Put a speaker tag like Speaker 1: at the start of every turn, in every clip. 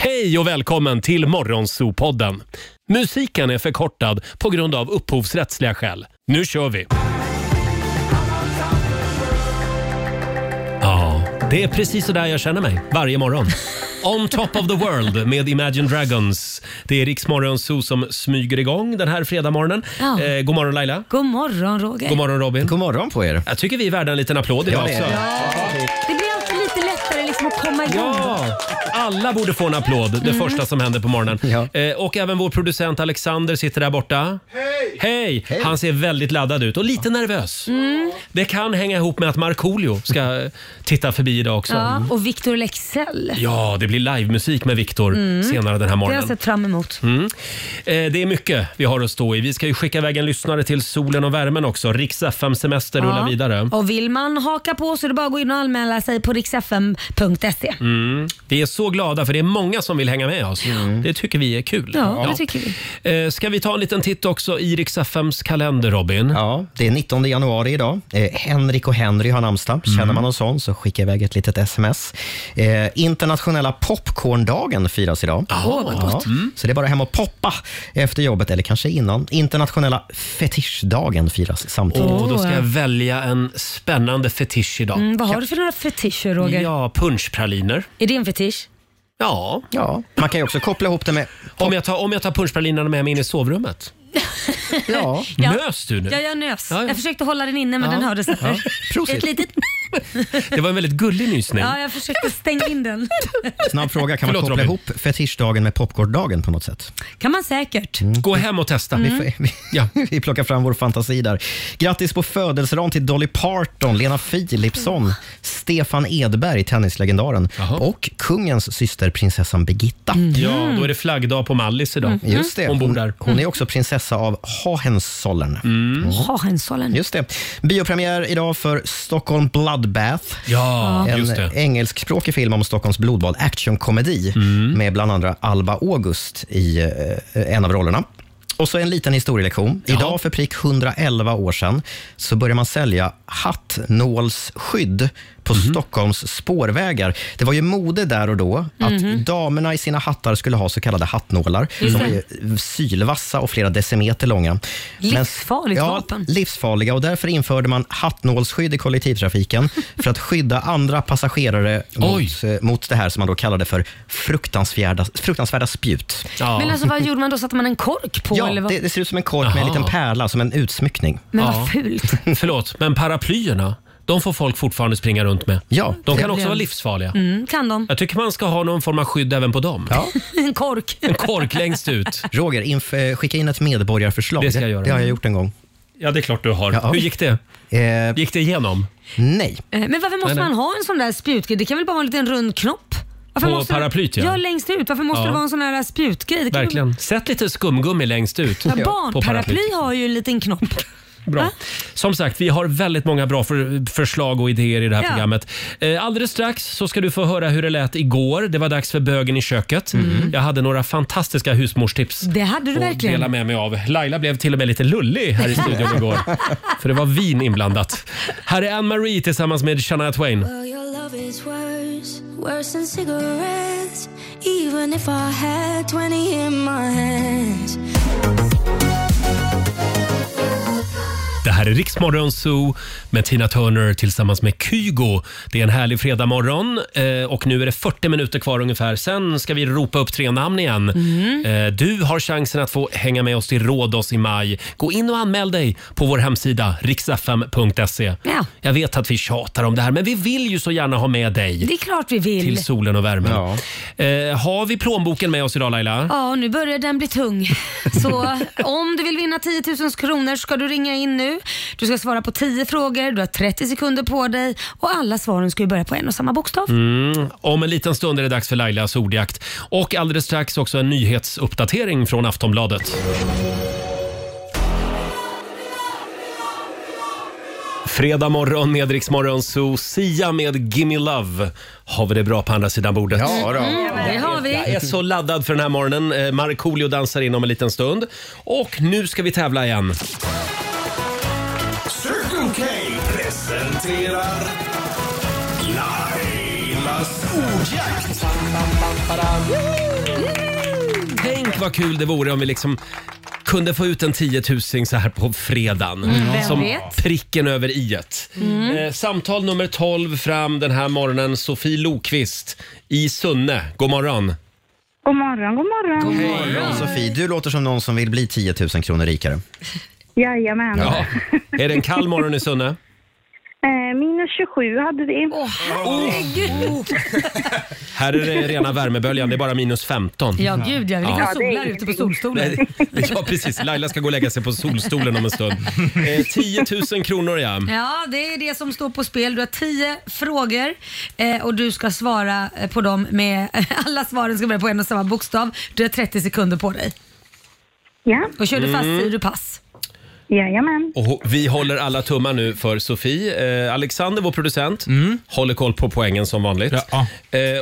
Speaker 1: Hej och välkommen till Morgonzoo-podden. Musiken är förkortad på grund av upphovsrättsliga skäl. Nu kör vi! Ja, det är precis så där jag känner mig varje morgon. On top of the world med Imagine Dragons. Det är Riksmorgonzoo som smyger igång den här fredagmorgonen.
Speaker 2: Ja.
Speaker 1: Eh, god morgon Laila.
Speaker 2: God morgon Roger.
Speaker 1: God morgon Robin.
Speaker 3: God morgon på er.
Speaker 1: Jag tycker vi är värda en liten applåd idag
Speaker 3: det är
Speaker 1: också.
Speaker 3: det.
Speaker 2: Det blir alltid lite lättare liksom att komma igång.
Speaker 1: Ja, alla borde få en applåd det
Speaker 2: Mm.
Speaker 1: första som händer på morgonen.
Speaker 3: Ja.
Speaker 1: Eh, och även vår producent Alexander sitter där borta. Hej! Hej! Han ser väldigt laddad ut och lite nervös.
Speaker 2: Mm.
Speaker 1: Det kan hänga ihop med att Markoolio ska eh, titta förbi idag också. Mm. Ja.
Speaker 2: Ja, och Victor Lexell.
Speaker 1: det blir livemusik med Viktor senare den här
Speaker 2: Mm. Det har jag
Speaker 1: morgonen.
Speaker 2: sett fram emot.
Speaker 1: Eh, det är mycket vi har att stå i. Vi ska ju skicka iväg en lyssnare till solen och värmen också. Riks FM-semester
Speaker 2: Ja.
Speaker 1: rullar vidare.
Speaker 2: Och vill man haka på så är det bara att gå in och anmäla sig på riksfm.se.
Speaker 1: Mm. Vi är så glada för det är många som vill hänga med oss. Det tycker vi är kul.
Speaker 2: Ja, det tycker vi.
Speaker 1: Eh, Ska vi ta en liten titt också i Rix FMs kalender, Robin?
Speaker 3: Ja, det är 19 januari idag. Eh, Henrik och Henry har namnsdag. Känner
Speaker 1: Mm.
Speaker 3: man någon sån så skicka iväg ett litet sms. Eh, internationella popcorndagen firas idag.
Speaker 1: Åh, vad Mm.
Speaker 3: Ja, Så det är bara hem och poppa efter jobbet eller kanske innan. Internationella fetischdagen firas samtidigt.
Speaker 1: Och då ska jag välja en spännande fetisch idag.
Speaker 2: Mm, vad har du för några fetischer Roger?
Speaker 1: Ja, punschpraliner.
Speaker 2: Är det en fetisch?
Speaker 1: Ja,
Speaker 3: Ja, man kan ju också koppla ihop det med...
Speaker 1: om jag tar, om jag tar punschpralinerna med mig in i sovrummet.
Speaker 3: Ja,
Speaker 2: Ja.
Speaker 1: Nös du nu?
Speaker 2: Ja, jag nös.
Speaker 1: Ja, ja.
Speaker 2: Jag försökte hålla den inne men
Speaker 1: Ja.
Speaker 2: den hördes inte. Ett
Speaker 3: prosit.
Speaker 2: litet...
Speaker 1: Det var en väldigt gullig nysning.
Speaker 2: Ja, jag försökte stänga in den.
Speaker 3: Snabb fråga, kan
Speaker 1: Förlåt,
Speaker 3: man koppla
Speaker 1: Robin.
Speaker 3: ihop fetischdagen med popcorndagen på något sätt?
Speaker 2: kan man säkert.
Speaker 1: Gå hem och testa.
Speaker 3: Mm.
Speaker 1: Mm.
Speaker 3: Vi, får- vi,
Speaker 1: Ja.
Speaker 3: vi plockar fram vår fantasi där. Grattis på födelsedagen till Dolly Parton, Lena Philipsson, Stefan Edberg, tennislegendaren
Speaker 1: Mm. Jaha. Mm.
Speaker 3: och kungens syster prinsessan Birgitta.
Speaker 2: Mm.
Speaker 3: Mm.
Speaker 1: Ja, då är det flaggdag på Mallis idag.
Speaker 3: Just det.
Speaker 1: Hon bor där. Mm.
Speaker 3: hon är också prinsessa av Hohenzollern.
Speaker 2: Hahensollen.
Speaker 3: Just det. Biopremiär idag för Stockholm Bloodbath.
Speaker 1: Ja, just
Speaker 3: En
Speaker 1: det.
Speaker 3: engelskspråkig film om Stockholms blodbad, actionkomedi
Speaker 1: Mm.
Speaker 3: med bland andra Alba August i eh, en av rollerna. Och så en liten historielektion. Idag för prick 111 år sedan så började man sälja hattnålsskydd på
Speaker 1: Mhm.
Speaker 3: Stockholms spårvägar. Det var ju mode där och då att
Speaker 1: Mhm.
Speaker 3: damerna i sina hattar skulle ha så kallade hattnålar.
Speaker 2: Just
Speaker 3: De var
Speaker 2: det.
Speaker 3: ju sylvassa och flera decimeter långa. Men-
Speaker 2: Livsfarligt
Speaker 3: ja,
Speaker 2: vapen.
Speaker 3: livsfarliga och därför införde man hattnålsskydd i kollektivtrafiken för att skydda andra passagerare mot, eh, mot det här som man då kallade för fruktansvärda, fruktansvärda spjut.
Speaker 2: Men
Speaker 1: Ja.
Speaker 2: alltså vad gjorde man då? Satte man en kork på?
Speaker 3: Ja,
Speaker 2: eller vad?
Speaker 3: det, det ser ut som en kork med en
Speaker 1: Jaha.
Speaker 3: liten pärla, som en utsmyckning.
Speaker 2: Men
Speaker 1: Ja.
Speaker 2: vad fult.
Speaker 1: Förlåt, men paraplyerna, de får folk fortfarande springa runt med.
Speaker 3: Ja,
Speaker 1: De
Speaker 3: det-
Speaker 1: kan också vara livsfarliga.
Speaker 2: Mm, kan de.
Speaker 1: Jag tycker man ska ha någon form av skydd även på dem.
Speaker 3: Ja.
Speaker 2: En kork.
Speaker 1: En kork längst ut.
Speaker 3: Roger, inf- eh, skicka in ett medborgarförslag.
Speaker 1: Det ska jag göra.
Speaker 3: det har jag gjort en gång.
Speaker 1: Ja, det är klart du har.
Speaker 3: Ja.
Speaker 1: Hur gick det?
Speaker 3: Eh,
Speaker 1: Gick det igenom?
Speaker 3: nej.
Speaker 2: Eh, Men varför
Speaker 1: Nej,
Speaker 2: måste
Speaker 1: nej.
Speaker 2: man ha en sån där spjutgrej? Det kan väl bara vara en liten rund knopp? Varför
Speaker 1: På
Speaker 2: måste
Speaker 1: paraplyet, ja.
Speaker 2: ja. längst ut. Varför måste
Speaker 1: Ja.
Speaker 2: det vara en sån här spjutgrej? Det kan
Speaker 1: Verkligen. Sätt lite skumgummi längst ut.
Speaker 2: Väl... Ja,
Speaker 1: på
Speaker 2: barnparaply
Speaker 1: paraplyet.
Speaker 2: har ju en liten knopp.
Speaker 1: Bra. Som sagt, vi har väldigt många bra för, förslag och idéer i det här
Speaker 2: Ja.
Speaker 1: programmet. Eh, alldeles strax så ska du få höra hur det lät igår. Det var dags för bögen i köket. Mm. Jag hade några fantastiska husmorstips.
Speaker 2: Mm. Det hade du
Speaker 1: att dela
Speaker 2: verkligen.
Speaker 1: med mig av. Laila blev till och med lite lullig här i studion igår. För det var vin inblandat. Här är Ann-Marie tillsammans med Shania Twain.
Speaker 4: Well, your love is worse, worse than cigarettes. Even if I had 20 in my hands.
Speaker 1: Det här är Riksmorgon Zoo med Tina Turner tillsammans med Kygo. Det är en härlig fredagmorgon eh, och nu är det 40 minuter kvar ungefär. Sen ska vi ropa upp tre namn igen.
Speaker 2: Mm.
Speaker 1: Eh, Du har chansen att få hänga med oss till Rhodos i maj. Gå in och anmäl dig på vår hemsida riksfm.se.
Speaker 2: Ja.
Speaker 1: Jag vet att vi tjatar om det här men vi vill ju så gärna ha med dig
Speaker 2: Det är klart vi vill.
Speaker 1: till solen och värmen.
Speaker 3: Ja.
Speaker 1: Eh, Har vi plånboken med oss idag Laila?
Speaker 2: Ja, nu börjar den bli tung. Så om du vill vinna 10 000 kronor ska du ringa in nu. Du ska svara på 10 frågor, du har 30 sekunder på dig och alla svaren ska ju börja på en och samma bokstav.
Speaker 1: Mm. Om en liten stund är det dags för Lailas ordjakt. Och alldeles strax också en nyhetsuppdatering från Aftonbladet. Fredag morgon med Rix Morgon, så Sia med Gimme Love. Har vi det bra på andra sidan bordet?
Speaker 3: Ja, då.
Speaker 2: Mm, Det har vi.
Speaker 1: Jag är så laddad för den här morgonen. Eh, Markoolio dansar in om en liten stund. Och nu ska vi tävla igen.
Speaker 5: Circle K presenterar Lailas ordjakt.
Speaker 1: Tänk vad kul det vore om vi liksom kunde få ut en 10 000 så här på fredagen.
Speaker 2: Mm, vem
Speaker 1: som
Speaker 2: vet?
Speaker 1: pricken över i
Speaker 2: Mm.
Speaker 1: eh, Samtal nummer 12 fram den här morgonen. Sofie Lokvist i Sunne. God morgon.
Speaker 6: God morgon, god morgon. God
Speaker 3: Bra, Sofie, du låter som någon som vill bli 10 000 kronor rikare.
Speaker 6: Jajamän.
Speaker 1: Ja. Är det en kall morgon i Sunne?
Speaker 6: Eh, minus 27 hade vi. Eh,
Speaker 2: Åh, herregud!
Speaker 1: Här är det rena värmeböljan. Det är bara minus 15.
Speaker 2: Ja, gud, jag vill ligga och
Speaker 6: det är
Speaker 2: sola ute på solstolen.
Speaker 1: Mm. Nej, Ja, precis. Laila ska gå och lägga sig på solstolen om en stund. Eh, 10 000 kronor, ja.
Speaker 2: Ja, det är det som står på spel. Du har tio frågor eh, och du ska svara eh, på dem med... Alla svaren ska börja på en och samma bokstav. Du har 30 sekunder på dig.
Speaker 6: Ja,
Speaker 2: Och kör du fast
Speaker 1: Mm.
Speaker 2: säger du pass.
Speaker 6: jajamän.
Speaker 1: Och ho- vi håller alla tummar nu för Sofie. Eh, Alexander, vår producent, håller koll på poängen som vanligt. Eh,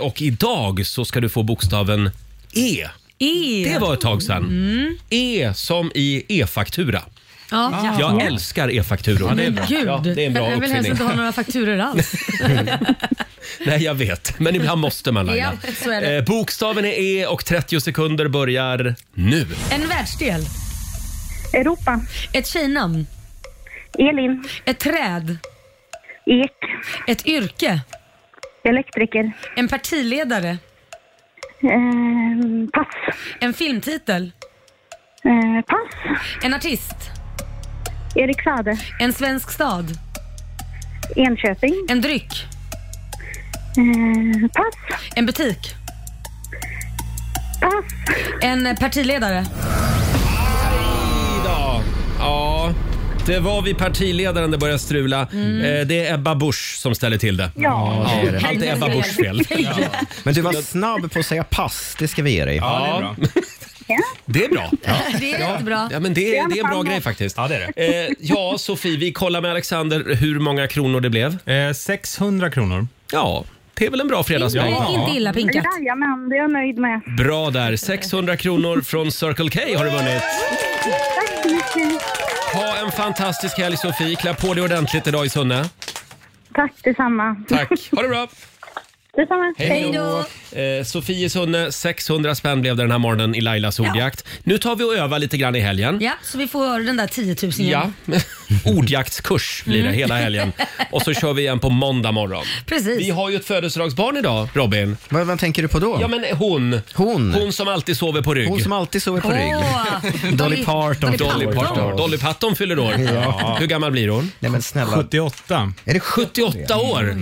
Speaker 1: och idag så ska du få bokstaven E.
Speaker 2: E.
Speaker 1: Det var ett tag sedan.
Speaker 2: Mm.
Speaker 1: E som i e-faktura.
Speaker 2: Ja,
Speaker 1: Jag älskar e-fakturor.
Speaker 2: Men Gud,
Speaker 1: Ja, det är en bra
Speaker 2: jag vill
Speaker 1: uppfinning.
Speaker 2: helst inte ha några fakturor alls.
Speaker 1: Nej, jag vet. Men ibland måste man, Laila.
Speaker 2: Ja, så är det.
Speaker 1: Eh, bokstaven är E och 30 sekunder börjar nu.
Speaker 2: En världsdel.
Speaker 6: Europa.
Speaker 2: Ett tjejnamn.
Speaker 6: Elin.
Speaker 2: Ett träd.
Speaker 6: Ek.
Speaker 2: Ett yrke.
Speaker 6: Elektriker.
Speaker 2: En partiledare.
Speaker 6: Eh, pass.
Speaker 2: En filmtitel.
Speaker 6: Eh, pass.
Speaker 2: En artist.
Speaker 6: Erik Sade.
Speaker 2: En svensk stad.
Speaker 6: Enköping.
Speaker 2: En dryck.
Speaker 6: Eh, pass.
Speaker 2: En butik.
Speaker 6: Pass.
Speaker 2: En partiledare.
Speaker 1: Idag. Ja, det var vi partiledaren det började strula. Eh, det är Ebba Busch som ställer till det.
Speaker 6: Ja.
Speaker 3: det är det.
Speaker 1: Allt är Ebba Buschs fel.
Speaker 3: Men du var snabb på att säga pass, det ska vi ge dig.
Speaker 1: Ja, det är bra.
Speaker 2: Det är jättebra.
Speaker 1: Ja, men det, är- det är en bra grej faktiskt. Ja, det är det. Eh, ja, Sofie, vi kollar med Alexander hur många kronor det blev. 600 kronor. Ja, det är väl en bra fredagspeng.
Speaker 2: Inte, inte illa pinkat.
Speaker 6: Jajamän, det är jag nöjd med.
Speaker 1: Bra där. 600 kronor från Circle K har du vunnit.
Speaker 6: Tack så mycket.
Speaker 1: Ha en fantastisk helg Sofie. Klä på dig ordentligt idag i Sunne.
Speaker 6: Tack detsamma.
Speaker 1: Tack. Ha det bra.
Speaker 6: Detsamma.
Speaker 1: Eh, Sofie i Sunne, 600 spänn blev det den här morgonen i Lailas ordjakt. Nu tar vi och övar lite grann i helgen.
Speaker 2: Ja, så vi får den där 10 000 igen.
Speaker 1: Ja, ordjaktskurs blir det
Speaker 2: Mm.
Speaker 1: hela helgen. Och så kör vi igen på måndag morgon.
Speaker 2: Precis.
Speaker 1: Vi har ju ett födelsedagsbarn idag, Robin.
Speaker 3: Vad, vad tänker du på då?
Speaker 1: Ja, men hon.
Speaker 3: Hon.
Speaker 1: Hon som alltid sover på rygg.
Speaker 3: Hon som alltid sover på rygg.
Speaker 2: Åh,
Speaker 3: Dolly Parton.
Speaker 1: Dolly Parton.
Speaker 3: Parton.
Speaker 1: Dolly Parton fyller år.
Speaker 3: Ja.
Speaker 1: Hur gammal blir hon?
Speaker 3: Nej men snälla.
Speaker 7: 78.
Speaker 3: Är det Mm.
Speaker 1: 78 år.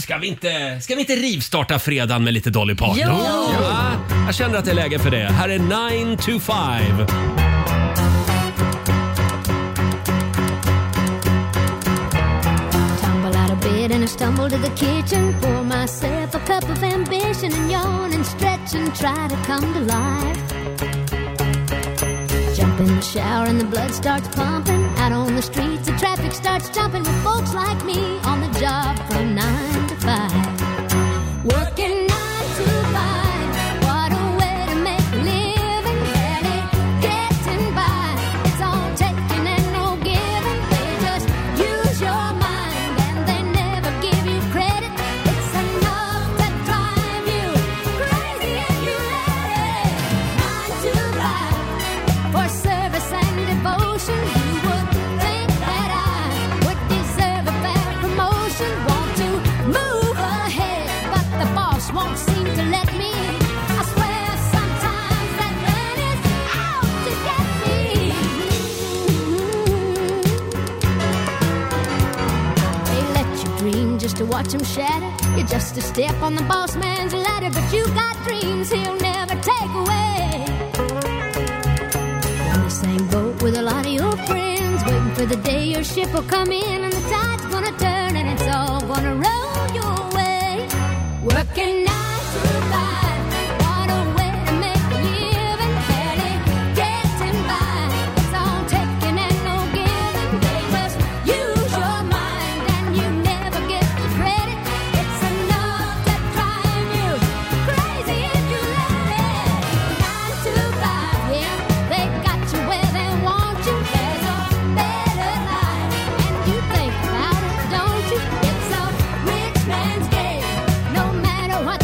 Speaker 1: Ska vi inte, ska vi inte rivstarta fredagen med lite Dolly Parton?
Speaker 2: Ja.
Speaker 1: Ja, Jag känner att det är läge för det. Här är 9 to 5.
Speaker 4: Tumble out of bed and I stumble to the kitchen. Pour myself a cup of ambition and yawn and stretch and try to come to life. Jump in the shower and the blood starts pumping. Out on the streets, the traffic starts jumping with folks like me on the job from nine to five. Working nine to five. What a way to make a living. Barely getting by. It's all taking and no giving. They just use your mind and they never give you credit. It's enough to drive you crazy if you let it. Nine to five. For service and devotion, you would think that I would deserve a fair promotion. Want to move ahead, but the boss won't seem to let me. I swear sometimes that man is out to get me. They let you dream just to watch him shatter. You're just a step on the boss man's ladder, but you got dreams he'll never take away in the same boat with a lot of your friends, waiting for the day your ship will come in and the tide's gonna turn and it's all gonna roll your way. Working nine to five, what a way to make a living, barely getting by. It's all taking and no giving. They just use your mind and you never get the credit. It's enough to drive you crazy if you let it. Nine to five, yeah, they got you where they want you. There's a better life, and you think about it, don't you? It's a rich man's game, no matter what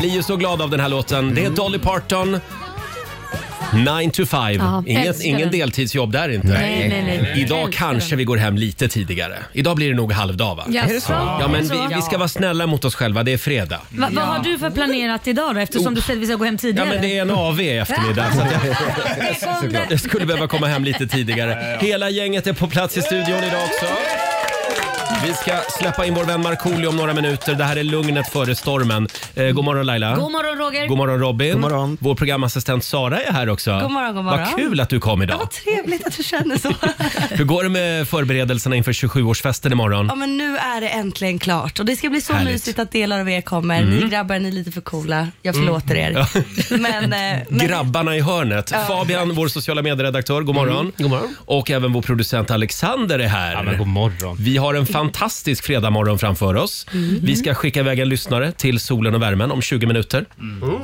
Speaker 1: blir ju så glad av den här låten. Det är Dolly Parton, 9 to 5.
Speaker 2: Ja,
Speaker 1: ingen,
Speaker 2: älskar
Speaker 1: ingen
Speaker 2: den.
Speaker 1: deltidsjobb där inte.
Speaker 2: Nej, nej, nej.
Speaker 1: Idag
Speaker 2: Älskar
Speaker 1: kanske
Speaker 2: den.
Speaker 1: vi går hem lite tidigare. Idag blir det nog halvdag va?
Speaker 2: Jaså? Är det så?
Speaker 1: Ja, men vi, vi ska vara snälla mot oss själva. Det är fredag.
Speaker 2: Va, vad har du för planerat idag då? Eftersom du säger att vi ska gå hem
Speaker 1: Oh. Ja,
Speaker 2: tidigare.
Speaker 1: men det är en AV i eftermiddag. Så att jag,
Speaker 2: Där kom det.
Speaker 1: jag skulle behöva komma hem lite tidigare. Hela gänget är på plats i studion idag också. Vi ska släppa in vår vän Markoolio om några minuter. Det här är lugnet före stormen. Eh, god morgon Laila.
Speaker 2: God morgon Roger.
Speaker 1: God morgon Robin.
Speaker 3: God morgon.
Speaker 1: Vår programassistent Sara är här också.
Speaker 7: God morgon, god
Speaker 1: Vad
Speaker 7: morgon.
Speaker 1: kul att du kom idag.
Speaker 7: Vad trevligt att du känner så.
Speaker 1: Hur går det med förberedelserna inför 27-årsfesten imorgon?
Speaker 7: Ja, men nu är det äntligen klart och det ska bli så
Speaker 1: Härligt. Mm.
Speaker 7: mysigt att delar av er kommer. Ni grabbar, ni är lite för coola. Jag förlåter er. Men, eh, men
Speaker 1: Grabbarna i hörnet. Fabian, vår sociala medieredaktör, god morgon.
Speaker 8: Mm, god morgon.
Speaker 1: Och även vår producent Alexander är här.
Speaker 8: Ja, men god morgon.
Speaker 1: Vi har en fantastisk fredagmorgon framför oss. Vi ska skicka iväg en lyssnare till solen och värmen om 20 minuter.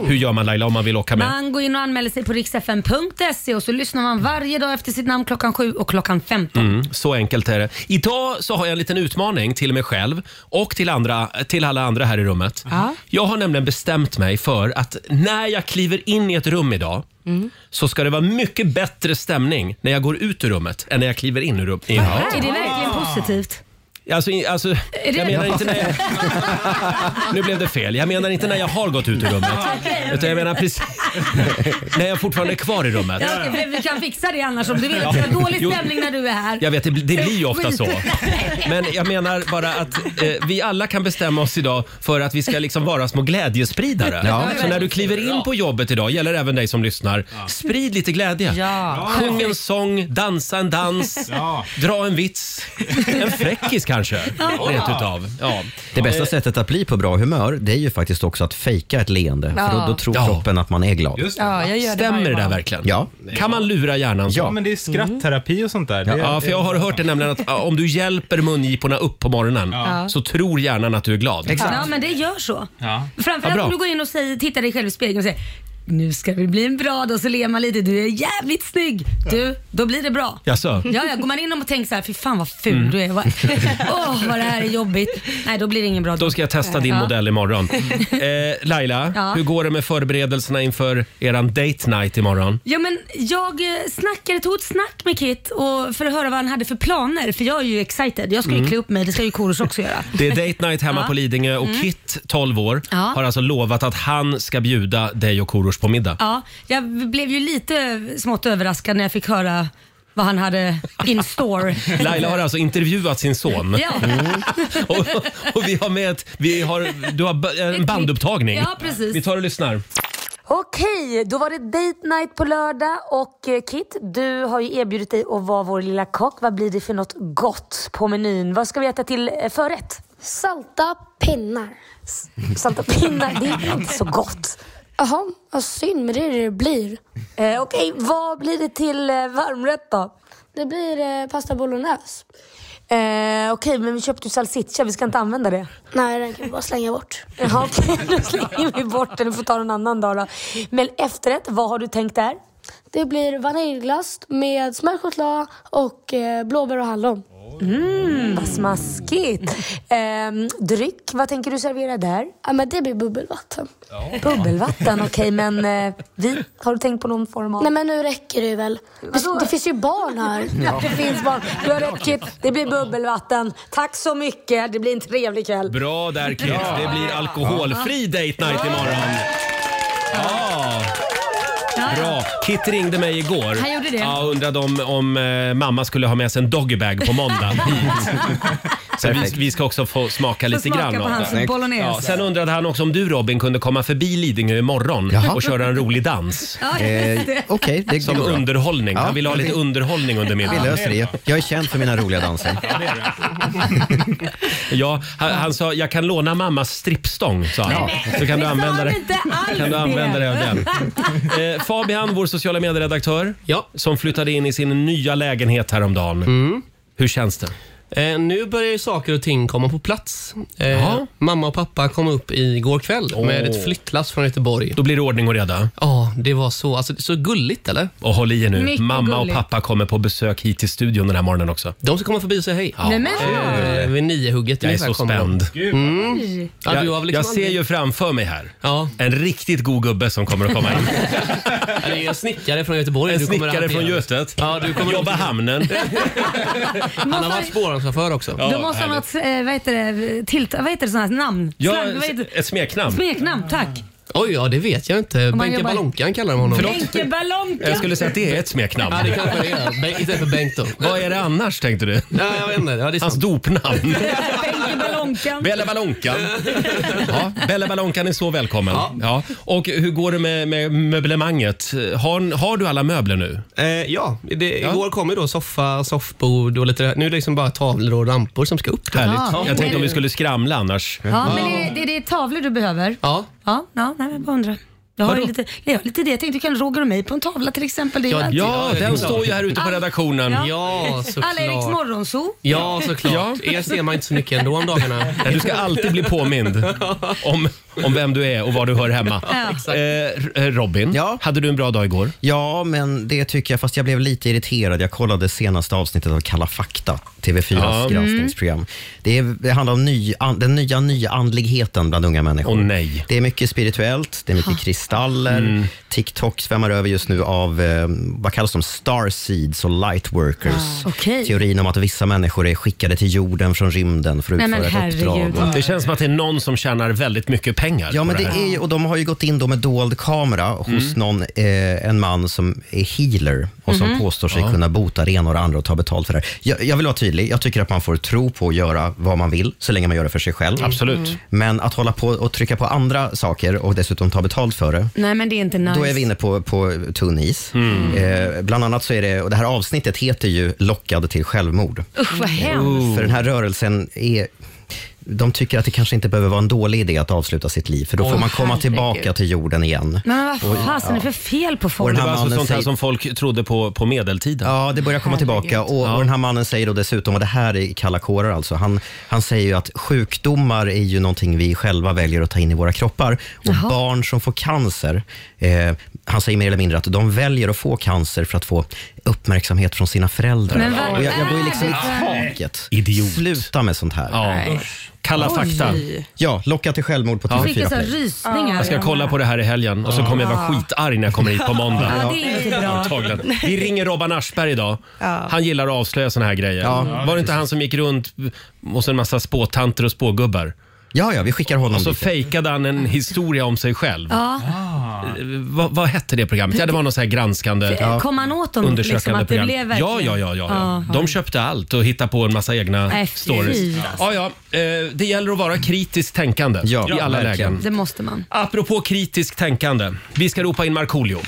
Speaker 1: Hur gör man Laila om man vill åka med?
Speaker 2: Man går in och anmäler sig på riksfn.se e och så lyssnar man varje dag efter sitt namn klockan 7 och klockan 15.
Speaker 1: Mm, så enkelt är det. Idag så har jag en liten utmaning till mig själv och till, andra, till alla andra här i rummet. Jag har nämligen bestämt mig för att när jag kliver in i ett rum idag
Speaker 9: Mm.
Speaker 1: så ska det vara mycket bättre stämning när jag går ut ur rummet än när jag kliver in i rummet.
Speaker 2: Är det verkligen positivt?
Speaker 1: Alltså, i- alltså, jag menar inte när jag... Nu blev det fel. Jag menar inte när jag har gått ut ur rummet. Utan jag menar precis när jag fortfarande är kvar i rummet.
Speaker 2: Ja, okej, för vi kan fixa det annars om du vill. att Det är
Speaker 1: Jo.
Speaker 2: dålig stämning när du är här.
Speaker 1: Jag vet, det, bli- det blir ju ofta så. Men jag menar bara att eh, vi alla kan bestämma oss idag för att vi ska liksom vara små glädjespridare. Så när du kliver in på jobbet idag, gäller även dig som lyssnar, sprid lite glädje.
Speaker 7: Ja.
Speaker 1: Sjung en sång, dansa en dans,
Speaker 8: Ja.
Speaker 1: dra en vits, en fräckis kanske. Rent utav. Ja.
Speaker 3: Det bästa sättet att bli på bra humör det är ju faktiskt också att fejka ett leende. För då, då tror
Speaker 1: Ja.
Speaker 3: kroppen att man är glad.
Speaker 8: Just det.
Speaker 7: ja, jag gör det
Speaker 1: Stämmer
Speaker 7: varje
Speaker 1: det där
Speaker 7: morgon.
Speaker 1: verkligen?
Speaker 3: Ja.
Speaker 1: Kan man lura hjärnan så?
Speaker 8: Ja, men det är skrattterapi och sånt där. Det,
Speaker 1: Ja, för jag har hört det nämligen att ah, om du hjälper mungiporna upp på morgonen så tror hjärnan att du är glad.
Speaker 2: Ja, men det gör så.
Speaker 8: Ja.
Speaker 1: Ja,
Speaker 2: Framförallt
Speaker 1: bra.
Speaker 2: om du går in och säger, tittar dig själv i spegeln och säger nu ska det bli en bra dag, så ler man lite. Du är jävligt snygg. Du, då blir det bra.
Speaker 1: Jaså? Mm.
Speaker 2: Ja, ja, går man in och tänker så här, fy fan vad ful du är. Vad- Åh, vad det här är jobbigt. Nej, då blir det ingen bra
Speaker 1: Då
Speaker 2: dag.
Speaker 1: ska jag testa din
Speaker 2: Ja. Mm.
Speaker 1: modell imorgon. Eh, Laila,
Speaker 2: Ja.
Speaker 1: hur går det med förberedelserna inför eran date night imorgon?
Speaker 2: Ja, men jag eh, snackade, tog ett snack med Kit och för att höra vad han hade för planer. För jag är ju excited. Jag skulle klä upp mig, det ska ju Korosh också göra.
Speaker 1: Mm. Det är date night hemma
Speaker 2: Ja. Mm.
Speaker 1: på Lidingö och Kit, 12 år,
Speaker 2: Ja.
Speaker 1: har alltså lovat att han ska bjuda dig och Korosh på middag.
Speaker 2: Ja, jag blev ju lite smått överraskad när jag fick höra vad han hade in store.
Speaker 1: Laila har alltså intervjuat sin son Mm.
Speaker 2: Ja.
Speaker 1: och, och vi har med ett, vi har, du har ba- en bandupptagning.
Speaker 2: Ja, precis.
Speaker 1: Vi tar och lyssnar.
Speaker 2: Okej, då var det date night på lördag och eh, Kit, du har ju erbjudit dig att vara vår lilla kock. Vad blir det för något gott på menyn? Vad ska vi äta till eh, förrätt?
Speaker 10: Salta pinnar.
Speaker 2: Salta pinnar, det är inte så gott.
Speaker 10: Jaha, vad synd men det är det det blir.
Speaker 2: Eh, Okej, vad blir det till eh, varmrätt då?
Speaker 10: Det blir eh, pasta bolognese.
Speaker 2: Eh, Okej, men vi köpte ju salsiccia, vi ska inte använda det.
Speaker 10: Nej, den kan vi bara slänga bort.
Speaker 2: Jaha, okej, då slänger vi bort den. Du får ta den en annan dag då. Men efterrätt, vad har du tänkt där?
Speaker 10: Det blir vaniljglass med smörd choklad och eh, blåbär och hallon.
Speaker 2: Mm, Vad smaskigt. Ehm, dryck, vad tänker du servera där?
Speaker 10: Ja, men det blir bubbelvatten.
Speaker 2: Bubbelvatten, okej men eh, vi, har du tänkt på någon form av...
Speaker 10: Nej men nu räcker det väl.
Speaker 2: Vadå?
Speaker 10: Det, det finns ju barn här.
Speaker 2: Det finns barn. Du har rätt Kit, det blir bubbelvatten. Tack så mycket, det blir en trevlig kväll.
Speaker 1: Bra där Kit. Det blir alkoholfri date night imorgon. Ja. Bra. Kit ringde mig igår.
Speaker 2: Han gjorde det?
Speaker 1: Ja, undrade om, om eh, mamma skulle ha med sig en doggybag på måndag hit. Så vi,
Speaker 3: Perfekt.
Speaker 1: vi ska också få smaka lite grann av det.
Speaker 2: bolognese.
Speaker 1: Ja, sen undrade han också om du Robin kunde komma förbi Lidingö imorgon
Speaker 3: Jaha.
Speaker 1: och köra en rolig dans.
Speaker 3: Eh, Okej, det det
Speaker 1: Som
Speaker 3: går bra.
Speaker 1: underhållning.
Speaker 3: Ja,
Speaker 1: Han ville ha
Speaker 3: det-
Speaker 1: lite underhållning under
Speaker 3: Vi
Speaker 1: middagen.
Speaker 3: löser det. Jag är känd för mina roliga danser.
Speaker 1: Ja, han, han sa jag kan låna mammas strippstång. Sa han. Så kan du använda det. Kan du använda dig av den? Eh, Fabian, vår sociala medieredaktör,
Speaker 8: Ja.
Speaker 1: som flyttade in i sin nya lägenhet häromdagen. Hur känns det?
Speaker 9: Mm. Eh, nu börjar ju saker och ting komma på plats. Eh,
Speaker 1: Jaha.
Speaker 9: mamma och pappa kom upp igår kväll med
Speaker 1: Åh.
Speaker 9: ett flyttlass från Göteborg.
Speaker 1: Då blir det ordning och reda.
Speaker 9: Ja, det var så. Alltså, så gulligt, eller?
Speaker 1: Och håll i er nu,
Speaker 9: Mycket
Speaker 1: mamma
Speaker 9: gulligt.
Speaker 1: och pappa kommer på besök hit till studion den här morgonen också.
Speaker 9: De ska komma förbi och säga hej.
Speaker 1: Ja.
Speaker 9: Nej, men. Eh, vid niohugget
Speaker 1: Jag är
Speaker 9: ungefär
Speaker 1: så
Speaker 9: kommer de.
Speaker 1: spänd.
Speaker 9: Mm. Ja, du har
Speaker 1: Jag,
Speaker 9: väl liksom
Speaker 1: jag ser
Speaker 9: aldrig-
Speaker 1: ju framför mig här
Speaker 9: Ja.
Speaker 1: en riktigt god gubbe som kommer att komma in.
Speaker 9: Det är en snickare från Göteborg.
Speaker 1: En
Speaker 9: Du kommer
Speaker 1: snickare
Speaker 9: att hantera.
Speaker 1: från Götet.
Speaker 9: Ja, du kommer
Speaker 1: Jobba hamnen.
Speaker 9: Han har varit spårvagnschaufför också.
Speaker 2: Då måste han ha ett, eh, vad heter det, tilt, vad heter det sånt här namn?
Speaker 9: Ja,
Speaker 2: Slang- vad heter,
Speaker 9: ett smeknamn.
Speaker 2: smeknamn, tack.
Speaker 9: Oj, ja det vet jag inte.
Speaker 2: Om han
Speaker 9: Benke
Speaker 2: jobbar-
Speaker 9: Balonkan kallar de honom.
Speaker 2: Benke Ballonka.
Speaker 1: det är ett smeknamn.
Speaker 9: Ja, det kanske det är. Ben- Istället för Bengt då.
Speaker 1: Vad är det annars tänkte du?
Speaker 9: Ja, jag vet inte. Ja, det är
Speaker 1: Hans
Speaker 9: sant.
Speaker 1: dopnamn.
Speaker 2: Benke Ballonkan.
Speaker 1: Bella Ballonkan. Ja, Bella Ballonkan är så välkommen. Ja. Och hur går det med, med möblemanget? Har, har du alla möbler nu?
Speaker 9: Eh, ja, det, igår kom ju då soffa, soffbord och lite Nu är det liksom bara tavlor och lampor som ska upp.
Speaker 1: Härligt.
Speaker 2: Ja.
Speaker 1: Jag tänkte om vi skulle skramla annars.
Speaker 2: Ja, men det, det, det är tavlor du behöver.
Speaker 9: Ja.
Speaker 2: Ja, ja nej, men jag bara undrar. Jag har ju
Speaker 1: Vadå?
Speaker 2: lite, jag har lite det. Jag tänkte du kan Roger och mig på en tavla till exempel. Det är ju alltid-
Speaker 1: Ja, den står ju här ute på redaktionen.
Speaker 2: Ja.
Speaker 9: Ja, såklart.
Speaker 2: Alla Eriks morgonso.
Speaker 9: Ja, såklart. Er ser man inte så mycket ändå om dagarna.
Speaker 1: Nej, Du ska alltid bli påmind om, om vem du är och var du hör hemma.
Speaker 9: Exakt.
Speaker 1: Eh, R- eh, Robin,
Speaker 3: Ja.
Speaker 1: hade du en bra dag igår?
Speaker 3: Ja, men det tycker jag. Fast jag blev lite irriterad. Jag kollade senaste avsnittet av Kalla fakta, TV4s
Speaker 1: Ja. Mm.
Speaker 3: granskningsprogram. Det, är, det handlar om ny, an, den nya nyandligheten bland unga människor.
Speaker 1: Åh nej. Mm.
Speaker 3: Det är mycket spirituellt, det är mycket kristaller. TikTok svämmar över just nu av, eh, vad kallas de, starseeds och lightworkers.
Speaker 2: Ah, okej.
Speaker 3: Teorin om att vissa människor är skickade till jorden från rymden för att
Speaker 2: Nej, men
Speaker 3: utföra ett uppdrag.
Speaker 2: herregud.
Speaker 3: Och-
Speaker 1: Det känns som att det är någon som tjänar väldigt mycket pengar
Speaker 3: Ja,
Speaker 1: på
Speaker 3: men det
Speaker 1: det här.
Speaker 3: är, ju- och de har ju gått in då med dold kamera hos någon, eh, en man som är healer och som påstår sig kunna bota det ena och det andra och ta betalt för det här. Jag, jag vill vara tydlig. Jag tycker att man får tro på att göra vad man vill, så länge man gör det för sig själv.
Speaker 1: Absolut.
Speaker 3: Men att hålla på och trycka på andra saker och dessutom ta betalt för det,
Speaker 2: Nej, men det är inte nice.
Speaker 3: då är vi inne på, på tunn is. Eh, bland annat så är det, och det här avsnittet heter ju Lockad till självmord.
Speaker 2: Usch, vad
Speaker 1: Oh.
Speaker 2: hemskt.
Speaker 3: För den här rörelsen är... De tycker att det kanske inte behöver vara en dålig idé att avsluta sitt liv, för då får man komma
Speaker 2: herregud.
Speaker 3: tillbaka till jorden igen.
Speaker 2: Men vad fasen är det för fel på folk?
Speaker 1: Det var alltså
Speaker 3: mannen
Speaker 1: sånt här
Speaker 3: säger-
Speaker 1: som folk trodde på på medeltiden.
Speaker 3: Ja, det börjar komma tillbaka. Och, och den här mannen säger då dessutom, och det här är kalla kårar alltså, han, han säger ju att sjukdomar är ju någonting vi själva väljer att ta in i våra kroppar. Och barn som får cancer, eh, han säger mer eller mindre att de väljer att få cancer för att få uppmärksamhet från sina föräldrar.
Speaker 2: Men vad
Speaker 3: och jag, jag går ju
Speaker 2: är
Speaker 3: liksom i
Speaker 2: det för-
Speaker 3: taket.
Speaker 1: Idiot.
Speaker 3: Sluta med sånt här. Ja,
Speaker 1: Ja. Kalla fakta.
Speaker 3: locka till självmord på
Speaker 2: Jag
Speaker 3: TV4
Speaker 2: fick så här
Speaker 3: Play.
Speaker 2: rysningar.
Speaker 1: Jag ska kolla på det här i helgen och så kommer jag vara skitarg när jag kommer hit på måndag.
Speaker 2: Ja, det är inte bra.
Speaker 1: Antagligen. Vi ringer Robban Aschberg idag. Han gillar att avslöja såna här grejer. Var det inte han som gick runt hos en massa spåtanter och spågubbar?
Speaker 3: Ja, ja, vi skickar honom
Speaker 1: Och så
Speaker 3: dit.
Speaker 1: fejkade han en historia om sig själv. Eh, Vad, vad hette det programmet? Ja, det var något så här granskande,
Speaker 2: Kom han åt dem? Liksom,
Speaker 1: undersökande
Speaker 2: att det
Speaker 1: program.
Speaker 2: blev
Speaker 1: Ja,
Speaker 2: verkligen...
Speaker 1: ja, ja, ja, ja. De köpte allt och hittade på en massa egna
Speaker 2: Nej, Äh, fy. alltså.
Speaker 1: stories. Ja, ja. Eh, Det gäller att vara kritiskt tänkande
Speaker 3: Ja,
Speaker 1: i alla
Speaker 3: verkligen.
Speaker 1: lägen.
Speaker 2: Det måste man.
Speaker 1: Apropå kritiskt tänkande. Vi ska ropa in Markoolio.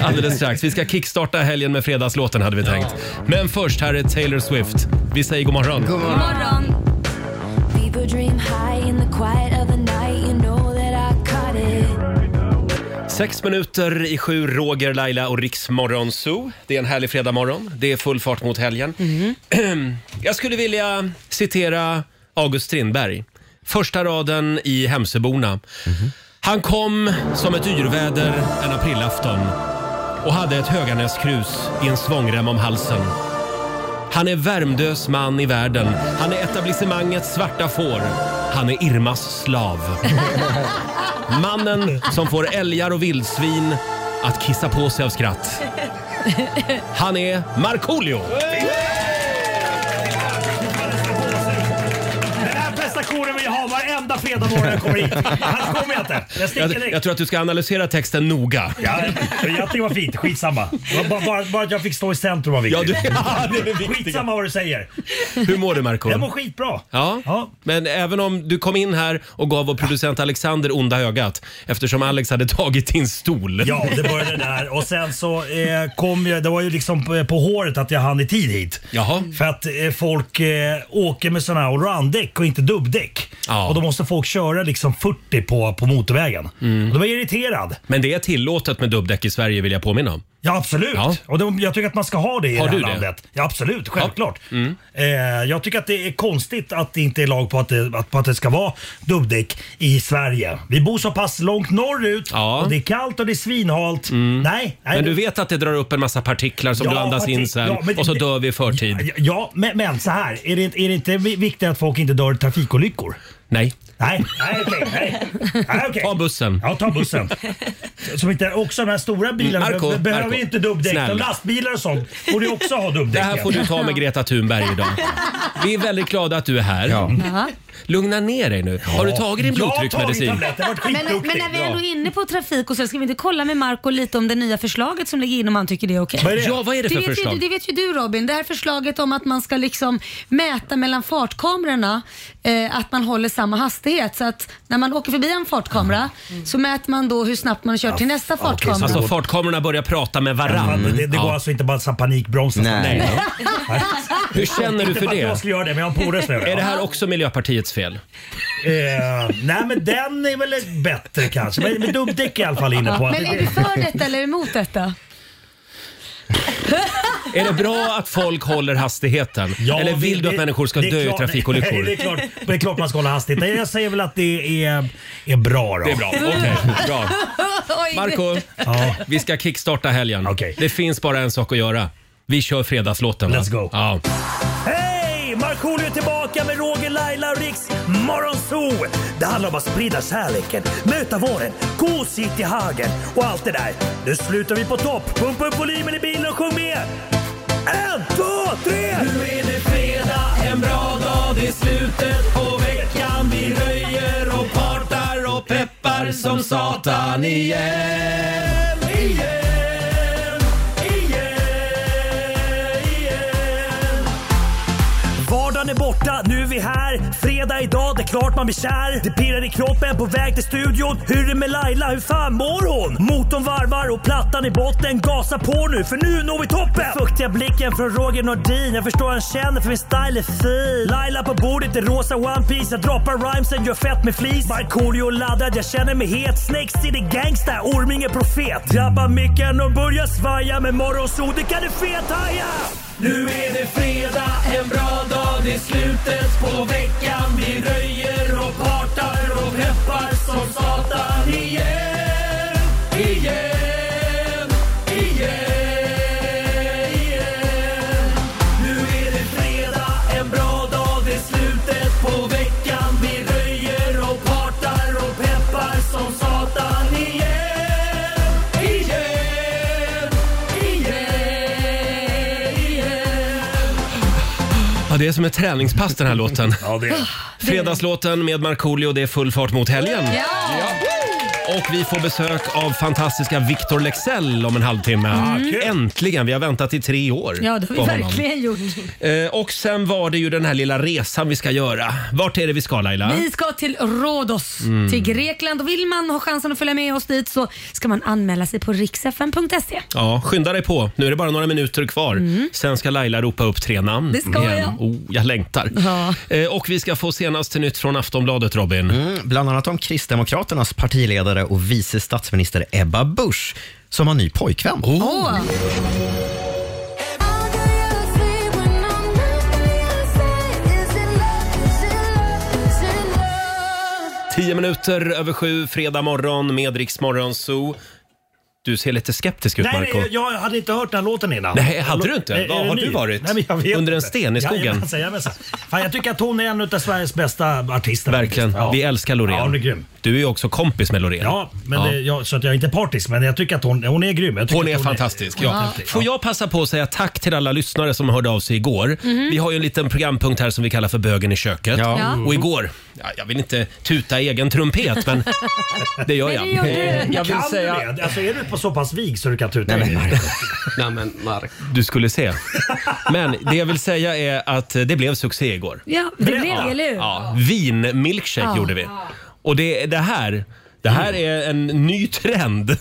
Speaker 1: Alldeles strax. Vi ska kickstarta helgen med fredagslåten hade vi tänkt. Men först, här är Taylor Swift. Vi säger god morgon.
Speaker 2: God morgon.
Speaker 4: People dream high in the quiet of the night. You know that I caught it.
Speaker 1: Sex minuter i sju, Roger, Laila och Riksmorgon Zoo. Det är en härlig fredagmorgon. Det är full fart mot helgen. Jag skulle vilja citera August Strindberg. Första raden i Hemsöborna. Han kom som ett yrväder en aprilafton och hade ett Höganäskrus i en svångrem om halsen. Han är Värmdös man i världen. Han är etablissemangets svarta får. Han är Irmas slav. Mannen som får älgar och vildsvin att kissa på sig av skratt. Han är Markoolio!
Speaker 11: Den här prestationen vill jag ha varenda fredag morgon jag kommer hit. Annars kommer jag inte. Jag sticker
Speaker 1: Jag, jag
Speaker 11: direkt.
Speaker 1: tror att du ska analysera texten noga.
Speaker 11: Ja, jag tycker det var fint. Skitsamma. Det var Bara, bara, bara att jag fick stå i centrum var
Speaker 1: Ja,
Speaker 11: viktigt.
Speaker 1: du, ja, det är det viktiga.
Speaker 11: Skitsamma vad du säger.
Speaker 1: Hur mår du Marco?
Speaker 11: Jag mår skitbra.
Speaker 1: Ja.
Speaker 11: Ja.
Speaker 1: men även om du kom in här och gav vår producent Alexander onda ögat eftersom Alex hade tagit din stol.
Speaker 11: Ja, det började där och sen så eh, kom jag, det var ju liksom på, på håret att jag hann i tid hit.
Speaker 1: Jaha.
Speaker 11: För att eh, folk eh, åker med sådana här allround-däck och inte dubbdäck.
Speaker 1: Ja.
Speaker 11: Och då måste folk köra liksom 40 på, på motorvägen. Och då var jag irriterad.
Speaker 1: Mm. Men det är tillåtet med dubbdäck i Sverige vill jag påminna om.
Speaker 11: Ja, absolut.
Speaker 1: Ja.
Speaker 11: Och de, jag tycker att man ska ha det i
Speaker 1: Har
Speaker 11: det här
Speaker 1: du det?
Speaker 11: landet. Ja, absolut. Självklart.
Speaker 1: Mm.
Speaker 11: Eh, jag tycker att det är konstigt att det inte är lag på att det, att, på att det ska vara dubbdäck i Sverige. Vi bor så pass långt norrut
Speaker 1: Ja. Mm.
Speaker 11: och det är kallt och det är svinhalt. Nej, nej.
Speaker 1: Men du vet att det drar upp en massa partiklar som
Speaker 11: Ja,
Speaker 1: du andas in
Speaker 11: partik-
Speaker 1: sen
Speaker 11: ja, men-
Speaker 1: och så dör vi i förtid.
Speaker 11: Ja, men, men så här. Är det, är det inte vi- viktigt att folk inte dör i trafikolyckor?
Speaker 1: Nej.
Speaker 11: Nej, nej okej. nej. Nej, okej.
Speaker 1: Ta bussen.
Speaker 11: Ja, ta bussen. Som inte, också de här stora bilarna
Speaker 1: Marco,
Speaker 11: be- behöver
Speaker 1: Marco,
Speaker 11: ju inte dubbdäck.
Speaker 1: Mm, snälla.
Speaker 11: De lastbilar och sånt borde ju också ha dubbdäck.
Speaker 1: Det här får du ta med Greta Thunberg idag. Vi är väldigt glada att du är här. Lugna ner dig nu. Har du tagit din
Speaker 11: Jag har tagit
Speaker 1: blodtrycksmedicin?
Speaker 11: tabletter, varit
Speaker 2: Men, men när vi ändå är inne på trafik och så ska vi inte kolla med Marco lite om det nya förslaget som ligger in om han tycker det är okej?
Speaker 1: Vad är det? Ja, vad är det för
Speaker 2: vet ju-
Speaker 1: förslag?
Speaker 2: det vet ju du Robin. Det här förslaget om att man ska liksom mäta mellan fartkamerorna eh, att man håller samma hastighet. Så att när man åker förbi en fartkamera
Speaker 1: Mm.
Speaker 2: så mäter man då hur snabbt man kör till nästa fartkamera.
Speaker 1: Alltså fartkamerorna börjar prata med varann.
Speaker 11: Det, det går
Speaker 1: Mm, Ja.
Speaker 11: alltså inte bara att sätta panikbromsa.
Speaker 1: Nej.
Speaker 11: Nej.
Speaker 1: Hur känner du
Speaker 11: Inte
Speaker 1: för
Speaker 11: att
Speaker 1: det?
Speaker 11: jag skulle göra det, men jag har en polare som gör det.
Speaker 1: Är det här också Miljöpartiets fel?
Speaker 11: Eh, nej, men den är väl bättre kanske. Men, men dubbdäck är i alla fall inne på. att-
Speaker 2: Men är du för detta eller emot detta?
Speaker 1: Är det bra att folk håller hastigheten?
Speaker 11: Ja,
Speaker 1: Eller vill
Speaker 11: det-
Speaker 1: du att människor ska
Speaker 11: det är
Speaker 1: dö i
Speaker 11: klart-
Speaker 1: trafikolyckor?
Speaker 11: det, är klart, det är klart man ska hålla hastigt. Nej, Jag säger väl att det är, är bra då.
Speaker 1: Det är
Speaker 11: Mm.
Speaker 1: bra. Okej, bra. Marco, vi ska kickstarta helgen. Det finns bara en sak att göra. Vi kör fredagslåten. va?
Speaker 11: Let's go.
Speaker 1: Ja.
Speaker 11: Hej! Markoolio är tillbaka med Roger, Laila och Riks Morgonzoo! Det handlar om att sprida kärleken, möta våren, gosigt i hagen och allt det där. Nu slutar vi på topp! Pumpa upp volymen i bilen och sjung med! En, två, tre! Nu är det fredag, en bra dag, det är slutet på veckan. Vi röjer och partar och peppar som satan igen. Igen, igen, igen. Vardagen är borta, nu är vi här. Fredag idag, det är klart man blir kär. Det pirrar i kroppen på väg till studion. Hur är det med Laila, hur fan mår hon? Motorn varvar och plattan i botten. Gasa på nu, för nu når vi toppen! Den fuktiga blicken från Roger Nordin. Jag förstår han känner för min style är fin. Laila på bordet i rosa One Piece Jag droppar rhymesen, gör fett med flis. Markoolio laddad, jag känner mig het. Snake City Gangsta, Orminge Profet. Drabbar micken och börjar svaja. Med morgonsol, det kan du fethaja!
Speaker 5: Nu är det fredag, en bra dag, det är slutet på veckan Vi röjer och partar och peppar som satan igen Igen, igen, igen Nu är det fredag, en bra dag, det är slutet på veckan Vi röjer och partar och peppar som satan igen Igen, igen, igen
Speaker 1: Ja, det är som ett träningspass den här låten.
Speaker 11: Ja, det är.
Speaker 1: Fredagslåten med Markoolio, det är full fart mot helgen.
Speaker 5: Ja!
Speaker 1: Och vi får besök av fantastiska Victor Lexell om en halvtimme. Äntligen! Vi har väntat i tre år
Speaker 2: Ja, det har vi
Speaker 1: på honom.
Speaker 2: verkligen gjort.
Speaker 1: Eh, Och sen var det ju den här lilla resan vi ska göra. Vart är det vi ska Laila?
Speaker 2: Vi ska till Rhodos,
Speaker 1: Mm.
Speaker 2: till Grekland. Och vill man ha chansen att följa med oss dit så ska man anmäla sig på riksfn.se.
Speaker 1: Ja, skynda dig på. Nu är det bara några minuter kvar. Sen ska Laila ropa upp tre namn.
Speaker 2: Mm. Det ska
Speaker 1: igen.
Speaker 2: jag.
Speaker 1: Oh, jag längtar. Eh, Och vi ska få senaste nytt från Aftonbladet, Robin.
Speaker 3: Mm, bland annat om Kristdemokraternas partiledare och vice statsminister Ebba Busch som har ny pojkvän.
Speaker 1: Oh. Tio minuter över sju, fredag morgon med Rix Morgon Zoo. Du ser lite skeptisk ut,
Speaker 11: Nej,
Speaker 1: Marco.
Speaker 11: nej, jag hade inte hört den här låten innan.
Speaker 1: Nej, hade du inte?
Speaker 11: Är- är
Speaker 1: Var
Speaker 11: det
Speaker 1: har
Speaker 11: ny?
Speaker 1: du varit?
Speaker 11: Nej, men jag vet
Speaker 1: Under en
Speaker 11: inte.
Speaker 1: sten i skogen?
Speaker 11: Jajamensan, jajamensan. Fan, jag tycker att hon är en av Sveriges bästa artister.
Speaker 1: Verkligen.
Speaker 11: Ja.
Speaker 1: Vi älskar Loreen.
Speaker 11: Ja, hon är grym.
Speaker 1: Du är ju också kompis med Loreen.
Speaker 11: Ja, men Det, jag, så att jag är inte partisk, men jag tycker att hon, hon är grym. Jag tycker
Speaker 1: Hon är
Speaker 11: att
Speaker 1: fantastisk.
Speaker 11: hon är
Speaker 1: Ja.
Speaker 11: häftig.
Speaker 1: Får jag passa på att säga tack till alla lyssnare som hörde av sig igår.
Speaker 11: Mhm.
Speaker 1: Vi har ju en liten programpunkt här som vi kallar för bögen i köket.
Speaker 5: Ja. Ja.
Speaker 1: Och igår, ja, jag vill inte tuta i egen trumpet men det gör jag. Eh, Jag vill
Speaker 11: kan
Speaker 1: säga...
Speaker 11: du det? Alltså, är du på så pass vig så du kan tuta
Speaker 1: Nej,
Speaker 11: in
Speaker 1: men-
Speaker 11: det?
Speaker 1: Nej men Mark. Du skulle se. Men det jag vill säga är att det blev succé igår.
Speaker 2: Ja, det blev
Speaker 1: ja.
Speaker 2: det, eller hur?
Speaker 1: Ja, vinmilkshake
Speaker 2: Ja.
Speaker 1: gjorde vi. Och det, det här, det här är en ny trend.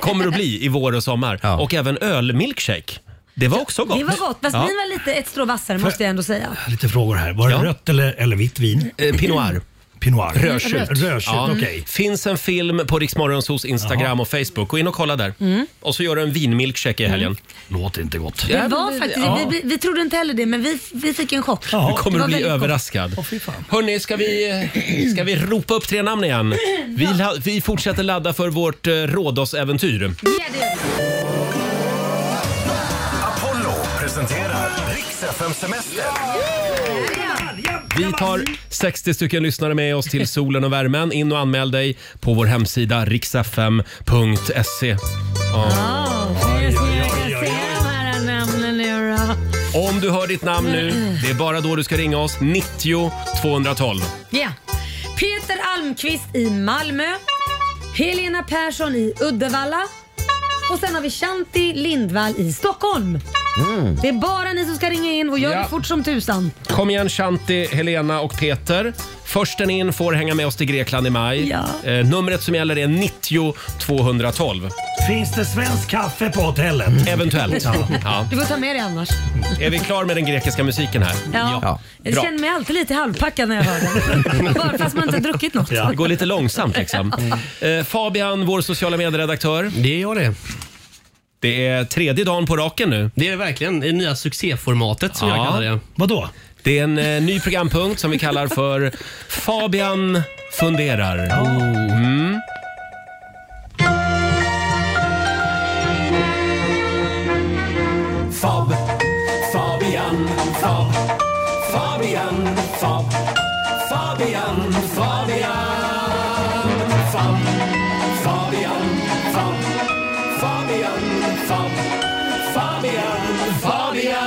Speaker 1: Kommer att bli i vår och sommar. Och även ölmilkshake. Det var också gott.
Speaker 2: Det var Eh, gott, fast
Speaker 1: Ja.
Speaker 2: min var lite ett strå vassare måste jag ändå säga.
Speaker 11: Lite frågor här. Var det rött eller, eller vitt vin?
Speaker 1: Eh, Pinot Noir.
Speaker 11: Pinot Noir.
Speaker 1: Rödtjut.
Speaker 11: Rödtjut,
Speaker 1: Ja. Mm.
Speaker 11: okej.
Speaker 1: Finns en film på Riksmorgonsos Instagram och Facebook. Gå in och kolla där.
Speaker 2: Mm.
Speaker 1: Och så gör du en vinmilkshake i helgen.
Speaker 11: Låter inte gott.
Speaker 2: Det var faktiskt, vi, vi, vi trodde inte heller det, men vi, vi fick en chock.
Speaker 1: Du kommer
Speaker 2: Det var
Speaker 1: att bli
Speaker 2: väldigt gott.
Speaker 1: överraskad. Hörni, ska vi, ska vi ropa upp tre namn igen? Vi, la- vi fortsätter ladda för vårt eh, Rhodos-äventyr.
Speaker 12: Apollo presenterar Riks FM Semester.
Speaker 1: Vi tar 60 stycken lyssnare med oss till solen och värmen. In och anmäl dig på vår hemsida riksfm.se. E. Ja. Om du hör ditt namn nu, det är bara då du ska ringa oss. 90 212.
Speaker 2: Ja. Peter Almqvist i Malmö. Helena Persson i Uddevalla. Och sen har vi Shanti Lindvall i Stockholm. Det är bara ni som ska ringa in och gör
Speaker 1: Ja.
Speaker 2: det fort som tusan.
Speaker 1: Kom igen Shanti, Helena och Peter. Försten in får hänga med oss till Grekland i maj. Eh, numret som gäller är 90 212.
Speaker 11: Finns det svensk kaffe på hotellet?
Speaker 1: Eventuellt.
Speaker 11: Ja.
Speaker 1: Ja.
Speaker 2: Du får ta med dig annars.
Speaker 1: Är vi klar med den grekiska musiken här?
Speaker 2: Ja. Jag
Speaker 1: Bra.
Speaker 2: känner mig alltid lite halvpackad när jag hör den. Bara fast man inte har druckit något.
Speaker 1: Det går lite långsamt liksom. Eh, Fabian, vår sociala medieredaktör.
Speaker 9: Det är jag det.
Speaker 1: Det är tredje dagen på raken nu.
Speaker 9: Det är det verkligen. Det nya succéformatet som jag kallar det.
Speaker 11: Vadå?
Speaker 1: Det är en eh, ny programpunkt som vi kallar för Fabian funderar.
Speaker 9: Oh.
Speaker 1: Mm.
Speaker 5: Fab, Fabian, Fab, Fabian, Fab, Fabian, Fabian, Fab, Fabian, Fab, Fabian, Fab, Fabian,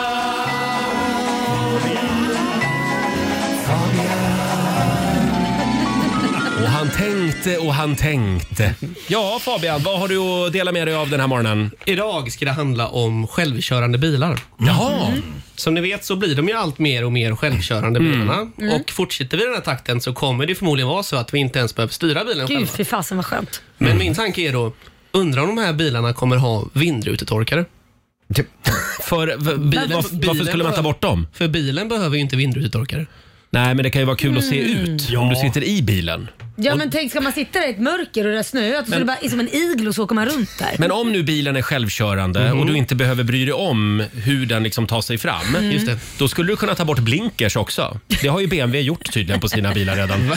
Speaker 1: Och han tänkte och han tänkte. Ja, Fabian, vad har du att dela med dig av den här morgonen?
Speaker 9: Idag ska det handla om självkörande bilar. Mm.
Speaker 1: Jaha.
Speaker 9: Som ni vet så blir de ju allt mer och mer självkörande
Speaker 1: Mm.
Speaker 9: bilarna.
Speaker 2: Mm.
Speaker 9: Och fortsätter vi i den här takten så kommer det förmodligen vara så att vi inte ens behöver styra bilen själva.
Speaker 2: Gud, fy fasen vad skönt.
Speaker 9: Men min tanke är då, undrar om de här bilarna kommer ha vindrutetorkare?
Speaker 1: För bilen, varför skulle man ta bort dem?
Speaker 9: För bilen behöver ju inte vindrutetorkare.
Speaker 1: Nej, men det kan ju vara kul att se
Speaker 2: Mm.
Speaker 1: ut om du sitter i bilen.
Speaker 2: Ja men tänk, ska man sitta där i ett mörker och det är snöat och så är det bara som en iglo så åker man runt där.
Speaker 1: Men om nu bilen är självkörande
Speaker 2: Mhm.
Speaker 1: och du inte behöver bry dig om hur den liksom tar sig fram.
Speaker 2: Mm. Just det.
Speaker 1: Då skulle du kunna ta bort blinkers också. Det har ju BMW gjort tydligen på sina bilar redan.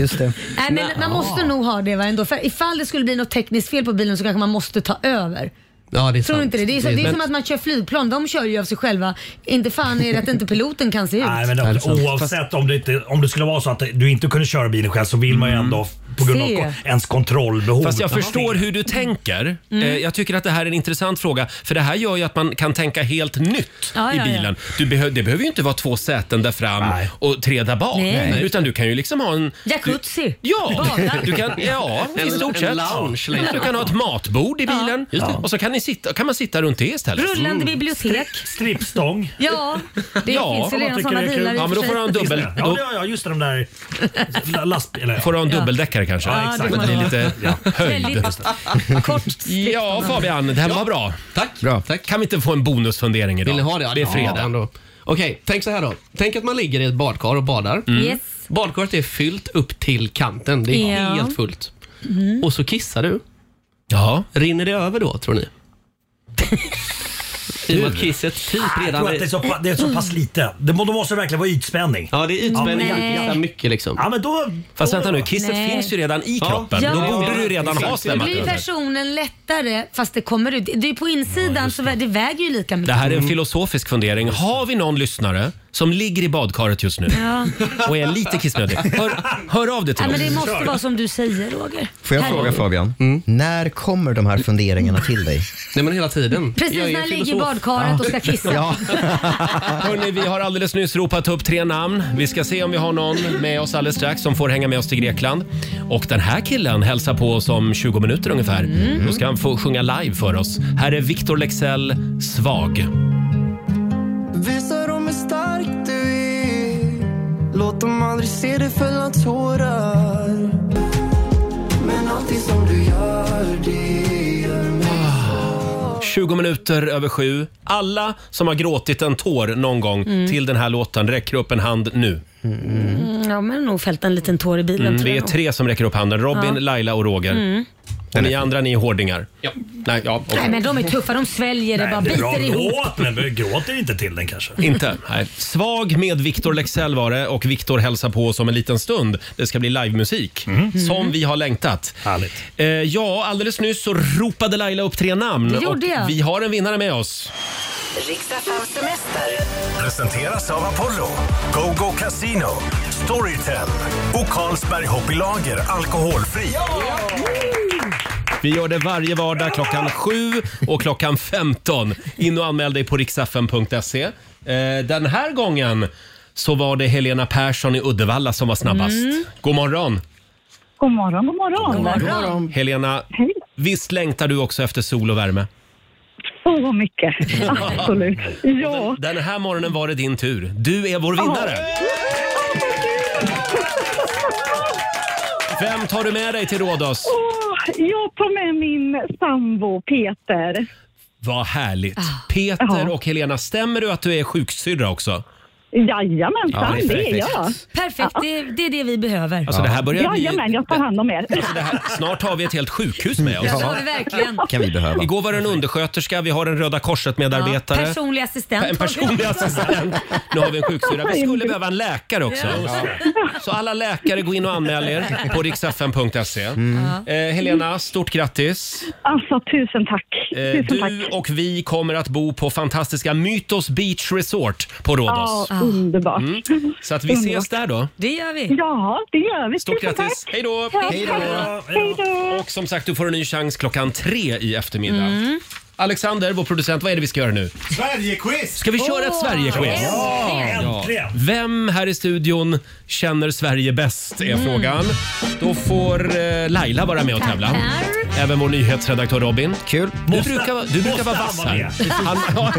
Speaker 3: Just det.
Speaker 2: Nej, men man måste nog ha det va, ändå. För ifall det skulle bli något tekniskt fel på bilen så kanske man måste ta över.
Speaker 9: Ja, det är
Speaker 2: Tror
Speaker 9: sant.
Speaker 2: du inte det? Det är, så, det är
Speaker 9: men-
Speaker 2: som att man kör flygplan. De kör ju av sig själva. Inte fan är det att inte piloten kan se ut.
Speaker 11: Nej, men alltså,
Speaker 2: det,
Speaker 11: oavsett om det, inte, om det skulle vara så att du inte kunde köra bilen själv så vill man ju ändå på grund av
Speaker 2: Se.
Speaker 11: ko- ens kontrollbehov.
Speaker 1: Fast
Speaker 2: Oh,
Speaker 1: jag förstår hur du tänker.
Speaker 11: Mm.
Speaker 1: Eh, Jag tycker att det här är en intressant fråga. För det här gör ju att man kan tänka helt nytt
Speaker 2: Ja,
Speaker 1: i
Speaker 2: ja, ja.
Speaker 1: bilen. Du behö- det behöver ju inte vara två säten där fram och tre där bak.
Speaker 2: Nej. Nej.
Speaker 1: Utan du kan ju liksom ha en...
Speaker 2: Jacuzzi.
Speaker 1: Ja,
Speaker 2: Badar.
Speaker 1: du kan, ja i
Speaker 9: En-
Speaker 1: stort
Speaker 9: en
Speaker 1: sett.
Speaker 9: lounge längst
Speaker 1: Du
Speaker 9: fram.
Speaker 1: kan ha ett matbord i bilen
Speaker 9: Just det.
Speaker 1: och så kan, ni sitta, kan man sitta runt det istället. Mm.
Speaker 2: Rullande bibliotek.
Speaker 11: Strippstång.
Speaker 2: Ja, det finns ju
Speaker 11: om man
Speaker 2: redan
Speaker 11: tycker
Speaker 2: sådana
Speaker 11: det är kul.
Speaker 2: bilar i och
Speaker 1: Ja, men då
Speaker 2: för
Speaker 1: får
Speaker 2: sig.
Speaker 1: du ha en dubbel...
Speaker 11: Ja, ja, ja, just det, de där lastbilarna.
Speaker 1: Får du ha en
Speaker 11: Ja.
Speaker 1: dubbeldeckare kanske?
Speaker 11: Ja, exakt.
Speaker 1: Men det är lite
Speaker 11: Ja.
Speaker 1: höjd. Ja, Fabian, det här var bra.
Speaker 9: Tack.
Speaker 1: bra. Kan vi inte få en bonusfundering idag?
Speaker 9: Vill ni ha det? Ja,
Speaker 1: Det är
Speaker 9: kan vi ha
Speaker 1: fredag.
Speaker 9: ändå. Okej, tänk så här då. Tänk att man ligger i ett badkar och badar.
Speaker 1: Mm. Yes.
Speaker 9: Badkaret är fyllt upp till kanten. Det är
Speaker 5: Ja.
Speaker 9: helt fullt.
Speaker 2: Mm.
Speaker 9: Och så kissar du. Rinner det över då, tror ni? I och med att kisset
Speaker 1: Ah,
Speaker 9: typ
Speaker 11: Ah, Jag
Speaker 9: redan
Speaker 11: tror att det är så, pa- det är så pass lite. Det må, då måste det verkligen vara ytspänning.
Speaker 9: Ja, det är ytspänning.
Speaker 11: Ja,
Speaker 9: Ja,
Speaker 11: men-
Speaker 9: kissar mycket liksom.
Speaker 11: Ja, men då,
Speaker 1: Fast
Speaker 11: då-
Speaker 1: vänta nu, kisset
Speaker 2: Nej.
Speaker 1: finns ju redan i
Speaker 9: Ja.
Speaker 1: kroppen.
Speaker 9: Ja.
Speaker 1: Då borde du ju redan ha
Speaker 9: Exakt.
Speaker 2: Då
Speaker 1: svämmat
Speaker 2: blir
Speaker 1: över.
Speaker 2: personen lättare fast det kommer ut. Det är på insidan så vä- det väger ju lika
Speaker 9: Mm.
Speaker 2: mycket.
Speaker 1: Det här är en filosofisk fundering. Har vi någon lyssnare som ligger i badkaret just nu
Speaker 2: Mm. Ja.
Speaker 1: och är lite kissnödig? Hör, hör av dig till
Speaker 2: Nej,
Speaker 1: oss.
Speaker 2: men det måste vara som du säger Roger.
Speaker 3: Får jag
Speaker 2: Här-
Speaker 3: fråga Fabian,
Speaker 1: Mm.
Speaker 3: när kommer de här funderingarna till dig?
Speaker 9: Nej men hela tiden.
Speaker 2: Precis när jag ligger i badkaret och ska kissa.
Speaker 3: Ja.
Speaker 1: Hörrni, vi har alldeles nyss ropat upp tre namn. Vi ska se om vi har någon med oss alldeles strax som får hänga med oss till Grekland. Och den här killen hälsar på oss om 20 minuter ungefär.
Speaker 2: Mm.
Speaker 1: Då ska han få sjunga live för oss. Här är Victor Lexell, Svag.
Speaker 5: Visa dem hur stark du är Låt dem aldrig se dig fälla tårar Men allting som du gör, det gör mig
Speaker 1: 20 minuter över sju. Alla som har gråtit en tår någon gång
Speaker 2: Mm.
Speaker 1: till den här låten räcker upp en hand nu.
Speaker 2: Mm, ja, men nog fällt en liten tår i bilen
Speaker 1: Mm,
Speaker 2: tror
Speaker 1: vi är
Speaker 2: jag nog.
Speaker 1: tre som räcker upp handen. Robin,
Speaker 2: Ja.
Speaker 1: Laila och Roger.
Speaker 2: Mm.
Speaker 1: Och ni andra, ni är hårdingar. Ja. Nej, ja, okej.
Speaker 2: Nej men de är tuffa, de sväljer det bara,
Speaker 11: det är bra
Speaker 2: biter ihop.
Speaker 11: låt, men vi gråter inte till den kanske.
Speaker 1: Inte? Nej. Svag med Victor Lexell var det och Victor hälsar på oss om en liten stund. Det ska bli livemusik som vi har längtat. Härligt. Eh, ja, alldeles nyss så ropade Laila upp tre namn.
Speaker 12: Det gjorde
Speaker 1: och
Speaker 12: jag.
Speaker 1: Vi har en vinnare med oss.
Speaker 12: Riksdagens semester. Presenteras av Apollo, GoGo Casino, Storytel och Carlsberg Hoppylager Alkoholfri.
Speaker 1: Vi gör det varje vardag klockan 7 och klockan 15. In och anmäl dig på riksfn.se. Eh, den här gången så var det Helena Persson i Uddevalla som var snabbast.
Speaker 6: Mm.
Speaker 1: God morgon!
Speaker 6: God morgon, god morgon.
Speaker 1: Helena, visst längtar du också efter sol och värme?
Speaker 6: Så mycket. Absolut. Ja.
Speaker 1: Den här morgonen var det din tur. Du är vår vinnare! Vem tar du med dig till Rhodos?
Speaker 6: Åh, jag tar med min sambo Peter.
Speaker 1: Vad härligt!
Speaker 2: Ah.
Speaker 1: Peter och Helena, stämmer du att du är sjuksyrra också? Ja,
Speaker 6: Jajamensan,
Speaker 1: det är
Speaker 6: det är
Speaker 1: perfekt.
Speaker 6: jag.
Speaker 2: Perfekt, det, är- det är det vi behöver.
Speaker 1: Alltså, det här börjar bli-
Speaker 6: Jajamän, jag tar hand om er.
Speaker 1: Snart har vi ett helt sjukhus med oss.
Speaker 2: Ja, det har vi verkligen.
Speaker 1: kan vi behöva. Igår var det en undersköterska, vi har en Röda Korset-medarbetare.
Speaker 2: Personlig assistent.
Speaker 1: En personlig assistent. Nu har vi en sjuksyrra. Vi skulle behöva en läkare också.
Speaker 2: Ja.
Speaker 1: Så alla läkare, gå in och anmäl er på riksfn.se. Eh, Helena, stort grattis.
Speaker 6: Alltså, tusen tack.
Speaker 1: Eh,
Speaker 6: tusen tack.
Speaker 1: du och vi kommer att bo på fantastiska Mytos Beach Resort på Rhodos.
Speaker 6: Ja, Ah. underbart.
Speaker 1: Mm. Så att vi ses
Speaker 6: Underbart.
Speaker 1: där då.
Speaker 2: Det gör vi.
Speaker 6: Ja, det gör vi.
Speaker 1: Stort
Speaker 6: Tusen
Speaker 1: grattis.
Speaker 6: tack.
Speaker 1: Hej då.
Speaker 6: Ja,
Speaker 1: Hej
Speaker 6: tack.
Speaker 1: då.
Speaker 6: Hej då.
Speaker 1: Och som sagt, du får en ny chans klockan tre i eftermiddag. Alexander, vår producent, vad är det vi ska göra nu?
Speaker 12: Sverigequiz!
Speaker 1: Ska vi köra ett Sverige-quiz? Ja. Vem här i studion känner Sverige bäst är frågan. Då får eh, Laila vara med och tävla. Även vår nyhetsredaktör Robin. Kul. Du
Speaker 11: Måste-
Speaker 1: brukar, vara- du brukar
Speaker 11: måste
Speaker 1: vara
Speaker 11: han
Speaker 1: vass
Speaker 11: vara
Speaker 1: här.
Speaker 11: med?
Speaker 1: Han, ja,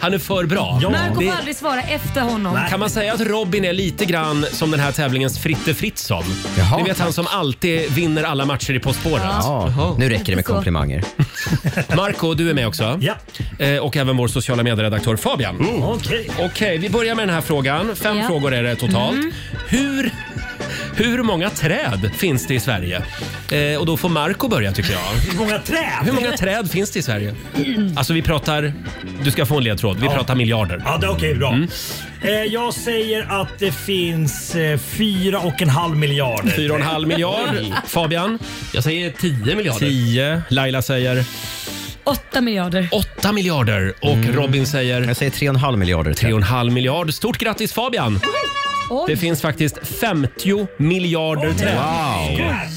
Speaker 1: han är för bra.
Speaker 2: Men han kommer
Speaker 1: Det-
Speaker 2: aldrig svara efter honom.
Speaker 1: kan man säga att Robin är lite grann som den här tävlingens Fritte Fritzson? Ni vet han som alltid vinner alla matcher i På spåret.
Speaker 3: Ja, nu räcker det med komplimanger.
Speaker 1: Marco, du är med också. Ja. Eh, och även vår sociala medieredaktör Fabian.
Speaker 11: Mm.
Speaker 1: Okej. vi börjar med den här frågan. Fem
Speaker 5: Ja.
Speaker 1: frågor är det totalt.
Speaker 5: Mm.
Speaker 1: Hur, hur många träd finns det i Sverige? Eh, och då får Marco börja tycker jag.
Speaker 11: Hur många träd?
Speaker 1: Hur många träd finns det i Sverige?
Speaker 5: Mm.
Speaker 1: Alltså vi pratar, du ska få en ledtråd, vi pratar miljarder. Mm.
Speaker 11: Ja, det är okej, bra. Eh, jag säger att det finns eh, fyra och en halv miljard.
Speaker 1: Fyra och en halv miljard. Fabian? Jag säger 10
Speaker 9: miljarder.
Speaker 1: 10. Laila säger?
Speaker 2: 8 miljarder.
Speaker 1: 8 miljarder. Och Robin säger? Jag
Speaker 3: säger 3,5 miljarder.
Speaker 1: 3,5 miljard. Stort grattis Fabian!
Speaker 2: Oj.
Speaker 1: Det finns faktiskt 50 miljarder träd.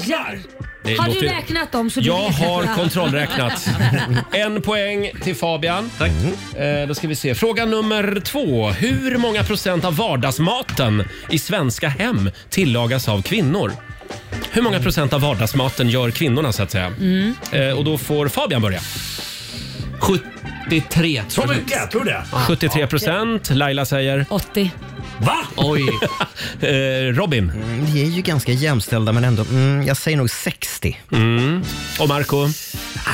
Speaker 2: Jävlar.
Speaker 1: Det
Speaker 2: Har
Speaker 1: låter-
Speaker 2: du räknat dem så du
Speaker 1: Jag
Speaker 2: vet
Speaker 1: har
Speaker 2: detta?
Speaker 1: kontrollräknat. En poäng till Fabian. Tack. Eh, då ska vi se. Fråga nummer två. Hur många procent av vardagsmaten i svenska hem tillagas av kvinnor? Hur många procent av vardagsmaten gör kvinnorna så att säga?
Speaker 5: Mm.
Speaker 1: Eh, och då får Fabian börja. 73.
Speaker 11: Så mycket? Jag tror det.
Speaker 1: 73 procent. Laila säger?
Speaker 2: 80.
Speaker 11: Va?
Speaker 1: Oj. Eh, Robin?
Speaker 3: Mm, vi är ju ganska jämställda, men ändå. Mm, jag säger nog 60.
Speaker 1: Och Marco?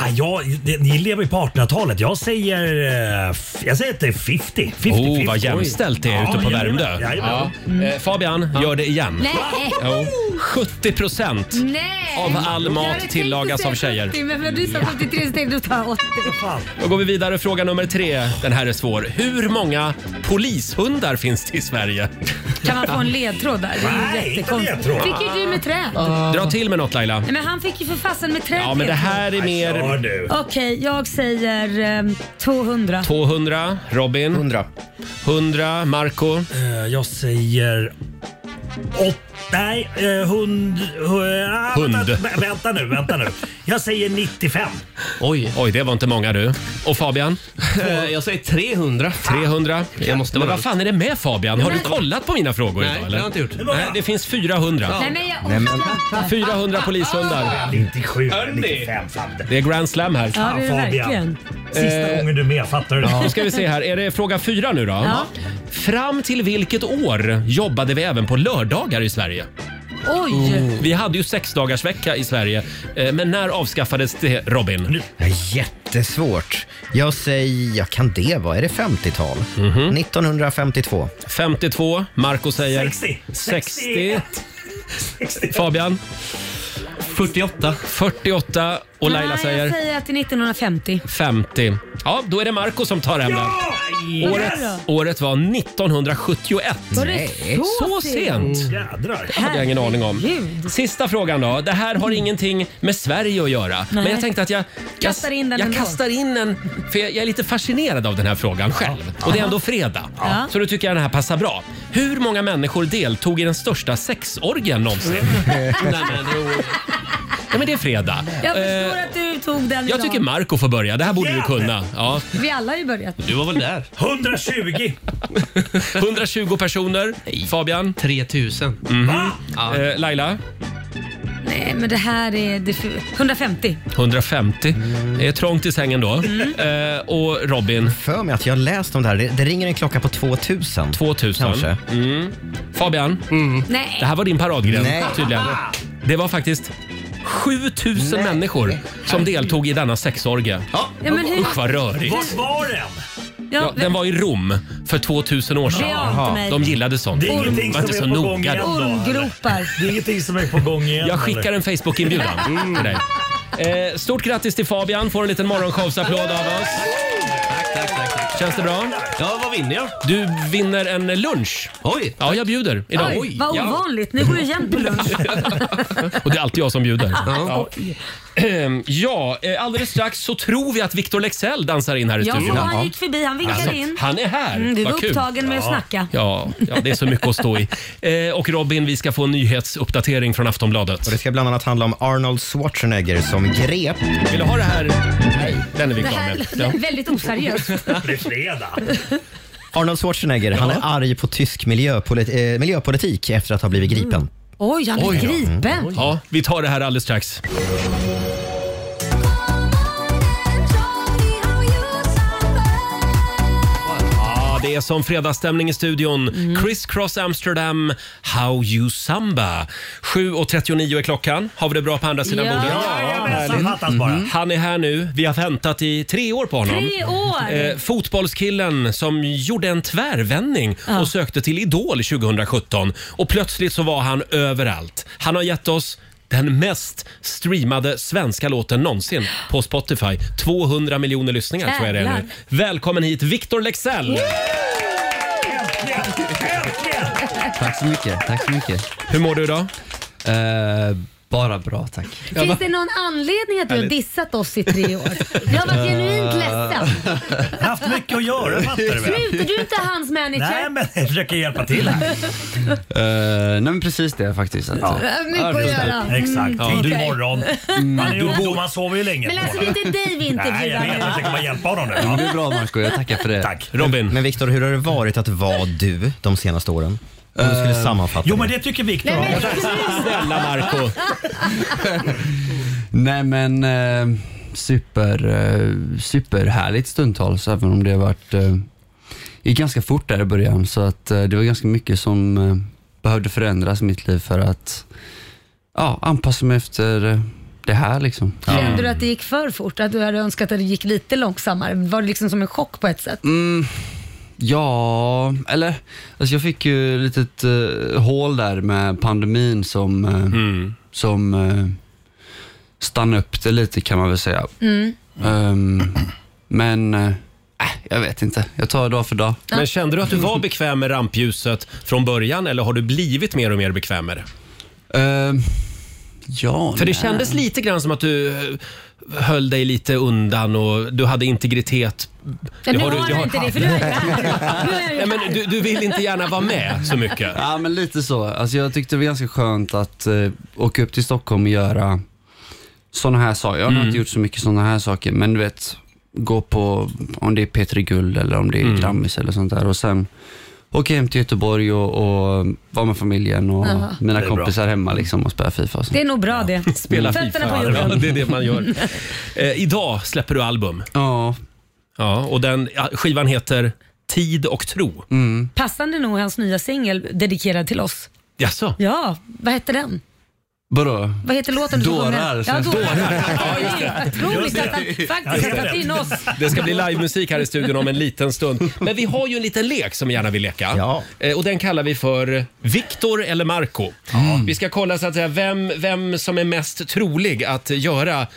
Speaker 11: Ah, jag, ni lever ju på 1800-talet. Jag säger, eh, f- jag säger att det är 50. 50
Speaker 1: oh, vad jämställt det är ute på Värmdö.
Speaker 11: Ja. Mm.
Speaker 1: Eh, Fabian, gör det igen.
Speaker 2: Nej.
Speaker 1: Jo. 70 procent
Speaker 2: Nej.
Speaker 1: av all
Speaker 2: Jag hade
Speaker 1: mat
Speaker 2: tänkt
Speaker 1: tillagas av
Speaker 2: att säga
Speaker 1: tjejer.
Speaker 2: 70, Men när du sa 73 så tänkte jag ta 80.
Speaker 1: Då går vi vidare. Fråga nummer tre. Den här är svår. Hur många polishundar finns det i Sverige?
Speaker 2: Kan man få en ledtråd där? Det är ju
Speaker 1: Nej, inte
Speaker 2: jättekonstigt.
Speaker 1: ledtråd.
Speaker 2: Fick ju du med träd?
Speaker 1: Dra till med något Laila.
Speaker 2: Nej, men han fick ju för fasen med träd
Speaker 1: Ja, men det
Speaker 2: ledtråd.
Speaker 1: här är mer...
Speaker 2: Okej, jag säger ehm, 200.
Speaker 1: 200. Robin?
Speaker 3: 100.
Speaker 1: 100. Marco?
Speaker 11: Eh, jag säger... Åt, nej, eh, hund... hu- ah,
Speaker 1: Hund.
Speaker 11: Vänta, vä- vänta nu, vänta nu. Jag säger 95.
Speaker 1: Oj. Oj, det var inte många du. Och Fabian? Jag säger 300. 300. Jag måste Men
Speaker 9: vara
Speaker 1: vad fan är det med Fabian? Har du
Speaker 2: Nej.
Speaker 1: kollat på mina frågor
Speaker 9: Nej,
Speaker 1: idag
Speaker 9: det
Speaker 1: eller?
Speaker 9: har jag inte gjort.
Speaker 1: Nej, det finns 400.
Speaker 2: Nej, men jag
Speaker 1: Nej, men-
Speaker 2: orkar
Speaker 1: 400 polishundar.
Speaker 11: 97, 95. Fan, det-
Speaker 1: Det är grand slam här.
Speaker 11: Ja, det är det Fan, Fabian. verkligen. Sista
Speaker 1: Eh,
Speaker 11: gången du är med, fattar du?
Speaker 1: Ja. Nu ska vi se här. Är det fråga fyra nu då?
Speaker 11: Ja.
Speaker 1: Fram till vilket år jobbade vi även på lördagar i Sverige?
Speaker 2: Oj!
Speaker 1: Vi hade ju sex dagars vecka i Sverige. Eh, Men när avskaffades det, Robin?
Speaker 3: Jättesvårt. Jag säger, jag kan det vara? Är det 50-tal?
Speaker 1: Mhm.
Speaker 3: 1952.
Speaker 1: 52. Marco säger?
Speaker 3: 60.
Speaker 1: 60. Fabian? 48. 48. Och Laila
Speaker 2: Nej,
Speaker 1: säger?
Speaker 2: jag säger att det är 1950.
Speaker 1: 50. Ja, då är det Marco som tar hem den. Året, året var 1971.
Speaker 5: Var det
Speaker 1: så
Speaker 5: så
Speaker 1: sent?
Speaker 5: sent?
Speaker 1: Det hade jag ingen aning om. Sista frågan då. Det här har ingenting med Sverige att göra. Men
Speaker 2: Nej.
Speaker 1: jag tänkte att jag, jag,
Speaker 2: Kastar in den
Speaker 1: jag
Speaker 2: ändå.
Speaker 1: kastar in en, för jag jag är lite fascinerad av den här frågan själv. Och det är ändå fredag.
Speaker 2: Ja.
Speaker 1: Så då tycker jag den här passar bra. Hur många människor deltog i den största sexorgien någonsin? Nej, men, jo. Nej, men det är fredag.
Speaker 2: Jag
Speaker 1: Eh,
Speaker 2: förstår att du tog den
Speaker 1: jag
Speaker 2: idag.
Speaker 1: tycker Marco får börja. Det här borde du kunna. Ja.
Speaker 2: Vi alla har ju börjat.
Speaker 1: Du var väl där?
Speaker 11: 120!
Speaker 1: 120 personer. Fabian? 3000. Mm. Eh, Laila?
Speaker 2: Nej, men det här är... Det för... 150.
Speaker 1: 150. Det är trångt i sängen då. Eh, och Robin?
Speaker 3: För mig att jag har läst om det här. Det, det ringer en klocka på 2000.
Speaker 1: 2000.
Speaker 3: Kanske.
Speaker 1: Mm. Fabian?
Speaker 11: Mm.
Speaker 2: Nej.
Speaker 1: Det här var din paradgren
Speaker 3: Nej.
Speaker 1: tydligen. Det var faktiskt 7000 människor som deltog i denna sexorgie. Ja.
Speaker 2: Ja, men hur-
Speaker 1: Usch vad rörigt.
Speaker 11: Vart var den?
Speaker 1: Ja, den var i Rom för 2000 år sedan.
Speaker 2: Det ante
Speaker 1: Jaha.
Speaker 2: mig.
Speaker 1: De gillade sånt.
Speaker 11: Det är
Speaker 1: De
Speaker 11: ingenting
Speaker 1: var inte så
Speaker 11: som är på gång
Speaker 1: noga.
Speaker 11: igen då, eller?
Speaker 2: Ormgropar.
Speaker 11: Det är ingenting som är på gång igen. Mm.
Speaker 1: Jag skickar en Facebook-inbjudan till dig. Eh, stort grattis till Fabian. Får en liten morgonshowsapplåd av oss. Känns det bra? Ja, vad vinner jag? Du vinner en lunch. Oj! Ja, jag bjuder idag.
Speaker 2: Oj, vad
Speaker 1: ja.
Speaker 2: ovanligt. Nu går du igen på lunch.
Speaker 1: Och det är alltid jag som bjuder.
Speaker 2: Ja.
Speaker 1: Ja. Ehm, Ja, eh, alldeles strax så tror vi att Victor Lexell dansar in här i
Speaker 2: Ja,
Speaker 1: studion.
Speaker 2: så han gick förbi. Han vinkade
Speaker 1: Alltså,
Speaker 2: in.
Speaker 1: Han är här.
Speaker 2: Mm, du
Speaker 1: Vad
Speaker 2: var
Speaker 1: kul.
Speaker 2: upptagen med att snacka.
Speaker 1: Ja, ja, det är så mycket att stå i. Eh, och Robin, vi ska få en nyhetsuppdatering från Aftonbladet.
Speaker 3: Och det ska bland annat handla om Arnold Schwarzenegger som grep...
Speaker 1: Vill du ha det här? Nej, den är vi
Speaker 2: Det
Speaker 3: klara
Speaker 2: här
Speaker 3: med.
Speaker 2: låter väldigt oseriöst.
Speaker 11: Det är fredag.
Speaker 3: Arnold Schwarzenegger, han är arg på tysk miljöpolit- eh, miljöpolitik efter att ha blivit gripen.
Speaker 2: Oj, han blev
Speaker 3: Oj då.
Speaker 2: Mm. gripen.
Speaker 1: Ja, vi tar det här alldeles strax. Ja, Det är som fredagsstämning i studion.
Speaker 5: Mm.
Speaker 1: Criss Cross Amsterdam, How You Samba. 7.39 är klockan. Har vi det bra på andra sidan
Speaker 5: Ja.
Speaker 1: bordet?
Speaker 5: Jajamensan,
Speaker 1: härligt.
Speaker 5: fattas bara.
Speaker 1: Mm. Han är här nu. Vi har väntat i tre år på honom.
Speaker 5: Tre år!
Speaker 1: Eh, fotbollskillen som gjorde en tvärvändning och sökte till Idol 2017. Och plötsligt så var han överallt. Han har gett oss den mest streamade svenska låten någonsin på Spotify. 200 miljoner lyssningar tror jag det är nu.
Speaker 5: Jävlar.
Speaker 1: Välkommen hit Victor Lexell!
Speaker 13: Tack så mycket. Tack så mycket. Eh,
Speaker 1: Hur mår du idag?
Speaker 13: bara bra, tack.
Speaker 2: Finns det någon anledning att du har
Speaker 13: Härligt.
Speaker 2: dissat oss i tre år? Jag har varit genuint ledsen.
Speaker 11: Jag har Eh. haft mycket att göra fattar du
Speaker 2: Sluta,
Speaker 11: väl?
Speaker 2: du är inte hans manager.
Speaker 11: Nej men jag försöker hjälpa till här.
Speaker 13: Eh, nej, men precis det faktiskt. Att,
Speaker 11: Ja.
Speaker 13: eh,
Speaker 2: Mycket att
Speaker 13: precis.
Speaker 2: göra. Mm,
Speaker 11: Exakt.
Speaker 13: Ja.
Speaker 11: Tidig morgon.
Speaker 1: Mm.
Speaker 11: Man är ju ungdom, man sover ju länge.
Speaker 2: Men alltså det är inte dig vi
Speaker 11: Nej, jag
Speaker 2: intervjuar
Speaker 11: vet.
Speaker 2: nu.
Speaker 11: Jag försöker bara hjälpa honom nu.
Speaker 3: Ja,
Speaker 11: Ja.
Speaker 3: det är bra,
Speaker 13: Marco. Jag tackar för det. Tack.
Speaker 1: Robin.
Speaker 3: Men Viktor, hur har det varit att vara du de senaste åren? Om du skulle sammanfatta
Speaker 11: Eh, Jo men det tycker Viktor om.
Speaker 1: Snälla Marco
Speaker 13: Nej, men eh, super, eh, superhärligt stundtals, även om det har varit... Eh, gick ganska fort där i början, så att eh, det var ganska mycket som eh, behövde förändras i mitt liv för att ja, anpassa mig efter eh, det här liksom.
Speaker 2: Kände du att det gick för fort? Att du hade önskat att det gick lite långsammare? Var det liksom som en chock på ett sätt?
Speaker 13: Mm, ja, eller alltså jag fick ju ett litet eh, hål där med pandemin som, eh, som eh, stannade upp det lite kan man väl säga.
Speaker 5: Mm.
Speaker 13: Ehm, men eh, äh, jag vet inte, jag tar dag för dag.
Speaker 1: Men kände du att du
Speaker 2: Mm.
Speaker 1: var bekväm med rampljuset från början eller har du blivit mer och mer bekväm med det?
Speaker 2: Ehm,
Speaker 13: ja,
Speaker 1: För det
Speaker 13: nej.
Speaker 1: kändes lite grann som att du eh, höll dig lite undan och du hade integritet.
Speaker 2: Ja, nu har du inte det, för du är ju
Speaker 1: Nej, men du, du vill inte gärna vara med så mycket.
Speaker 13: Ja, men lite så. Alltså, jag tyckte det var ganska skönt att eh, åka upp till Stockholm och göra sådana här saker. Jag har nog
Speaker 1: Mm.
Speaker 13: inte gjort så mycket sådana här saker, men du vet, gå på, om det är P3 Guld eller om det är
Speaker 1: Mm.
Speaker 13: Grammis eller sånt där. Och sen åka hem till Göteborg och, och vara med familjen och
Speaker 2: Jaha.
Speaker 13: mina
Speaker 2: Det är bra.
Speaker 13: kompisar hemma liksom och spela Fifa och sånt.
Speaker 2: Det är nog bra det.
Speaker 1: Spela
Speaker 2: Fötterna
Speaker 1: Fifa.
Speaker 2: på
Speaker 1: Ja,
Speaker 2: jorden.
Speaker 1: det är det man gör. Eh, idag släpper du album.
Speaker 13: Ja.
Speaker 1: Ja, och den ja, skivan heter Tid och tro.
Speaker 2: Mm. Passande nog hans nya singel dedikerad till oss.
Speaker 1: Jaså?
Speaker 2: Ja, vad hette den?
Speaker 13: Vadå?
Speaker 2: Vad heter låten du ska
Speaker 13: Dårar,
Speaker 2: sjunga? Ja,
Speaker 13: känns det.
Speaker 2: dårar.
Speaker 13: Ja, just
Speaker 2: Ja,
Speaker 13: det.
Speaker 2: Otroligt att han
Speaker 1: Just det.
Speaker 2: faktiskt har tagit in oss.
Speaker 1: Det ska bli livemusik här i studion om en liten stund. Men vi har ju en liten lek som vi gärna vill leka. Eh, Och den kallar vi för Viktor eller Marco. Mm. Vi ska kolla så att säga vem, vem som är mest trolig att göra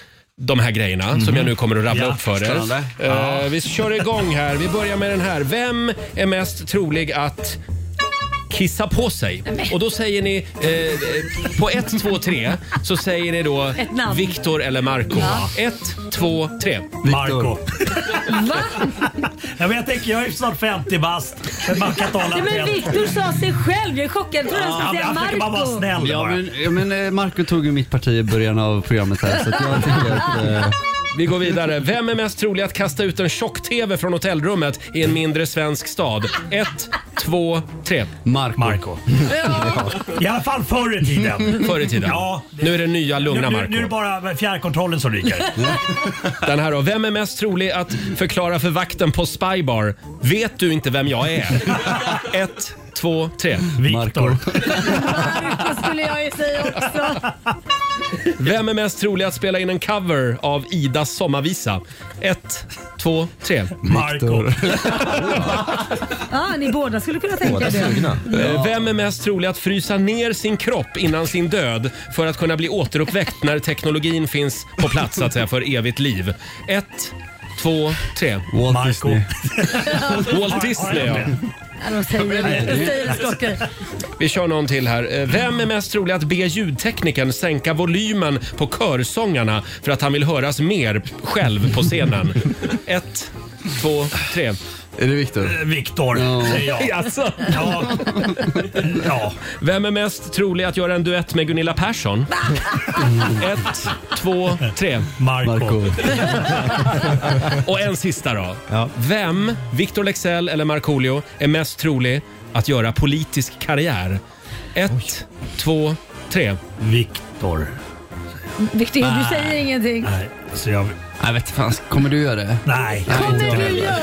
Speaker 1: de här grejerna som jag nu kommer att rabbla
Speaker 13: Mhm. Ja,
Speaker 1: upp för er.
Speaker 13: spännande.
Speaker 1: Eh,
Speaker 13: Ja.
Speaker 1: Vi kör igång här. Vi börjar med den här. Vem är mest trolig att kissa på sig? Och då säger ni eh, eh, på ett, två, tre så säger ni då
Speaker 2: Ett namn.
Speaker 1: Viktor eller Marco.
Speaker 2: Ja.
Speaker 1: Ett, två, tre.
Speaker 11: Marco.
Speaker 2: Va?
Speaker 11: Ja, men jag tänker, jag är ju snart 50 bast. Man kan tala
Speaker 2: Nej, men
Speaker 11: helt.
Speaker 2: Viktor sa sig själv. Jag är chockad. Jag trodde han
Speaker 11: Ja,
Speaker 2: skulle säga
Speaker 11: men han försöker bara vara
Speaker 2: Marco.
Speaker 11: snäll
Speaker 13: Ja,
Speaker 11: bara.
Speaker 13: men, ja, men eh, Marco tog ju mitt parti i början av programmet här, så att jag tycker att... Eh,
Speaker 1: Vi går vidare. Vem är mest trolig att kasta ut en tjock-TV från hotellrummet i en mindre svensk stad? Ett, två, tre.
Speaker 13: Marco.
Speaker 1: Marco.
Speaker 11: I alla fall förr i tiden.
Speaker 1: Förr i tiden.
Speaker 11: Ja.
Speaker 1: Nu är det nya
Speaker 11: Nu,
Speaker 1: lugna
Speaker 11: nu,
Speaker 1: Marco.
Speaker 11: nu är det bara fjärrkontrollen som ryker.
Speaker 1: Den här då. Vem är mest trolig att förklara för vakten på Spybar? Vet du inte vem jag är? Ett, två, tre.
Speaker 11: Viktor.
Speaker 2: Marco skulle jag ju säga också.
Speaker 1: Vem är mest trolig att spela in en cover av Idas sommarvisa? Ett, två, tre.
Speaker 11: Marco.
Speaker 2: Ja, ni båda skulle kunna tänka er det.
Speaker 1: Eh, Vem är mest trolig att frysa ner sin kropp innan sin död för att kunna bli återuppväckt när teknologin finns på plats så att säga, för evigt liv? Ett, två, tre.
Speaker 13: Walt Disney.
Speaker 1: Walt Disney, ja.
Speaker 2: Ja, de säger det. De säger det skakar.
Speaker 1: Vi kör någon till här. Eh, Vem är mest trolig att be ljudteknikern sänka volymen på körsångarna för att han vill höras mer själv på scenen? Ett, två, tre.
Speaker 13: Är det Viktor?
Speaker 11: Eh, Viktor, säger jag.
Speaker 1: Jaså?
Speaker 11: Ja. ja.
Speaker 1: Vem är mest trolig att göra en duett med Gunilla Persson? Ett, två, tre.
Speaker 11: Marco.
Speaker 1: Och en sista då. Vem, Victor Lexell eller Markoolio, är mest trolig att göra politisk karriär? Ett, två, tre.
Speaker 11: Viktor.
Speaker 2: Viktor, du säger ingenting.
Speaker 11: Nej, så jag...
Speaker 13: Jag vet fan, kommer du göra det?
Speaker 11: Nej.
Speaker 2: Kommer du göra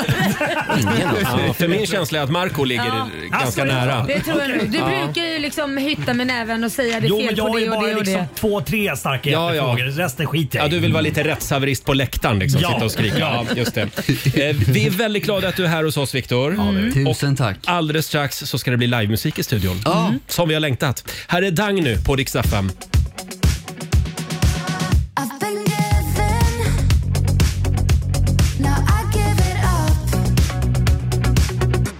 Speaker 1: Ja, för min känsla är att Marco ligger
Speaker 2: Ja. Alltså,
Speaker 1: ganska nära.
Speaker 2: det? tror jag nog. Du
Speaker 1: Ja.
Speaker 2: brukar ju liksom hytta med näven och säga det är
Speaker 11: Jo, men
Speaker 2: fel på
Speaker 11: jag
Speaker 2: det
Speaker 11: är
Speaker 2: och
Speaker 11: bara
Speaker 2: det och
Speaker 11: liksom
Speaker 2: det.
Speaker 11: två, tre starka
Speaker 1: Ja, ja.
Speaker 11: hjärtefrågor. Resten skiter jag
Speaker 1: Ja,
Speaker 11: i.
Speaker 1: du vill vara lite rättshaverist på läktaren liksom,
Speaker 11: Ja.
Speaker 1: sitta och skrika. Ja, just det. Eh, vi är väldigt glada att du är här hos oss, Viktor.
Speaker 13: Tusen tack.
Speaker 1: Alldeles strax så ska det bli livemusik i studion. Mm.
Speaker 13: Ja.
Speaker 1: Som vi har längtat. Här är Dang nu på Rix FM.
Speaker 4: I've been given. Now I give it up.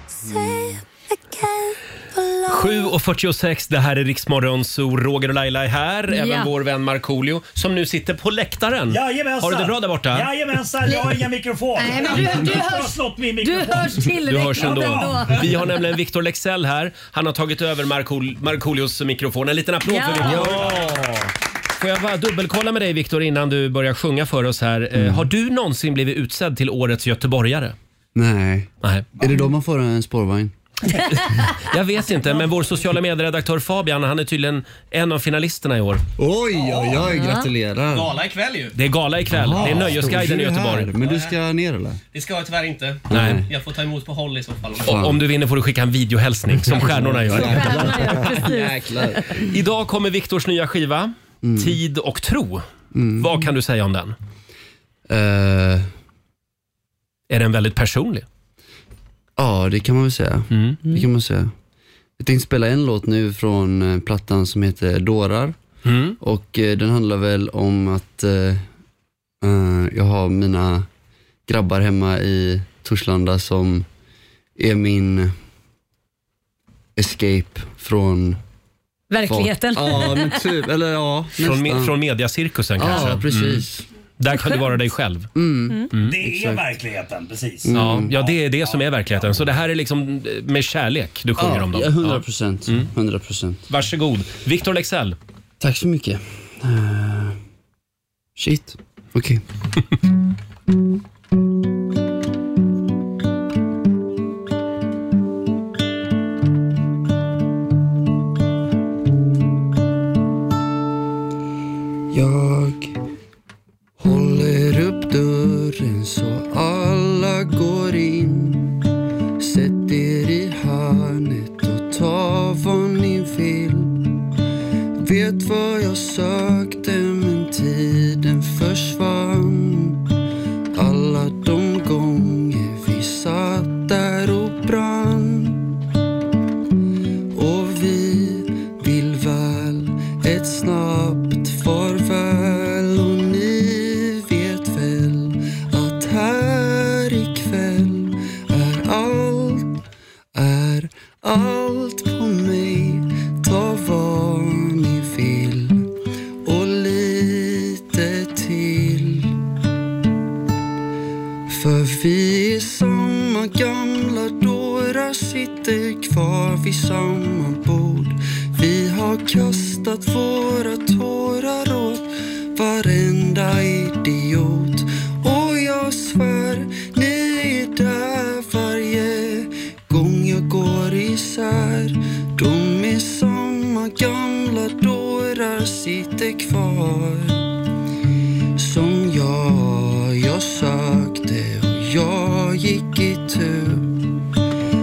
Speaker 4: Say again.
Speaker 1: 7.46, det här är Riksmorgon, så Roger och Laila är här.
Speaker 2: Ja.
Speaker 1: Även vår vän Markoolio som nu sitter på läktaren.
Speaker 11: Jajamensan.
Speaker 1: Har du det bra där borta?
Speaker 11: Jajamensan, jag har ingen mikrofon.
Speaker 2: Nej, men du- du
Speaker 11: Jag har
Speaker 2: hörs-
Speaker 11: slått min
Speaker 2: Du
Speaker 11: mikrofon.
Speaker 2: hörs
Speaker 1: Du
Speaker 2: tillräckligt Mm.
Speaker 1: hörs ändå. Vi har nämligen Victor Lexell här. Han har tagit över Markool- Markoolios mikrofon. En liten applåd
Speaker 2: Ja.
Speaker 1: för Victor. Får jag bara dubbelkolla med dig Victor innan du börjar sjunga för oss här.
Speaker 13: Mm.
Speaker 1: Eh, Har du någonsin blivit utsedd till årets göteborgare?
Speaker 13: Nej.
Speaker 1: Nej.
Speaker 13: Är det då man får en spårvagn?
Speaker 1: Jag vet inte, men vår sociala medieredaktör Fabian, han är tydligen en av finalisterna i år.
Speaker 13: Oj, oj, oj, gratulerar.
Speaker 9: Gala ikväll ju.
Speaker 1: Det är gala ikväll. det är Nöjesguiden i Göteborg.
Speaker 13: Men du ska ner eller?
Speaker 9: Det ska jag tyvärr inte.
Speaker 1: Nej.
Speaker 9: Jag får ta emot på håll i så fall.
Speaker 1: Och om du vinner får du skicka en videohälsning som
Speaker 13: Mm.
Speaker 1: stjärnorna gör.
Speaker 13: Jäklar. Mm.
Speaker 1: Idag kommer Viktors nya skiva, Tid och tro. Vad kan du säga om den?
Speaker 13: Eh,
Speaker 1: Är den väldigt personlig?
Speaker 13: Ja, det kan man väl säga.
Speaker 1: Mm.
Speaker 13: Det kan man säga. Jag tänkte spela en låt nu från eh, plattan som heter Dårar.
Speaker 1: Mm.
Speaker 13: Och eh, den handlar väl om att eh, eh, jag har mina grabbar hemma i Torslanda som är min escape från...
Speaker 2: Verkligheten.
Speaker 13: Ja, men typ. Eller ja,
Speaker 1: Från, me-
Speaker 13: nästan.
Speaker 1: från mediacirkusen kanske? Mm.
Speaker 13: Ja, precis.
Speaker 1: Där kan du vara dig själv.
Speaker 11: Det är verkligheten, precis.
Speaker 1: Mm.
Speaker 13: Mm.
Speaker 1: Ja, ja, det är det som är verkligheten. Så det här är liksom eh, med kärlek du sjunger om dem.
Speaker 13: Ja,
Speaker 1: Ja. Mm.
Speaker 13: 100 procent. 100 procent.
Speaker 1: Varsågod. Victor Lexell.
Speaker 13: Tack så mycket. Eh, Shit. Okej. Jag håller upp dörren så alla går in. Sätt er i hörnet och ta vad ni vill.
Speaker 14: För vi är samma gamla dårar, sitter kvar vid samma bord. Vi har kastat våra tårar åt varenda idiot. Och jag svär, ni är där varje gång jag går isär. De är samma gamla dårar, sitter kvar som jag. Jag sökte och jag gick i tur.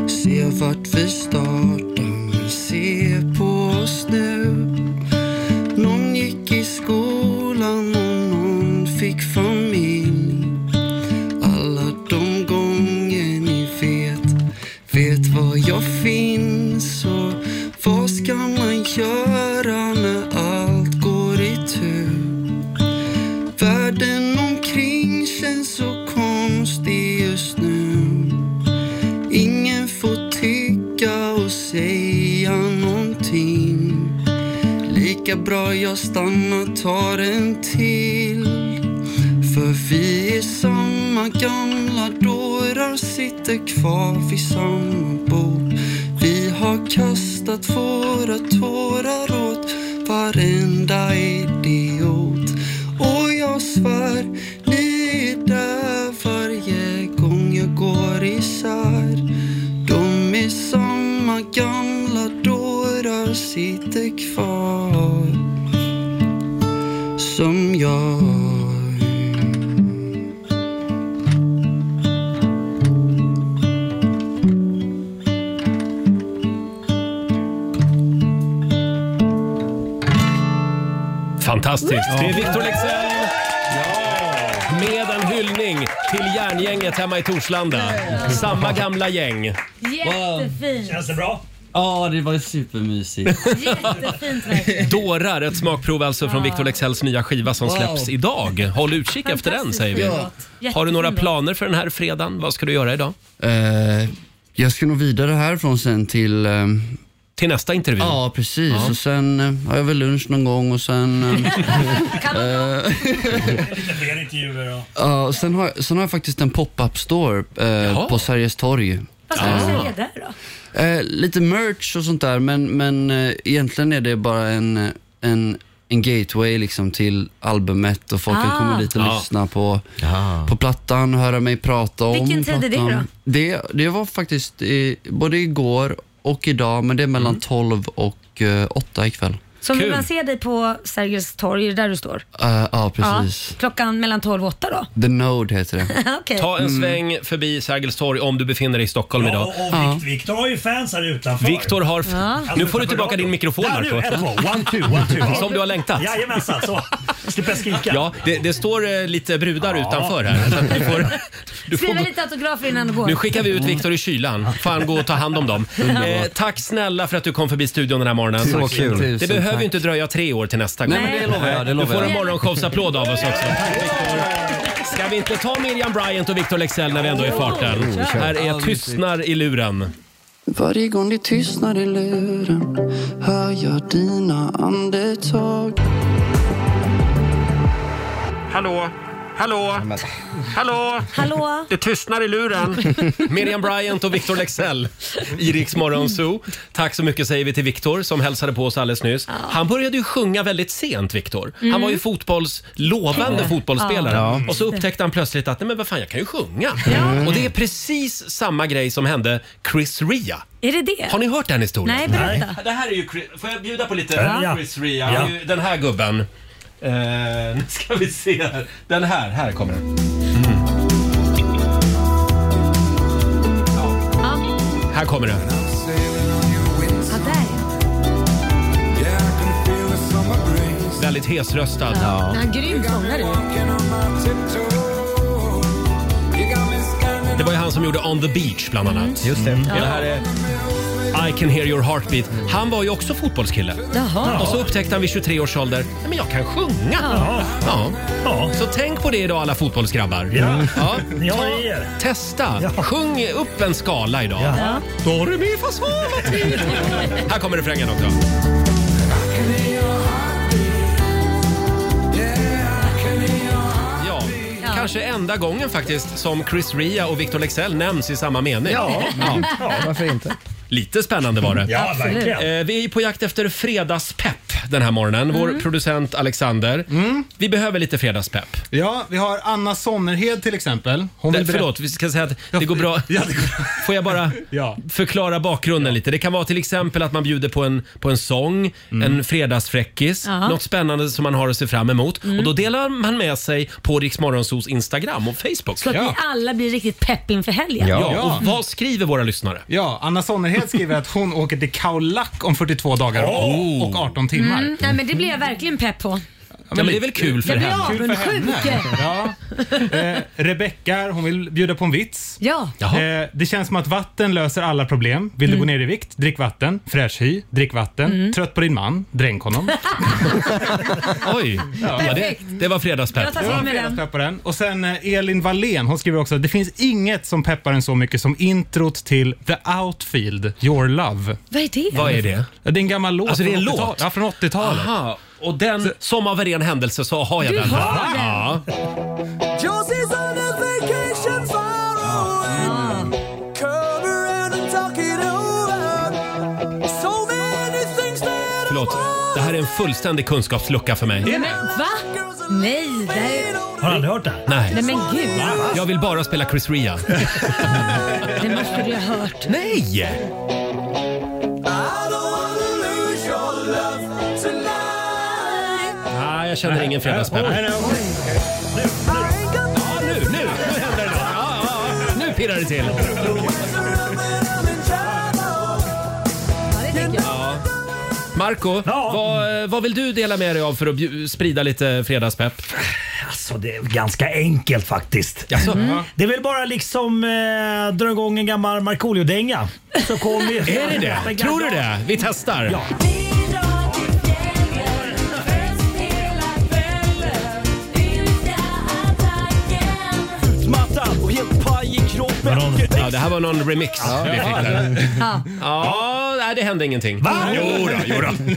Speaker 14: Se vart vi startar, men se på oss nu. Någon gick i skolan och någon fick familj. Alla de gånger ni vet, vet var jag finns och vad ska man göra när allt går i tur? Världen omkring känns så konstig just nu. Ingen får tycka och säga någonting. Lika bra jag stannar, tar en till. För vi är samma gamla dårar, sitter kvar vid samma bord. Vi har kastat våra tårar åt varenda idiot. Och jag svär, ni är där varje gång jag går isär. De är samma gamla dårar, sitter kvar som jag.
Speaker 1: Fantastiskt! Det är Victor Leksell! Med en hyllning till järngänget hemma i Torslanda. Samma gamla gäng.
Speaker 2: Jättefint.
Speaker 11: Känns det bra?
Speaker 1: Ja, det var supermysigt.
Speaker 2: Jättefint verkligen.
Speaker 1: Dårar, ett smakprov alltså från
Speaker 2: Ja.
Speaker 1: Victor Leksells nya skiva som
Speaker 2: Wow.
Speaker 1: släpps idag. Håll utkik efter den
Speaker 2: Fantastiskt
Speaker 1: säger vi.
Speaker 2: fin låt.
Speaker 1: Har du
Speaker 2: Jättefin
Speaker 1: några
Speaker 2: låt.
Speaker 1: planer för den här fredagen? Vad ska du göra idag?
Speaker 13: Eh, jag ska nog vidare härifrån sen till... eh,
Speaker 1: till nästa intervju?
Speaker 13: Ja, precis.
Speaker 1: Ja.
Speaker 13: Och sen eh, har jag väl lunch någon gång och sen... eh, eh,
Speaker 11: Lite fler intervjuer och...
Speaker 13: ja, och sen, har, jag- sen har jag faktiskt en pop-up store eh, på Sergels torg.
Speaker 2: Vad ska du
Speaker 13: Eh,
Speaker 2: sälja där då?
Speaker 13: Eh, lite merch och sånt där, men, men eh, egentligen är det bara en, en, en gateway liksom till albumet och folk
Speaker 2: Ah.
Speaker 13: kan komma dit och
Speaker 2: Ja.
Speaker 13: lyssna på, på plattan, höra mig prata om
Speaker 2: Vilken tid är det
Speaker 13: plattan. Det, det var faktiskt i, både igår och idag, men det är mellan 12 och eh, 8 ikväll.
Speaker 2: Så om Mm. man ser dig på Sergels torg, är det där du står?
Speaker 13: Eh, ja, precis.
Speaker 2: Ja, klockan mellan 12 och 8 då?
Speaker 13: The Node heter det.
Speaker 2: Okej.
Speaker 1: Ta en
Speaker 2: Mm.
Speaker 1: sväng förbi Sergels torg om du befinner dig i Stockholm idag.
Speaker 11: Och Vic- Victor har ju fans här utanför.
Speaker 1: Viktor har... f-
Speaker 11: Ja.
Speaker 1: Nu får du tillbaka din mikrofon
Speaker 11: Där
Speaker 1: Marco.
Speaker 11: nu, ett, två. One, two, one, two. Ja.
Speaker 1: Som du har längtat.
Speaker 11: Jajamensan, så. Slipper jag skrika.
Speaker 1: Ja, det, det står eh, lite brudar utanför här. Så att du får, du får
Speaker 2: Skriva
Speaker 1: gå.
Speaker 2: lite autografer innan du går.
Speaker 1: Nu skickar vi ut Viktor i kylan. Får han gå och ta hand om dem.
Speaker 13: Mm. Underbart.
Speaker 1: Eh, tack snälla för att du kom förbi studion den här morgonen.
Speaker 13: Så kul.
Speaker 1: Det
Speaker 13: Tusen
Speaker 1: behöver
Speaker 13: tack.
Speaker 1: ju inte dröja tre år till nästa gång.
Speaker 13: Nej, men det lovar jag, det
Speaker 1: du
Speaker 13: lovar
Speaker 1: får
Speaker 13: jag.
Speaker 1: en morgonshowsapplåd av oss också. Ska vi inte ta Miriam Bryant och Victor Lexell när vi ändå är i farten?
Speaker 13: Jo, kör.
Speaker 1: Här är Tystnar i luren.
Speaker 14: Varje gång det tystnar i luren hör jag dina andetag.
Speaker 1: Hallå? Hallå? Hallå?
Speaker 2: Hallå?
Speaker 1: Det tystnar i luren. Miriam Bryant och Victor Lexell i Rix Morgon Zoo. Tack så mycket säger vi till Victor som hälsade på oss alldeles nyss. Han började ju sjunga väldigt sent, Victor. Han
Speaker 15: Mm.
Speaker 1: var ju fotbolls, lovande
Speaker 15: Ja.
Speaker 1: fotbollsspelare.
Speaker 15: Ja.
Speaker 1: Och så upptäckte han plötsligt att, nej men vad fan, jag kan ju sjunga. Mm. Och det är precis samma grej som hände Chris Ria.
Speaker 2: Är det det?
Speaker 1: Har ni hört den historien?
Speaker 2: Nej, berätta. Nej.
Speaker 1: Det här är ju, Chris- får jag bjuda på lite
Speaker 2: Ja.
Speaker 1: Chris Ria? Han är ju Den här gubben. Eh, nu ska vi se här. Den här, här kommer den. Här kommer den.
Speaker 2: Ja, där.
Speaker 1: Väldigt hesröstad.
Speaker 2: Ja. Men han är grym sångare.
Speaker 1: Det var ju han som gjorde On the Beach bland annat.
Speaker 3: Just det.
Speaker 1: Och det här är I can hear your heartbeat. Han var ju också fotbollskille.
Speaker 2: Jaha.
Speaker 1: Och så upptäckte han vid 23 års ålder, "Nej, men jag kan sjunga.
Speaker 2: Ja.
Speaker 1: Ja. Så tänk på det idag alla fotbollsgrabbar.
Speaker 11: Ja. Ni
Speaker 1: Ta,
Speaker 11: har er.
Speaker 1: testa, sjung upp en skala idag.
Speaker 11: Ja.
Speaker 1: Do, re, mi, fa, sol, la, ti, do. Här kommer refrängen också. Ja, kanske enda gången faktiskt som Chris Ria och Victor Lexell nämns i samma mening.
Speaker 3: Ja, ja, varför inte?
Speaker 1: Lite spännande var det.
Speaker 3: Ja, Absolut. verkligen.
Speaker 1: Eh, Vi är på jakt efter fredagspepp den här morgonen. Vår
Speaker 3: Mm.
Speaker 1: producent Alexander. Vi behöver lite fredagspepp.
Speaker 8: Ja, vi har Anna Sommerhed till exempel.
Speaker 1: Det- förlåt, vi ska säga att det går bra. Får jag bara förklara bakgrunden lite? Det kan vara till exempel att man bjuder på en, på en sång, en fredagsfräckis,
Speaker 5: Ja.
Speaker 1: något spännande som man har att se fram emot. Och då delar man med sig på Rix Morgonzos Instagram och Facebook.
Speaker 2: Så att vi alla blir riktigt pepp inför helgen.
Speaker 1: Ja, och vad skriver våra lyssnare?
Speaker 8: Ja, Anna Sonnerhed skriver att hon åker till Khao Lak om 42 dagar
Speaker 1: Oh.
Speaker 8: och 18 timmar.
Speaker 2: Mm, nej, men det blir jag verkligen pepp på.
Speaker 8: Ja, men det är väl kul för
Speaker 2: jag
Speaker 8: henne.
Speaker 2: Jag blir
Speaker 8: Kul för henne.
Speaker 2: avundsjuk.
Speaker 8: Ja. Eh, Rebecka, här, hon vill bjuda på en vits.
Speaker 2: Ja.
Speaker 8: Eh, det känns som att vatten löser alla problem. Vill du gå ner i vikt? Drick vatten. Fräsch hy? Drick vatten. Trött på din man? Dränk honom.
Speaker 1: Oj, ja, det,
Speaker 8: Perfekt.
Speaker 1: det var fredagspepp.
Speaker 8: Det var fredagspepp på den. Och sen eh, Elin Wallén, hon skriver också att det finns inget som peppar en så mycket som introt till The Outfield, Your Love.
Speaker 2: Vad är det?
Speaker 1: Vad är det?
Speaker 8: Ja, Det är en gammal låt.
Speaker 1: Alltså, det är en
Speaker 8: från
Speaker 1: låt?
Speaker 8: 80-talet. Ja, från 80-talet.
Speaker 1: Aha, och den, som av en ren händelse så har jag
Speaker 5: Du
Speaker 1: den.
Speaker 5: har
Speaker 1: här.
Speaker 5: den.
Speaker 1: Ja.
Speaker 5: Josie's on a vacation far away. Come around and talk it over. So many things that
Speaker 1: Förlåt, det här är en fullständig kunskapslucka för mig.
Speaker 2: Nej, men, va? Nej, det är...
Speaker 1: Har du aldrig hört det? Nej.
Speaker 2: Nej men gud.
Speaker 1: Jag vill bara spela Chris Ria.
Speaker 2: Det måste du ha hört.
Speaker 1: Nej!
Speaker 5: I don't wanna lose your love tonight.
Speaker 1: Nej, jag känner ingen fredagspepp.
Speaker 5: Nej, nej,
Speaker 1: Ja, nu, nu, nu händer det något. Ja, ja, ja. Nu pirrar det till. Ja. Marco, vad, vad vill du dela med dig av för att bju- sprida lite fredagspepp?
Speaker 15: Alltså det är ganska enkelt faktiskt.
Speaker 1: Mm.
Speaker 15: Det är väl bara liksom eh, dra igång en gammal Markoolio-dänga. Så kommer ju...
Speaker 1: Är det det? Tror du det? Vi testar.
Speaker 15: Ja.
Speaker 5: Utmattad och helt paj i kroppen.
Speaker 1: Ja, det här var någon remix vi fick där.
Speaker 2: Ja.
Speaker 1: Ja, nej, det hände ingenting.
Speaker 5: Va?
Speaker 1: Jo då, jo då.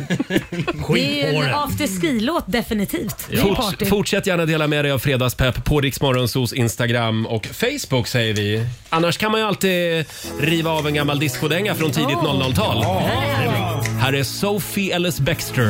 Speaker 2: Det är ju en afterski-låt definitivt. Det är party.
Speaker 1: Forts, fortsätt gärna dela med dig av fredagspepp på Riksmorgonsos Instagram och Facebook säger vi. Annars kan man ju alltid riva av en gammal discodänga från tidigt 00-tal. Här är Sophie Ellis Bextor.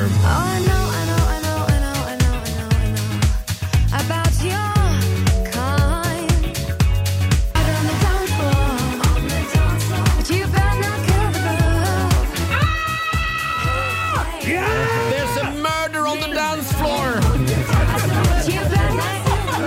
Speaker 5: There's a murder on the dance floor.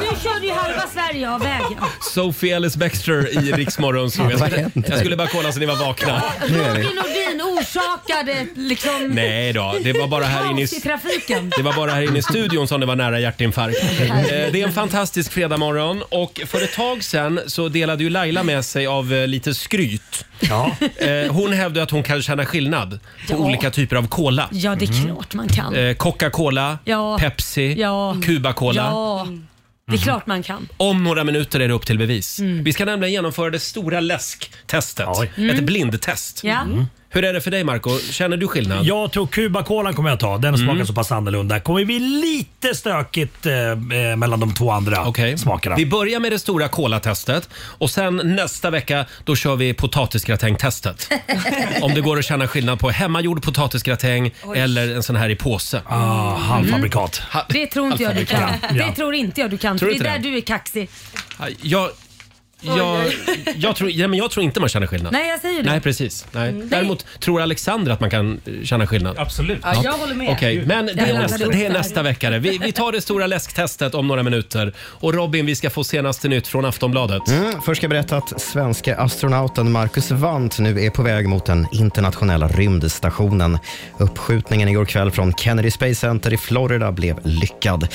Speaker 2: Nu körde ju halva Sverige av vägen.
Speaker 1: Sophie Ellis Bextor i Riksmorgonso. Jag skulle, jag skulle bara kolla så ni var vakna.
Speaker 2: Roger Nordin orsakade liksom...
Speaker 1: Nej då, det var bara här inne i...
Speaker 2: kaos i trafiken.
Speaker 1: Det var bara här inne i studion som det var nära hjärtinfarkt. Eh, Det är en fantastisk fredagmorgon och för ett tag sedan så delade ju Laila med sig av eh, lite skryt. Eh, Hon hävdade att hon kan känna skillnad på
Speaker 2: Ja.
Speaker 1: olika typer av cola.
Speaker 2: Ja, det är klart man kan.
Speaker 1: Eh, Coca-Cola,
Speaker 2: Ja.
Speaker 1: Pepsi,
Speaker 2: Ja.
Speaker 1: Cuba-Cola. Mm.
Speaker 2: Ja, det är klart man kan.
Speaker 1: Om några minuter är det upp till bevis.
Speaker 2: Mm.
Speaker 1: Vi ska nämligen genomföra det stora läsktestet.
Speaker 2: Mm.
Speaker 1: Ett blindtest.
Speaker 2: Ja. Mm.
Speaker 1: Hur är det för dig Marco? Känner du skillnad?
Speaker 15: Jag tror Cuba-kolan kommer jag ta. Den smakar
Speaker 1: Mm.
Speaker 15: så pass annorlunda. Kommer bli lite stökigt eh, eh, mellan de två andra smakerna.
Speaker 1: Vi börjar med det stora kolatestet och sen nästa vecka då kör vi potatisgratängtestet. Om det går att känna skillnad på hemmagjord potatisgratäng
Speaker 2: Oj.
Speaker 1: eller en sån här i påse. Mm.
Speaker 15: Ah, halvfabrikat.
Speaker 1: Ha-
Speaker 2: Det tror inte jag du kan.
Speaker 1: halvfabrikat.
Speaker 2: Det tror inte jag du kan.
Speaker 1: Tror du
Speaker 2: det är
Speaker 1: inte det?
Speaker 2: där du är kaxig.
Speaker 1: Jag, jag,
Speaker 2: Oj,
Speaker 1: jag, tror, ja, men jag tror inte man känner skillnad.
Speaker 2: Nej, jag säger det.
Speaker 1: Nej, precis. Nej. Däremot tror Alexander att man kan eh, känna skillnad.
Speaker 8: Absolut.
Speaker 5: Ja, jag håller med.
Speaker 1: Okej, Men det
Speaker 5: Jag
Speaker 1: är, nästa,
Speaker 5: håller
Speaker 1: det är
Speaker 5: med.
Speaker 1: nästa vecka. det. Vi, vi tar det stora läsktestet om några minuter. Och Robin, vi ska få senaste nytt från Aftonbladet.
Speaker 3: Mm, först ska jag berätta att svenska astronauten Marcus Wandt nu är på väg mot den internationella rymdstationen. Uppskjutningen igår kväll från Kennedy Space Center i Florida blev lyckad.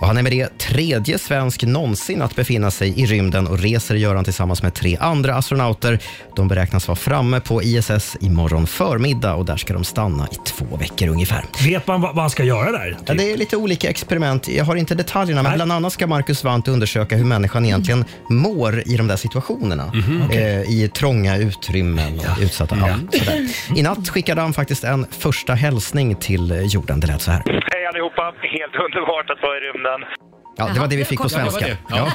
Speaker 3: Och han är med det tredje svensk någonsin att befinna sig i rymden och reser gör han tillsammans med tre andra astronauter. De beräknas vara framme på ISS imorgon förmiddag och där ska de stanna i två veckor ungefär.
Speaker 15: Vet man vad vad man ska göra där?
Speaker 3: Ja, det är lite olika experiment. Jag har inte detaljerna, men bland annat ska Marcus Wandt undersöka hur människan egentligen mår i de där situationerna. eh, I trånga utrymmen och utsatta... Ja. sådär. I natt skickade han faktiskt en första hälsning till jorden. Det lät så här.
Speaker 16: Hej allihopa! Helt underbart att vara i rymden.
Speaker 3: Ja, det var det vi fick på svenska. Ja.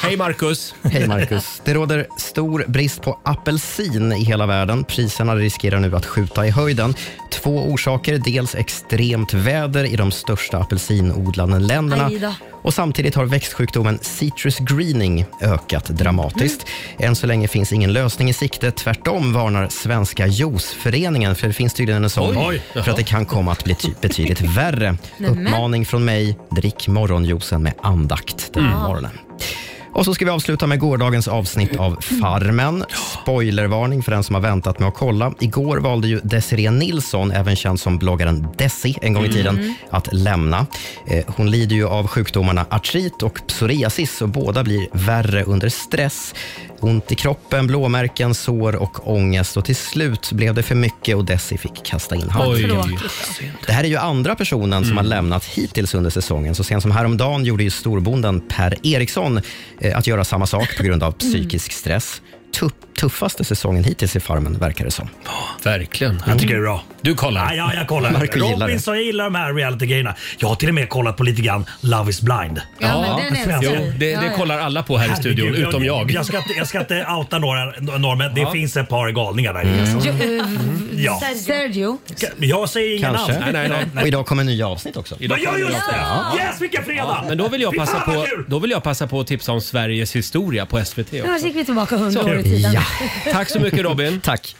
Speaker 1: Hej Marcus!
Speaker 3: Hej Marcus! Det råder stor brist på apelsin i hela världen. Priserna riskerar nu att skjuta i höjden. Två orsaker. Dels extremt väder i de största apelsinodlande länderna.
Speaker 2: Aj då.
Speaker 3: Och samtidigt har växtsjukdomen citrus greening ökat dramatiskt. Än så länge finns ingen lösning i sikte. Tvärtom varnar Svenska juiceföreningen, för det finns tydligen en sån,
Speaker 4: Oj,
Speaker 3: för att det kan komma att bli ty- betydligt värre.
Speaker 4: Nämen.
Speaker 3: Uppmaning från mig, drick morgonjuicen med andakt den här
Speaker 4: Mm.
Speaker 3: morgonen. Och så ska vi avsluta med gårdagens avsnitt av Farmen. Spoilervarning för den som har väntat med att kolla. Igår valde ju Desiree Nilsson, även känd som bloggaren Desi en gång i
Speaker 4: Mm.
Speaker 3: tiden, att lämna. Eh, Hon lider ju av sjukdomarna artrit och psoriasis och båda blir värre under stress. Ont i kroppen, blåmärken, sår och ångest och till slut blev det för mycket och Desi fick kasta in handduken. Det här är ju andra personen som har
Speaker 11: Mm.
Speaker 3: lämnat hittills under säsongen. Så sent som häromdagen gjorde ju storbonden Per Eriksson eh, att göra samma sak på grund
Speaker 11: Mm.
Speaker 3: av psykisk stress. Tuff, tuffaste säsongen hittills i Farmen, verkar det som. Mm.
Speaker 1: Verkligen.
Speaker 11: Jag tycker det är bra.
Speaker 1: Mm. Du kollar?
Speaker 11: Ja, ja jag kollar.
Speaker 3: Marco gillar
Speaker 11: Robin
Speaker 3: det.
Speaker 11: sa jag gillar de här reality-grejerna. Jag har till och med kollat på lite grann Love is blind.
Speaker 1: Ja, jo, det, det kollar alla på här i studion,
Speaker 11: Herregud,
Speaker 1: utom jag.
Speaker 11: Jag ska, inte- jag ska inte outa några, några men det
Speaker 1: Ja.
Speaker 11: finns ett par galningar där.
Speaker 2: Jo,
Speaker 11: Mm.
Speaker 2: eh,
Speaker 11: Ja.
Speaker 2: Sergio.
Speaker 11: Jag säger ingen
Speaker 3: Kanske.
Speaker 11: namn.
Speaker 3: Och idag kommer nya avsnitt också.
Speaker 11: Idag ja, just det!
Speaker 1: Ja.
Speaker 11: Yes, vilken fredag!
Speaker 1: Ja, men då vill, jag
Speaker 11: Fy
Speaker 1: passa
Speaker 11: fan, vad
Speaker 1: på,
Speaker 11: kul!
Speaker 1: då vill jag passa på att tipsa om Sveriges historia på SVT
Speaker 2: Ja, så
Speaker 1: också.
Speaker 2: gick vi tillbaka hundra
Speaker 1: Så.
Speaker 2: år i tiden.
Speaker 1: Ja. Tack så mycket Robin.
Speaker 3: Tack.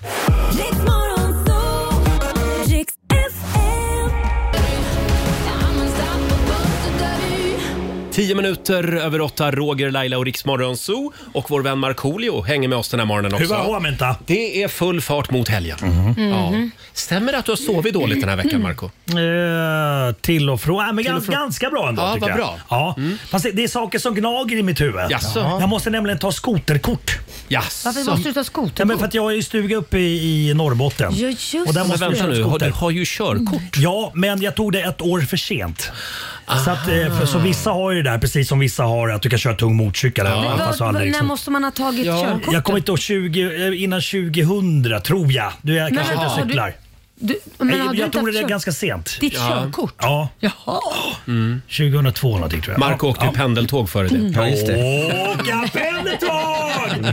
Speaker 1: Tio minuter över åtta, Roger, Laila och Riksmorgon Zoo. Och vår vän Markoolio hänger med oss den här morgonen också.
Speaker 11: Hurra, vänta.
Speaker 1: Det är full fart mot helgen.
Speaker 3: Mhm.
Speaker 2: Mm.
Speaker 1: Ja. Stämmer det att du har sovit dåligt den här veckan, Marco?
Speaker 11: Eh, till och från. Äh, men
Speaker 1: Till och
Speaker 11: gans,
Speaker 1: från.
Speaker 11: Ganska bra ändå
Speaker 1: Ja,
Speaker 11: tycker
Speaker 1: vad
Speaker 11: jag.
Speaker 1: bra. Mm.
Speaker 11: Ja. Fast det, det är saker som gnager i mitt huvud.
Speaker 1: Jaså?
Speaker 11: Jag måste nämligen ta skoterkort.
Speaker 1: Jaså?
Speaker 2: Varför måste du ta skoter?
Speaker 11: Ja, men för att jag är i stuga uppe i, i Norrbotten.
Speaker 2: Ja, just
Speaker 11: och där
Speaker 2: det.
Speaker 11: måste
Speaker 2: Men vänta
Speaker 11: vi köra
Speaker 2: nu, har-
Speaker 11: skoter. Mm.
Speaker 1: du har ju körkort.
Speaker 11: Ja, men jag tog det ett år för sent. Så, att, eh,
Speaker 1: Ah.
Speaker 11: för, så vissa har ju det där, precis som vissa har att du kan köra tung motorcykel. även
Speaker 2: Vad-
Speaker 11: fast du aldrig
Speaker 2: vad- när
Speaker 11: liksom-
Speaker 2: måste man ha tagit körkortet?
Speaker 11: Jag kommer inte ihåg 20, eh, innan 2000 tror jag. Du, jag
Speaker 2: Men
Speaker 11: kanske
Speaker 2: vänta,
Speaker 11: inte
Speaker 2: har du-
Speaker 11: cyklar.
Speaker 2: Du, men
Speaker 11: Nej,
Speaker 2: har du
Speaker 11: jag
Speaker 2: inte
Speaker 11: tog det
Speaker 2: haft
Speaker 11: där
Speaker 2: kör-
Speaker 11: ganska sent.
Speaker 2: Ditt
Speaker 11: Ja.
Speaker 2: körkort?
Speaker 11: Ja.
Speaker 2: Jaha.
Speaker 11: 2002 någonting tror jag.
Speaker 1: Mm. Marco åkte ju pendeltåg före
Speaker 2: Mm.
Speaker 1: det.
Speaker 11: Ja, just det. Åka pendeltåg!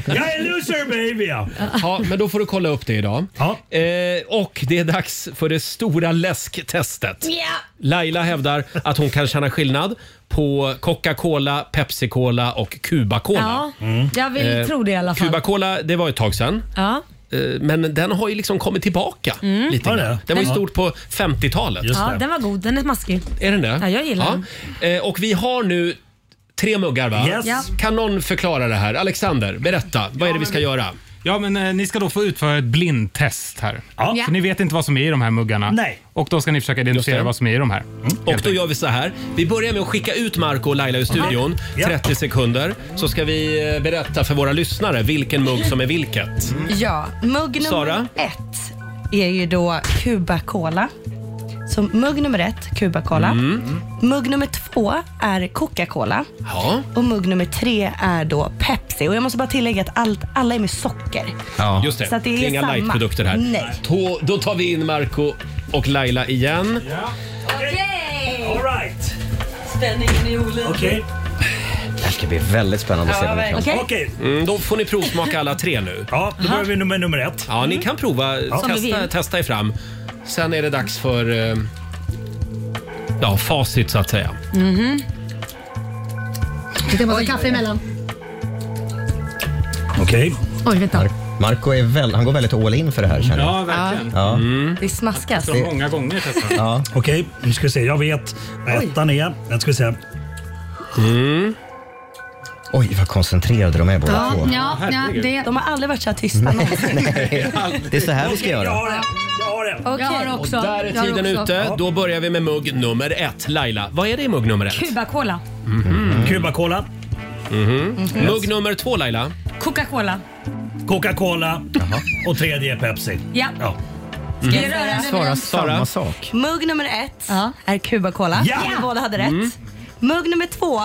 Speaker 11: Jag är loser baby! Ja.
Speaker 1: Ja, men då får du kolla upp det idag. Eh, och det är dags för det stora läsktestet. Laila hävdar att hon kan känna skillnad på Coca-Cola, Pepsi-Cola och Cuba-Cola. Mm. Eh,
Speaker 2: Ja, jag vill tro det i alla fall.
Speaker 1: Cuba-Cola, det var ett tag sedan.
Speaker 2: Ja.
Speaker 1: Eh, Men den har ju liksom kommit tillbaka lite
Speaker 2: Har det?
Speaker 1: grann. Den var ju
Speaker 2: Ja.
Speaker 1: stort på 50-talet.
Speaker 2: ja, den var god. Den är maskig.
Speaker 1: Är den det?
Speaker 2: Ja, jag gillar
Speaker 1: den. Och vi har nu tre muggar va?
Speaker 2: Yes. Ja.
Speaker 1: Kan någon förklara det här? Alexander, berätta. Vad är det vi ska göra?
Speaker 8: Ja, men eh, ni ska då få utföra ett blindtest här.
Speaker 1: Ja.
Speaker 8: För ni vet inte vad som är i de här muggarna.
Speaker 1: Nej.
Speaker 8: Och då ska ni försöka identifiera
Speaker 1: det.
Speaker 8: vad som är i de här.
Speaker 1: Mm. Och då gör vi så här. Vi börjar med att skicka ut Marco och Laila ur studion. 30 sekunder. Så ska vi eh, berätta för våra lyssnare vilken mugg som är vilket.
Speaker 7: Ja, mugg nummer
Speaker 1: Sara?
Speaker 7: ett är ju då Cuba Cola. Så mugg nummer ett, Cuba Cola.
Speaker 4: Mm.
Speaker 7: Mugg nummer två är Coca-Cola.
Speaker 1: Ja.
Speaker 7: Och mugg nummer tre är då Pepsi. Och jag måste bara tillägga att allt, alla är med socker.
Speaker 1: Just det.
Speaker 7: Så att det är
Speaker 1: inga
Speaker 7: samma.
Speaker 1: lightprodukter här.
Speaker 7: Nej.
Speaker 1: Då, då tar vi in Marco och Laila igen.
Speaker 7: Okej!
Speaker 11: All right.
Speaker 7: Spänningen är olidlig.
Speaker 11: Okej.
Speaker 3: Det här ska bli väldigt spännande att se
Speaker 7: Ja,
Speaker 3: vad ni kan.
Speaker 7: verkligen.
Speaker 11: Okej.
Speaker 1: Mm, då får ni provsmaka alla tre nu.
Speaker 11: Ja, då börjar vi med nummer ett.
Speaker 1: Ja, ni kan prova.
Speaker 11: Som vi
Speaker 1: Testa,
Speaker 11: vill.
Speaker 1: testa er fram. Sen är det dags för eh, ja, facit så att säga.
Speaker 2: Mhm. Det måste kaffe emellan.
Speaker 11: Okej.
Speaker 2: Oj, vänta.
Speaker 3: Marco är väl, han går väldigt all in för det här känner jag.
Speaker 8: Ja, verkligen.
Speaker 3: Ja.
Speaker 11: Mm.
Speaker 7: Det smaskas.
Speaker 8: Så många gånger testar
Speaker 3: Ja.
Speaker 11: Okej, nu ska vi se. Jag vet vad ettan är. Nu ska vi se. Mm.
Speaker 3: Oj, vad koncentrerade de är båda två.
Speaker 7: De har aldrig varit så här tysta någonsin.
Speaker 3: Det är så här vi ska göra.
Speaker 2: Jag har
Speaker 1: Och
Speaker 2: också.
Speaker 1: där
Speaker 2: Jag har
Speaker 1: är tiden
Speaker 2: också.
Speaker 1: ute. Då börjar vi med mugg nummer ett. Laila, vad är det i mugg nummer ett? Mm.
Speaker 2: Cuba-Cola.
Speaker 15: Mm.
Speaker 11: Cuba-Cola.
Speaker 2: Mhm.
Speaker 1: Mugg nummer två Laila.
Speaker 2: Coca-Cola.
Speaker 11: Coca-Cola och tredje är Pepsi.
Speaker 2: Ja.
Speaker 11: ja.
Speaker 7: Ska jag
Speaker 1: Mm.
Speaker 7: röra den? Svara
Speaker 11: samma
Speaker 3: sak.
Speaker 7: Mugg nummer ett är Cuba-Cola.
Speaker 11: Ja!
Speaker 7: Ni båda hade rätt.
Speaker 11: Mm.
Speaker 7: Mugg nummer två,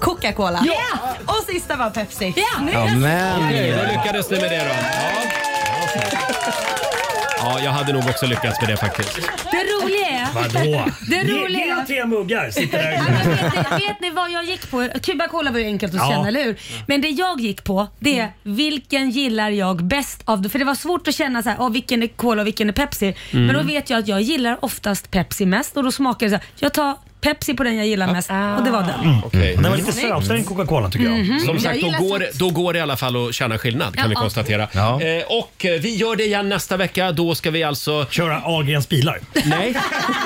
Speaker 7: Coca-Cola.
Speaker 4: Ja!
Speaker 7: Och sista var Pepsi. Ja.
Speaker 1: Okej, då lyckades ni med det då. Ja. ja, jag hade nog också lyckats med det faktiskt.
Speaker 2: Det roliga är
Speaker 15: Vadå?
Speaker 2: Det
Speaker 15: Ge-
Speaker 2: roliga-
Speaker 15: Ge honom tre muggar. Sitter där.
Speaker 2: Vet ni vad jag gick på? Cuba Cola var ju enkelt att
Speaker 15: Ja.
Speaker 2: känna, eller hur? Men det jag gick på, det är
Speaker 1: Mm.
Speaker 2: vilken gillar jag bäst av det? För det var svårt att känna så här, "Åh, vilken är Cola och vilken är Pepsi.
Speaker 16: Mm.
Speaker 2: Men då vet jag att jag gillar oftast Pepsi mest och då smakar det så här, jag tar Pepsi på den jag gillar mest och det var den.
Speaker 1: Okej.
Speaker 15: Den var lite sötare än Coca-Cola tycker jag.
Speaker 2: Mm. Mhm.
Speaker 1: Som
Speaker 2: Jag
Speaker 1: sagt, då
Speaker 2: gillar
Speaker 1: går, då går det i alla fall att känna skillnad kan vi
Speaker 2: Ja.
Speaker 1: konstatera. Eh, och eh, vi gör det igen nästa vecka. Då ska vi alltså...
Speaker 15: Köra Ahlgrens bilar?
Speaker 1: Nej,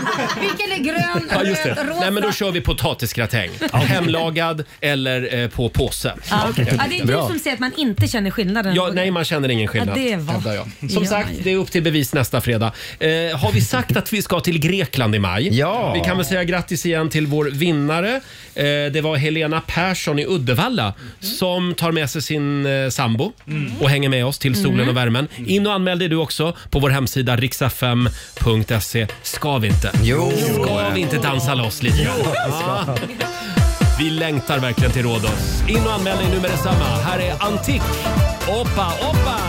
Speaker 2: Vilken är grön,
Speaker 1: ja, just
Speaker 2: röd,
Speaker 1: det.
Speaker 2: rosa?
Speaker 1: Nej men då kör vi potatisgratäng. Hemlagad eller eh, på påse.
Speaker 2: Ja.
Speaker 1: Helt
Speaker 2: Ja, det är
Speaker 1: enkelt.
Speaker 2: du som säger att man inte känner skillnaden.
Speaker 1: Ja, nej, man känner ingen skillnad.
Speaker 2: Ja, det var-
Speaker 1: hävdar jag.
Speaker 2: gör
Speaker 1: Som
Speaker 2: man
Speaker 1: sagt, det är upp till bevis nästa fredag. Eh, har vi sagt att vi ska till Grekland i maj?
Speaker 3: Ja.
Speaker 1: Vi kan väl säga grattis igen till vår vinnare. Eh, det var Helena Persson i Uddevalla som tar med sig sin eh, sambo och hänger med oss till solen
Speaker 12: Mm.
Speaker 1: och värmen. In och anmäl dig du också på vår hemsida riksfm.se. Ska vi inte? Jo. Ska vi inte dansa loss lite? Jo. Vi längtar verkligen till Rhodos. In och anmäl dig nu med detsamma. Här är Antik. Oppa, oppa!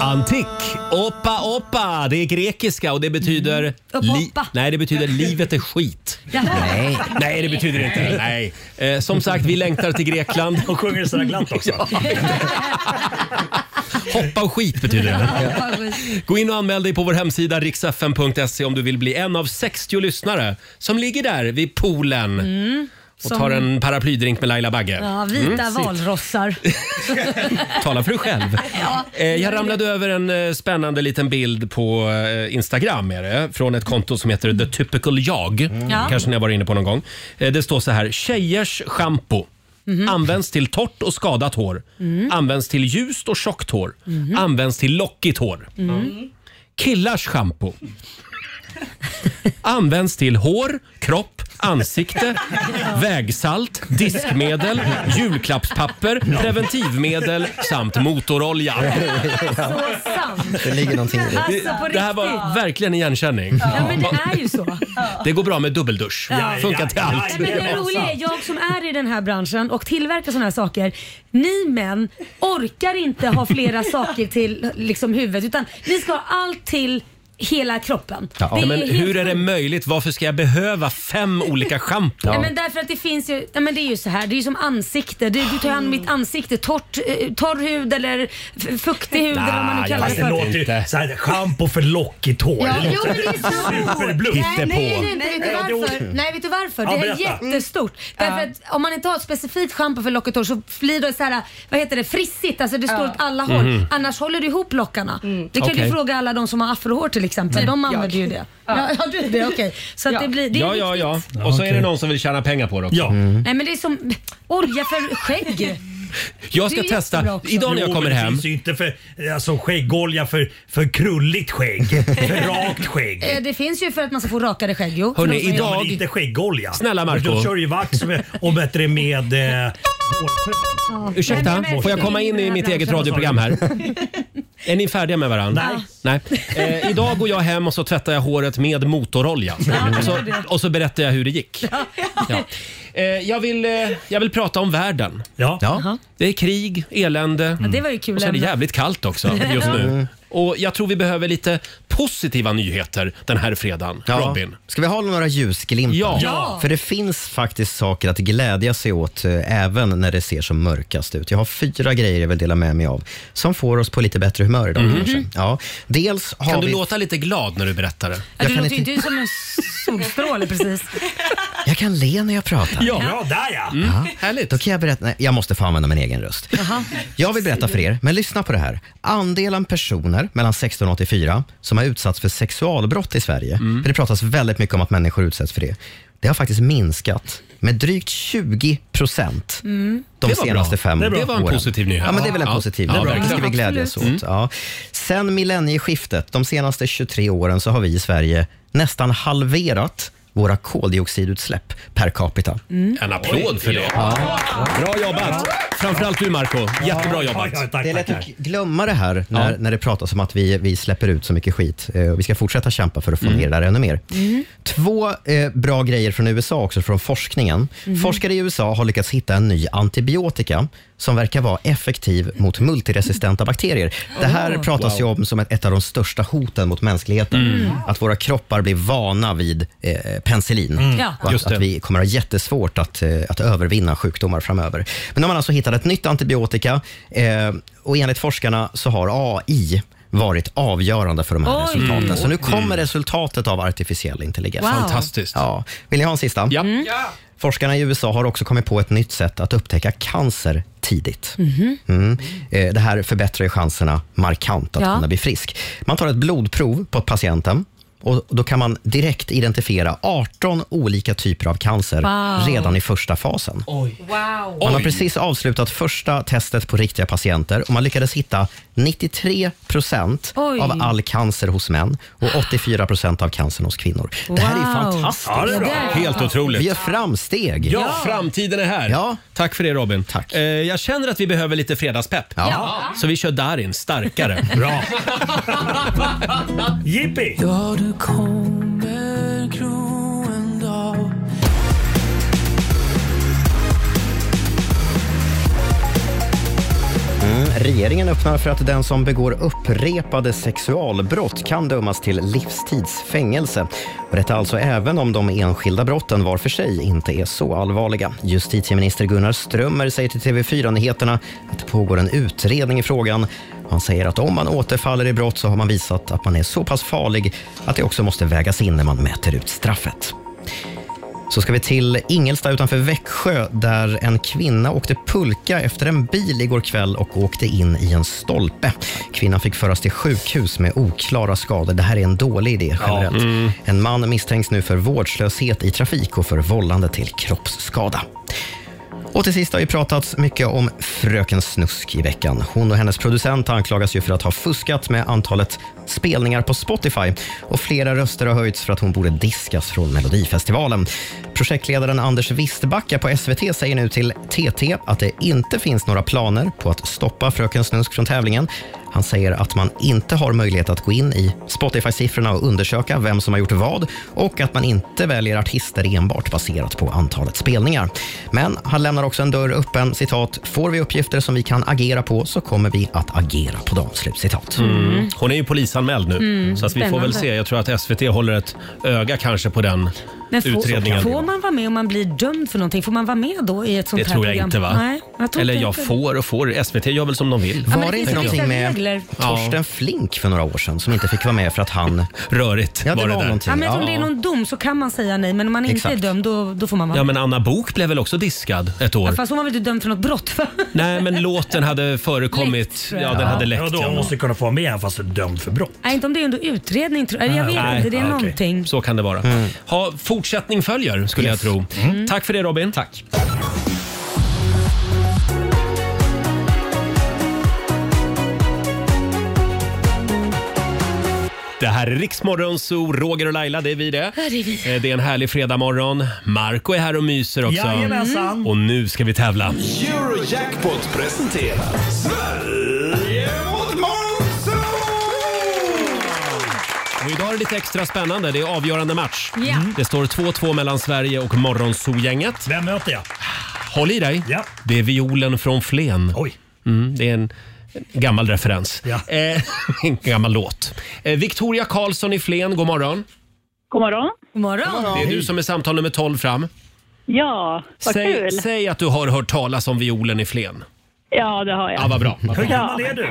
Speaker 1: Antik, oppa oppa, det är grekiska och det betyder... li- nej, det betyder livet är skit.
Speaker 2: Jaha.
Speaker 1: Nej. nej, det betyder det inte. Nej. Eh, som sagt, vi längtar till Grekland.
Speaker 15: Och sjunger sådär glatt också.
Speaker 1: Hoppa och skit betyder det. Gå in och anmäl dig på vår hemsida riksfn.se om du vill bli en av 60 lyssnare som ligger där vid poolen
Speaker 2: Mm.
Speaker 1: och
Speaker 2: Som-
Speaker 1: tar en paraplydrink med Laila Bagge.
Speaker 2: Ja, vita
Speaker 1: Mm.
Speaker 2: valrossar.
Speaker 1: Tala för dig själv.
Speaker 2: Ja.
Speaker 1: Eh, Jag ramlade över en eh, spännande liten bild på eh, Instagram är det, från ett konto som heter The Typical Jag.
Speaker 2: Ja.
Speaker 1: Kanske ni har varit inne på någon gång. Eh, Det står så här. Tjejers schampo. Används till torrt och skadat hår.
Speaker 12: Mm.
Speaker 1: Används till ljust och tjockt hår. Används till lockigt hår.
Speaker 12: Mm.
Speaker 1: Killars schampo. Används till hår, kropp, ansikte, vägsalt, diskmedel, julklappspapper, preventivmedel samt motorolja.
Speaker 3: Det ligger någonting i det.
Speaker 2: Alltså, på
Speaker 1: Det, det här var
Speaker 2: riktigt.
Speaker 1: verkligen en igenkänning.
Speaker 2: Ja men det är ju så.
Speaker 1: Det går bra med dubbeldusch.
Speaker 2: Ja.
Speaker 1: Funkar till allt.
Speaker 2: Nej, men det roliga är, jag som är i den här branschen och tillverkar såna här saker, ni män orkar inte ha flera saker till liksom, huvudet utan ni ska ha allt till hela kroppen.
Speaker 1: Ja,
Speaker 2: det
Speaker 1: men
Speaker 2: är
Speaker 1: hur är det möjligt? Varför ska jag behöva fem olika schampon?
Speaker 2: Nej, men därför att det finns ju, nej, men det är ju så här, det är ju som ansikte. Du, du tar ju hand om
Speaker 1: Ah.
Speaker 2: mitt ansikte, torrt, eh, torr hud eller f- fuktig hud eller vad man nu kallar det
Speaker 15: Fast det
Speaker 2: för.
Speaker 15: låter ju såhär schampo för lockigt hår.
Speaker 2: Ja,
Speaker 15: låter
Speaker 2: jo, men det är svårt.
Speaker 15: superbluff.
Speaker 2: Nej, nej, det är inte. Vet du varför? Nej, vet du varför?
Speaker 15: Ja,
Speaker 2: Det är
Speaker 15: berätta.
Speaker 2: jättestort. Därför
Speaker 15: Ja.
Speaker 2: att om man inte har ett specifikt schampo för locket hår så blir det så här, vad heter det, frissigt. Alltså det står åt alla håll.
Speaker 1: Mhm.
Speaker 2: Annars håller du ihop lockarna. Det kan
Speaker 1: Okej.
Speaker 2: du fråga alla de som har afrohår till exempel. De använder ju det. Ja, ja du det, okej. Så att det blir, det är
Speaker 1: ja, ja, ja. Och så är det någon som vill tjäna pengar på det också.
Speaker 2: Nej men det är som olja för skägg.
Speaker 1: Jag
Speaker 2: ska Det är testa. jättebra också. Idag när jag
Speaker 15: Jo,
Speaker 1: kommer
Speaker 15: men
Speaker 1: hem-
Speaker 15: Det finns ju inte för, alltså, skäggolja för, för krulligt skägg. för rakt skägg.
Speaker 2: Eh, Det finns ju för att man ska få rakare skägg. Jo, för
Speaker 15: Hörrni,
Speaker 2: de som
Speaker 15: idag...
Speaker 2: gör
Speaker 15: men
Speaker 2: det.
Speaker 15: inte skäggolja.
Speaker 1: Snälla Marco.
Speaker 15: Då kör du ju vax med- och bättre med... Eh,
Speaker 2: Ja.
Speaker 1: Ursäkta,
Speaker 2: Men det är
Speaker 1: får jag
Speaker 2: märkligt
Speaker 1: komma in i
Speaker 2: den här
Speaker 1: mitt eget
Speaker 2: branschen.
Speaker 1: radioprogram här? Är ni färdiga med varandra? Nej. Eh, idag går jag hem och så tvättar jag håret med motorolja.
Speaker 12: Ja,
Speaker 1: Och så,
Speaker 12: gör det.
Speaker 1: och så berättar jag hur det gick. Ja. Eh, jag, vill, eh, jag vill prata om världen.
Speaker 15: Ja.
Speaker 1: Det är krig, elände
Speaker 2: Ja, det var ju kul
Speaker 1: och så är det
Speaker 2: ämne.
Speaker 1: jävligt kallt också just
Speaker 3: Mm.
Speaker 1: nu. Och jag tror vi behöver lite positiva nyheter den här fredagen. Robin.
Speaker 3: Ska vi ha några ljusglimtar?
Speaker 1: Ja. Ja.
Speaker 3: För det finns faktiskt saker att glädja sig åt eh, även när det ser som mörkast ut. Jag har fyra grejer jag vill dela med mig av som får oss på lite bättre humör idag
Speaker 1: Mhm.
Speaker 3: kanske. Ja. Dels har
Speaker 1: Kan du
Speaker 3: vi...
Speaker 1: låta lite glad när du berättar det?
Speaker 2: Ja, du låter ju inte som en solstråle precis.
Speaker 3: Jag kan le när jag pratar.
Speaker 2: Ja. Bra,
Speaker 15: där ja.
Speaker 1: Mm. Härligt.
Speaker 3: Då kan jag berätta. Nej, jag måste få använda min egen röst. Jag vill berätta för er, men lyssna på det här. Andelen personer mellan 16 och 84 som har utsatts för sexualbrott i Sverige,
Speaker 12: Mm.
Speaker 3: för det pratas väldigt mycket om att människor utsätts för det, det har faktiskt minskat med drygt 20 procent
Speaker 12: Mm.
Speaker 3: de
Speaker 12: Det var
Speaker 3: senaste
Speaker 12: bra.
Speaker 3: fem
Speaker 12: Det
Speaker 3: åren.
Speaker 12: var en positiv nyhet.
Speaker 3: Ja, men det är väl en
Speaker 12: Ja.
Speaker 3: positiv
Speaker 12: Ja,
Speaker 3: nyhet. det
Speaker 12: verkligen. Mm.
Speaker 3: ska vi glädjas åt.
Speaker 12: Absolut.
Speaker 3: Ja. Sen millennieskiftet, de senaste 23 åren, så har vi i Sverige nästan halverat våra koldioxidutsläpp per capita.
Speaker 1: En applåd för det. Bra jobbat! Framförallt du Marco jättebra jobbat.
Speaker 3: det är lätt att glömma det här när, när det pratas om att vi, vi släpper ut så mycket skit. Eh, och vi ska fortsätta kämpa för att få
Speaker 1: Mm.
Speaker 3: ner det här ännu mer. Två eh, bra grejer från USA också, från forskningen. Forskare i USA har lyckats hitta en ny antibiotika som verkar vara effektiv mot multiresistenta bakterier. Det här
Speaker 16: Oh.
Speaker 3: pratas ju om som ett ett av de största hoten mot mänskligheten.
Speaker 16: Mm.
Speaker 3: Att våra kroppar blir vana vid eh, penicillin
Speaker 16: Mm. Ja.
Speaker 3: och att,
Speaker 16: Just det.
Speaker 3: att vi kommer ha jättesvårt att, eh, att övervinna sjukdomar framöver. Men nu har man alltså hittat ett nytt antibiotika eh, och enligt forskarna så har AI varit avgörande för de här
Speaker 16: Oj.
Speaker 3: resultaten. Så nu kommer
Speaker 16: Mm.
Speaker 3: resultatet av artificiell intelligens.
Speaker 16: Wow. Mm. Fantastiskt.
Speaker 3: Ja. Vill ni ha en sista?
Speaker 1: Ja.
Speaker 3: Forskarna i USA har också kommit på ett nytt sätt att upptäcka cancer tidigt.
Speaker 2: Mhm.
Speaker 3: Mm. Eh, Det här förbättrar ju chanserna markant att
Speaker 16: Ja.
Speaker 3: kunna bli frisk. Man tar ett blodprov på patienten och då kan man direkt identifiera 18 olika typer av cancer
Speaker 16: Wow.
Speaker 3: redan i första fasen.
Speaker 16: Wow.
Speaker 3: Man har precis avslutat första testet på riktiga patienter och man lyckades hitta 93 procent
Speaker 16: Oj.
Speaker 3: av all cancer hos män och 84 procent av cancern hos kvinnor. Det här är
Speaker 16: Wow.
Speaker 3: fantastiskt.
Speaker 16: Ja, det är bra.
Speaker 1: Helt otroligt.
Speaker 3: Vi gör framsteg.
Speaker 1: Ja, framtiden är här. Tack för det Robin. Tack. Jag känner att vi behöver lite fredagspepp.
Speaker 16: Ja.
Speaker 1: Så vi kör Darin, starkare. Bra.
Speaker 15: Jippi!
Speaker 16: Ja, du kommer gro en dag
Speaker 3: Mm. Regeringen öppnar för att den som begår upprepade sexualbrott kan dömas till livstidsfängelse. Och Detta alltså även om de enskilda brotten var för sig inte är så allvarliga. Justitieminister Gunnar Strömmer säger till TV4 Nyheterna att det pågår en utredning i frågan. Han säger att om man återfaller i brott så har man visat att man är så pass farlig att det också måste vägas in när man mäter ut straffet. Så ska vi till Ingelsta utanför Växjö där en kvinna åkte pulka efter en bil igår kväll och åkte in i en stolpe. Kvinnan fick föras till sjukhus med oklara skador. Det här är en dålig idé generellt.
Speaker 11: Mm.
Speaker 3: Mm. En man misstänks nu för vårdslöshet i trafik och för vållande till kroppsskada. Och till sist har ju pratats mycket om Fröken Snusk i veckan. Hon och hennes producent anklagas ju för att ha fuskat med antalet spelningar på Spotify och flera röster har höjts för att hon borde diskas från Melodifestivalen. Projektledaren Anders Wistbacka på SVT säger nu till TT att det inte finns några planer på att stoppa Fröken Snusk från tävlingen. Han säger att man inte har möjlighet att gå in i Spotify-siffrorna och undersöka vem som har gjort vad och att man inte väljer artister enbart baserat på antalet spelningar. Men han lämnar också en dörr öppen, citat, “Får vi uppgifter som vi kan agera på så kommer vi att agera på dem”. Slutcitat.
Speaker 1: Mm. Hon är ju polisanmäld nu,
Speaker 2: Mm,
Speaker 1: så att vi får väl
Speaker 2: spännande.
Speaker 1: se. Jag tror att SVT håller ett öga kanske på den
Speaker 2: Men får,
Speaker 1: utredningen.
Speaker 2: får man vara med om man blir dömd för någonting? Får man vara med då i ett sånt
Speaker 1: det
Speaker 2: här
Speaker 1: tror jag
Speaker 2: program?
Speaker 1: inte va?
Speaker 2: Nej, jag tror
Speaker 1: Eller
Speaker 2: inte
Speaker 1: jag
Speaker 2: inte.
Speaker 1: får och får. SVT gör väl som de vill.
Speaker 2: men det Var det finns inte vissa någonting med- regler.
Speaker 3: Torsten Flink för några år sedan som inte fick vara med för att han...
Speaker 1: Rörigt
Speaker 3: ja, det
Speaker 1: var
Speaker 3: var,
Speaker 1: det där.
Speaker 3: någonting.
Speaker 2: Ja, men om
Speaker 3: Ja.
Speaker 2: det är någon dom så kan man säga nej, men om man inte är
Speaker 1: Exakt.
Speaker 2: dömd då, då får man vara
Speaker 1: Ja
Speaker 2: med.
Speaker 1: men Anna Bok blev väl också diskad ett år?
Speaker 2: Ja, Fast hon var väl inte dömd för något brott? För?
Speaker 1: Nej men låten hade förekommit.
Speaker 2: tror jag.
Speaker 1: ja den hade läckt.
Speaker 15: Ja, då hon måste kunna få vara med även fast du är dömd för brott. Ah,
Speaker 2: Nej, inte om det är under utredning. Tror jag. jag vet
Speaker 1: Nej, Ah,
Speaker 2: inte, det är
Speaker 1: okej.
Speaker 2: någonting.
Speaker 1: Så kan det vara. Ha, fortsättning följer skulle jag tro. Mm. Tack för det Robin. Tack. Det här är Riksmorgon Zoo, Roger och Laila, det är vi det.
Speaker 2: är vi.
Speaker 1: Eh, Det är en härlig fredagmorgon. Marco är här och myser också.
Speaker 12: Jajamensan.
Speaker 1: Och nu ska vi tävla.
Speaker 12: Eurojackpot presenterar Sverige mot Monzo!
Speaker 1: Och idag är det lite extra spännande. Det är avgörande match.
Speaker 12: Ja. Mm.
Speaker 1: Det står 2-2 mellan Sverige och Morgonzoo-gänget.
Speaker 15: Vem möter jag?
Speaker 1: Håll i dig. Det är violen från Flen.
Speaker 15: Oj.
Speaker 1: Mm, det är en en gammal referens.
Speaker 15: Ja.
Speaker 1: Eh, en gammal låt. Eh, Victoria Karlsson i Flen, god morgon.
Speaker 6: God morgon.
Speaker 2: God
Speaker 1: Det är du som är samtal nummer 12 fram.
Speaker 6: Ja, vad
Speaker 1: Säg,
Speaker 6: kul.
Speaker 1: säg att du har hört talas om violen i Flen.
Speaker 6: Ja, det har jag.
Speaker 1: Ja, vad bra. Vad bra.
Speaker 15: Hur gammal är du?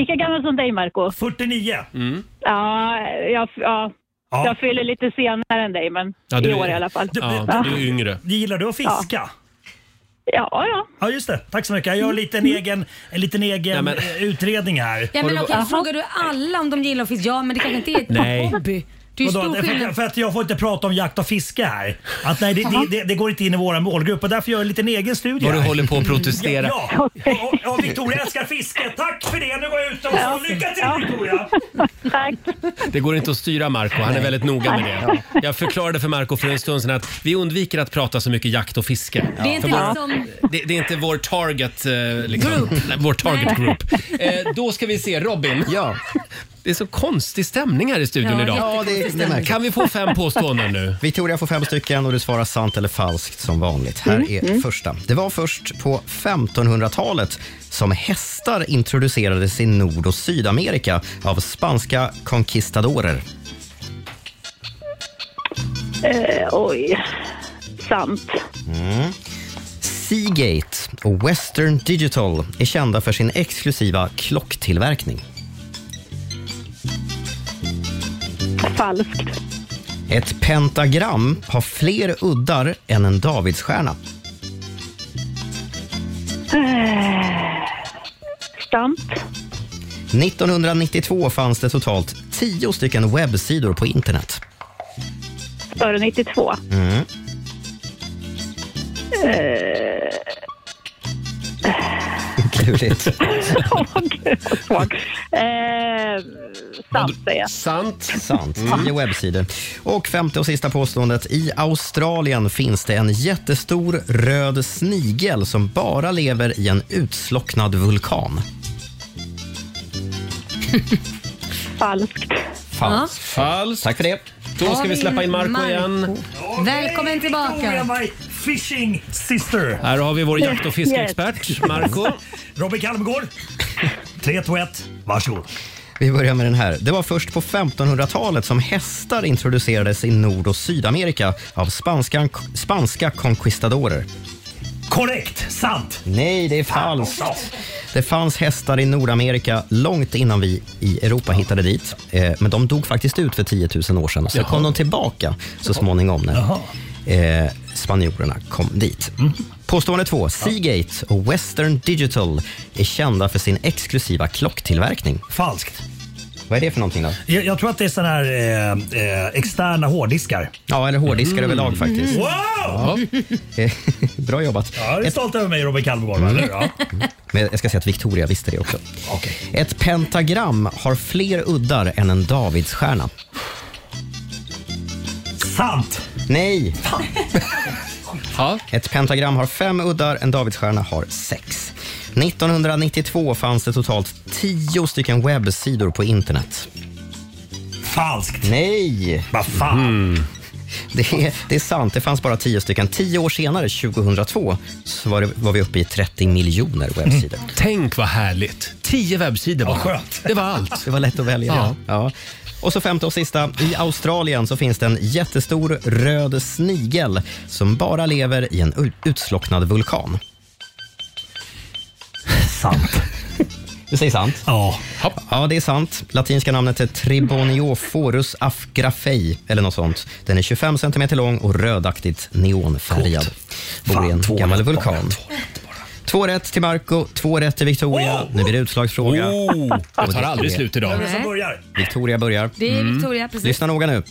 Speaker 6: Lika gammal som dig, Marco.
Speaker 15: 49.
Speaker 1: Mm.
Speaker 6: Ja, jag, ja.
Speaker 15: Ja.
Speaker 6: jag fyller lite senare än dig, men
Speaker 1: Ja, du
Speaker 6: i år
Speaker 1: är-
Speaker 6: i alla fall.
Speaker 1: Ja, du är yngre.
Speaker 15: Gillar du att fiska? Ja.
Speaker 6: Ja, ja.
Speaker 15: Ja, just det. Tack så mycket. Jag gör en liten egen, en liten egen
Speaker 1: Nej, men-
Speaker 15: eh, utredning här.
Speaker 2: Ja, men okej, frågar du alla om de gillar att fiska? Ja, men det kanske inte är ett
Speaker 15: Nej.
Speaker 2: hobby. Det är ju
Speaker 15: Vadå,
Speaker 2: stor
Speaker 15: det- för,
Speaker 2: skillnad.
Speaker 15: för att jag får inte prata om jakt och fiske här. Att nej, det, det, det, det går inte in i våra målgrupp och därför gör jag en liten egen studie.
Speaker 1: Vad du
Speaker 15: här.
Speaker 1: håller på att protestera.
Speaker 15: Ja, ja. Ja, ja, Victoria älskar fiske. Tack för det. Nu går jag ut och så lycka till Victoria.
Speaker 6: Tack.
Speaker 1: Det går inte att styra Marco, han är väldigt noga med det. Jag förklarade för Marco för en stund sedan att vi undviker att prata så mycket jakt och fiske.
Speaker 2: Det är inte
Speaker 1: För vår-
Speaker 2: liksom...
Speaker 1: det, det är inte vår target, eh, liksom,
Speaker 2: Group.
Speaker 1: Nej, vår target
Speaker 2: Nej.
Speaker 1: group. Eh, då ska vi se, Robin.
Speaker 3: Ja.
Speaker 1: Det är så konstig stämning här i studion
Speaker 3: Ja,
Speaker 1: idag.
Speaker 3: Ja, det- det märks.
Speaker 1: Kan vi få fem påståenden nu?
Speaker 3: Victoria får fem stycken och du svarar sant eller falskt som vanligt. Här
Speaker 1: Mm.
Speaker 3: är
Speaker 1: Mm.
Speaker 3: första. Det var först på 1500-talet som hästar introducerades i Nord och Sydamerika av spanska conquistadorer.
Speaker 6: Eh, oj. Sant.
Speaker 3: Mm. Seagate och Western Digital är kända för sin exklusiva klocktillverkning.
Speaker 6: Falskt.
Speaker 3: Ett pentagram har fler uddar än en davidsstjärna.
Speaker 6: Eh, sant.
Speaker 3: 1992 fanns det totalt 10 stycken webbsidor på internet.
Speaker 6: Före 92.
Speaker 3: Mm.
Speaker 6: Eh,
Speaker 3: Klurigt.
Speaker 6: eh, sant säger jag.
Speaker 1: Sant.
Speaker 3: Sant.
Speaker 6: Mm.
Speaker 3: Tio webbsidor. Och femte och sista påståendet. I Australien finns det en jättestor röd snigel som bara lever i en utslocknad vulkan.
Speaker 6: Falskt.
Speaker 3: Falskt.
Speaker 1: Falskt.
Speaker 3: Tack för det.
Speaker 1: Då ska vi släppa in Marco
Speaker 4: Marco.
Speaker 1: igen.
Speaker 4: Välkommen
Speaker 11: Victoria,
Speaker 4: tillbaka.
Speaker 11: my fishing sister.
Speaker 1: Här har vi vår jakt och fiskeexpert, Marco.
Speaker 11: Robin Kalmegård. 3, 2, 1. Varsågod.
Speaker 3: Vi börjar med den här. Det var först på 1500-talet som hästar introducerades i Nord och Sydamerika av spanska, spanska conquistadorer.
Speaker 11: Korrekt. Sant.
Speaker 3: Nej, det är falskt. Det fanns hästar i Nordamerika långt innan vi i Europa hittade dit. Eh, Men de dog faktiskt ut för 10 000 år sedan. Så
Speaker 11: Jaha.
Speaker 3: kom de tillbaka så småningom när eh, spanjorerna kom dit.
Speaker 11: Mm.
Speaker 3: Påstående två. Seagate och Western Digital är kända för sin exklusiva klocktillverkning.
Speaker 11: Falskt.
Speaker 3: Vad är det för någonting då?
Speaker 11: Jag, jag tror att det är sådana här eh, eh, externa hårddiskar.
Speaker 3: Ja, eller hårddiskar överlag faktiskt.
Speaker 11: Mm. Wow!
Speaker 3: Ja. Eh, Bra jobbat.
Speaker 11: Ja, du är stolt över mig Robin Kalmegård,
Speaker 3: Mm.
Speaker 11: eller hur? Ja.
Speaker 3: Men jag ska säga att Victoria visste det också. Ett pentagram har fler uddar än en davidsstjärna.
Speaker 11: Sant!
Speaker 3: Nej! Ett pentagram har fem uddar, en davidsstjärna har sex. 1992 fanns det totalt tio stycken webbsidor på internet.
Speaker 11: Falskt!
Speaker 3: Nej!
Speaker 11: Vad fan!
Speaker 3: Det är, det är sant, det fanns bara tio stycken. Tio år senare, 2002, så var, det, var vi uppe i 30 miljoner webbsidor.
Speaker 1: Tänk vad härligt! Tio webbsidor bara. Det var allt.
Speaker 3: Det var lätt att välja.
Speaker 1: Ja.
Speaker 3: Ja. Och så femte och sista. I Australien så finns det en jättestor röd snigel som bara lever i en u- utslocknad vulkan.
Speaker 11: Sant.
Speaker 3: Du säger sant?
Speaker 11: Ja.
Speaker 3: Ja, det är sant. Latinska namnet är Triboniophorus afgrafei, eller något sånt. Den är 25 cm lång och rödaktigt neonfärgad. Bor i en gammal vulkan. Två rätt till Marco, två rätt till Victoria. Nu blir det utslagsfråga.
Speaker 1: Oh, det
Speaker 3: Och
Speaker 1: tar aldrig
Speaker 3: är-
Speaker 1: slut idag.
Speaker 11: Vem är det som börjar?
Speaker 3: Victoria börjar.
Speaker 4: Det är Victoria, precis.
Speaker 3: Lyssna noga nu.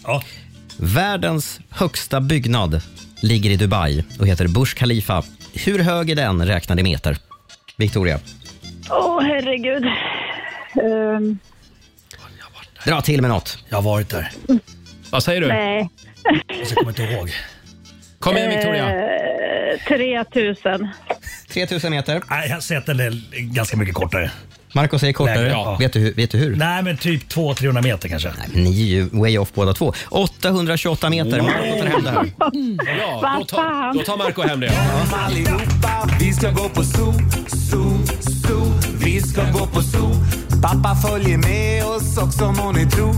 Speaker 3: Världens högsta byggnad ligger i Dubai och heter Burj Khalifa. Hur hög är den räknad i meter? Victoria,
Speaker 6: Åh, herregud. Ehm,
Speaker 3: dra till med något.
Speaker 11: Jag har varit där.
Speaker 1: Vad säger
Speaker 6: nej.
Speaker 11: Jag kommer inte ihåg.
Speaker 1: Kom igen,
Speaker 6: Eh, 3000.
Speaker 3: 3000 meter.
Speaker 11: Nej, jag säger att den är ganska mycket kortare.
Speaker 3: Marco säger kortare.
Speaker 11: Lägre, ja.
Speaker 3: Vet, du, hur- vet du hur?
Speaker 11: Nej, men typ 200-300 meter kanske.
Speaker 3: Ni är ju way off båda två. 828 meter. Marco tar hem det här.
Speaker 6: Mm.
Speaker 1: Ja, då, tar, då tar Marco hem det.
Speaker 8: Kom allihopa, vi ska gå på zoo, zoo, zoo. Vi ska gå på zoo. Pappa följer med oss också om hon är tro.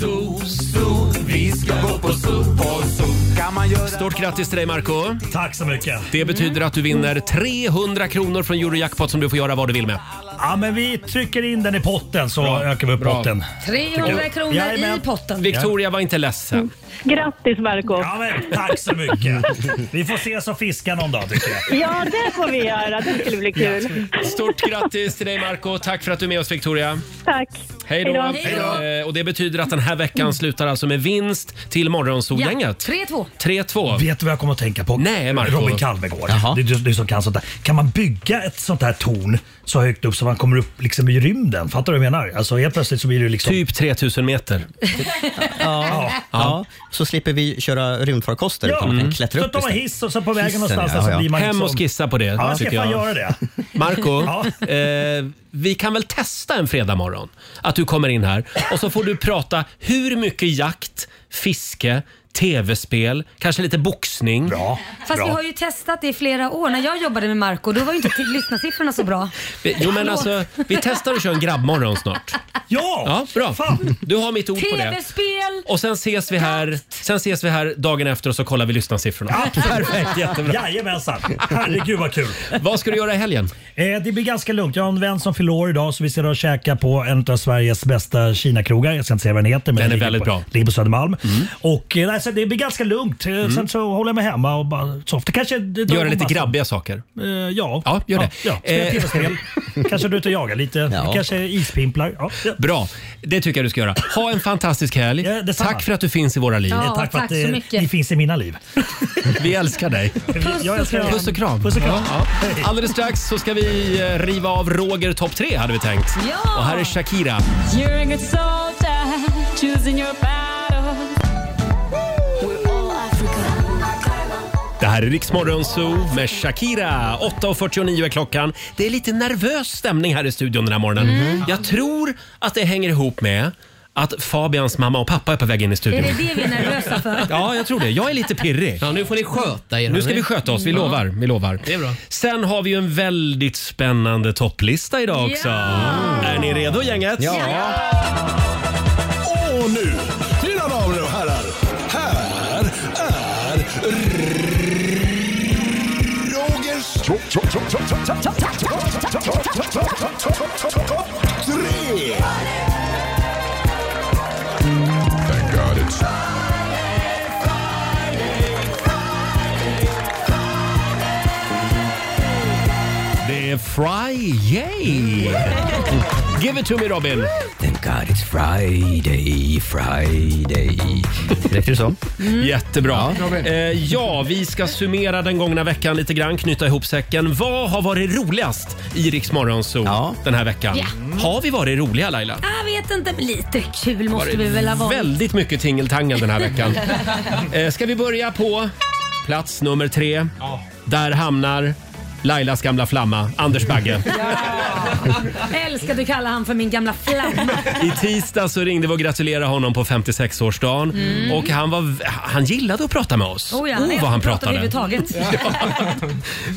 Speaker 8: Zoo, zoo. Vi ska gå på zoo, på zoo. Kan man göra...
Speaker 1: Stort grattis till dig Marco
Speaker 11: Tack så mycket.
Speaker 1: Det betyder att du vinner 300 kronor från Eurojackpot som du får göra vad du vill med.
Speaker 11: Ja, men vi trycker in den i potten så ökar vi upp
Speaker 1: Bra.
Speaker 11: potten.
Speaker 4: 300 kronor i
Speaker 11: Jajamän.
Speaker 4: potten.
Speaker 1: Victoria var inte ledsen.
Speaker 6: Grattis Marco
Speaker 11: Ja, men, tack så mycket. Vi får ses och fiska någon dag tycker jag.
Speaker 6: Ja, det får vi göra. Det skulle bli kul.
Speaker 1: Stort grattis till dig Marco Tack för att du är med oss Victoria.
Speaker 6: Tack.
Speaker 1: Hej då. Eh, Och det betyder att den här veckan slutar alltså med vinst till Morgonzoo-gänget.
Speaker 4: 3-2.
Speaker 1: 3-2.
Speaker 11: Vet du vad jag kommer att tänka på?
Speaker 1: Nej, Marco.
Speaker 11: Robin Kalmegård. Det är du, du som kan sånt där. Kan man bygga ett sånt här torn så högt upp så man man kommer upp liksom i rymden. Fattar du vad jag menar? Alltså helt plötsligt så blir du liksom...
Speaker 1: Typ 3000 meter.
Speaker 3: Ja. Ja. Så slipper vi köra rymdfarkoster.
Speaker 11: Ja,
Speaker 3: utan man kan
Speaker 11: mm.
Speaker 3: klättra
Speaker 11: så
Speaker 3: upp
Speaker 11: tar man
Speaker 3: istället.
Speaker 11: hiss och så på vägen
Speaker 3: Hissen,
Speaker 11: någonstans
Speaker 3: ja,
Speaker 11: så
Speaker 3: ja.
Speaker 11: blir man
Speaker 1: Hem
Speaker 11: liksom...
Speaker 1: och skissa på det,
Speaker 11: Ja, jag ska
Speaker 1: tycker
Speaker 11: fan
Speaker 1: jag.
Speaker 11: göra det.
Speaker 1: Marco,
Speaker 11: Ja.
Speaker 1: eh, vi kan väl testa en fredag morgon att du kommer in här och så får du prata hur mycket jakt, fiske, tv-spel, kanske lite boxning. Bra.
Speaker 2: Fast vi har ju testat det i flera år. När jag jobbade med Marco då var ju inte till- lyssnarsiffrorna så bra.
Speaker 1: Jo men alltså, vi testar att köra en grabbmorgon snart.
Speaker 11: Ja!
Speaker 1: Ja, bra. Du har mitt ord på det.
Speaker 2: TV-spel!
Speaker 1: Och sen ses vi här, sen ses vi här dagen efter och så kollar vi lyssnarsiffrorna.
Speaker 11: Ja,
Speaker 1: perfekt, jättebra.
Speaker 11: Jajamensan. Herregud vad kul.
Speaker 1: Vad ska du göra i helgen?
Speaker 11: Eh, det blir ganska lugnt. Jag har en vän som fyller år idag så vi ska då käka på en av Sveriges bästa Kina-krogar. Jag ska inte säga vad den heter. Men
Speaker 1: Den är
Speaker 11: ligger
Speaker 1: väldigt
Speaker 11: på,
Speaker 1: bra. Mm.
Speaker 11: Ligger på Södermalm. Och, eh, nej, så det blir ganska lugnt. Eh, Sen så håller jag mig hemma och bara softar. Kanske
Speaker 1: Göra Mm. lite grabbiga saker.
Speaker 11: Eh, ja.
Speaker 1: Ja, gör det.
Speaker 11: Ja, spela
Speaker 1: Eh.
Speaker 11: tv-spel. Kanske du är ute och jagar lite.
Speaker 1: Ja.
Speaker 11: Kanske ispimplar. Ja. ja.
Speaker 1: Bra, det tycker jag du ska göra. Ha en fantastisk helg.
Speaker 11: detsamma.
Speaker 1: Tack för att du finns i våra liv.
Speaker 11: Eh, tack för att eh, ni finns i mina liv.
Speaker 1: Vi älskar dig.
Speaker 11: Jag älskar er.
Speaker 1: Puss och kram.
Speaker 11: Puss och kram.
Speaker 1: Ja, ja. Alldeles strax så ska vi eh, riva av Roger topp tre hade vi tänkt.
Speaker 6: Ja!
Speaker 1: Och här är Shakira.
Speaker 6: You're a good soldier, choosing your battle. We're all Africa.
Speaker 1: Det här är Riksmorgon Zoo med Shakira. 8.49 är klockan. Det är lite nervös stämning här i studion den här morgonen.
Speaker 2: Mm.
Speaker 1: Jag tror att det hänger ihop med att Fabians mamma och pappa är på väg in i
Speaker 2: Är
Speaker 1: studion.
Speaker 2: det det vi är nervösa för?
Speaker 1: Ja, jag tror det. Jag är lite pirrig. Ja, nu får ni sköta
Speaker 8: er,
Speaker 1: Nu ska
Speaker 8: hörni.
Speaker 1: vi sköta oss, vi
Speaker 8: Ja.
Speaker 1: lovar. Vi lovar.
Speaker 8: Det är bra.
Speaker 1: Sen har vi ju en väldigt spännande topplista idag också. Är ni redo gänget?
Speaker 4: Ja. Och nu, mina damer och herrar, här är Rogers topp tre.
Speaker 1: Det är Friday! Give it to me Robin!
Speaker 3: Thank God it's Friday, Friday. Räcker det så?
Speaker 1: Jättebra.
Speaker 3: Ja.
Speaker 1: Ja. Eh, ja, vi ska summera den gångna veckan lite grann, knyta ihop säcken. Vad har varit roligast i Rix Morgonzoo den här veckan?
Speaker 2: Ja.
Speaker 1: Har vi varit roliga Laila?
Speaker 2: Jag vet inte, men lite kul måste
Speaker 1: varit
Speaker 2: vi väl ha varit.
Speaker 1: Väldigt mycket tingeltangel den här veckan. eh, ska vi börja på plats nummer tre. Där hamnar Lailas gamla flamma, Anders Bagge.
Speaker 2: Jag älskar att du kallar han för min gamla flamma. Oh
Speaker 1: I tisdag så ringde vi och gratulerade honom på 56-årsdagen.
Speaker 2: Mm.
Speaker 1: Och han, var, han gillade att prata med oss.
Speaker 2: Oh, ja,
Speaker 1: oh,
Speaker 2: nej,
Speaker 1: vad han
Speaker 2: pratar
Speaker 1: pratade.
Speaker 2: överhuvudtaget.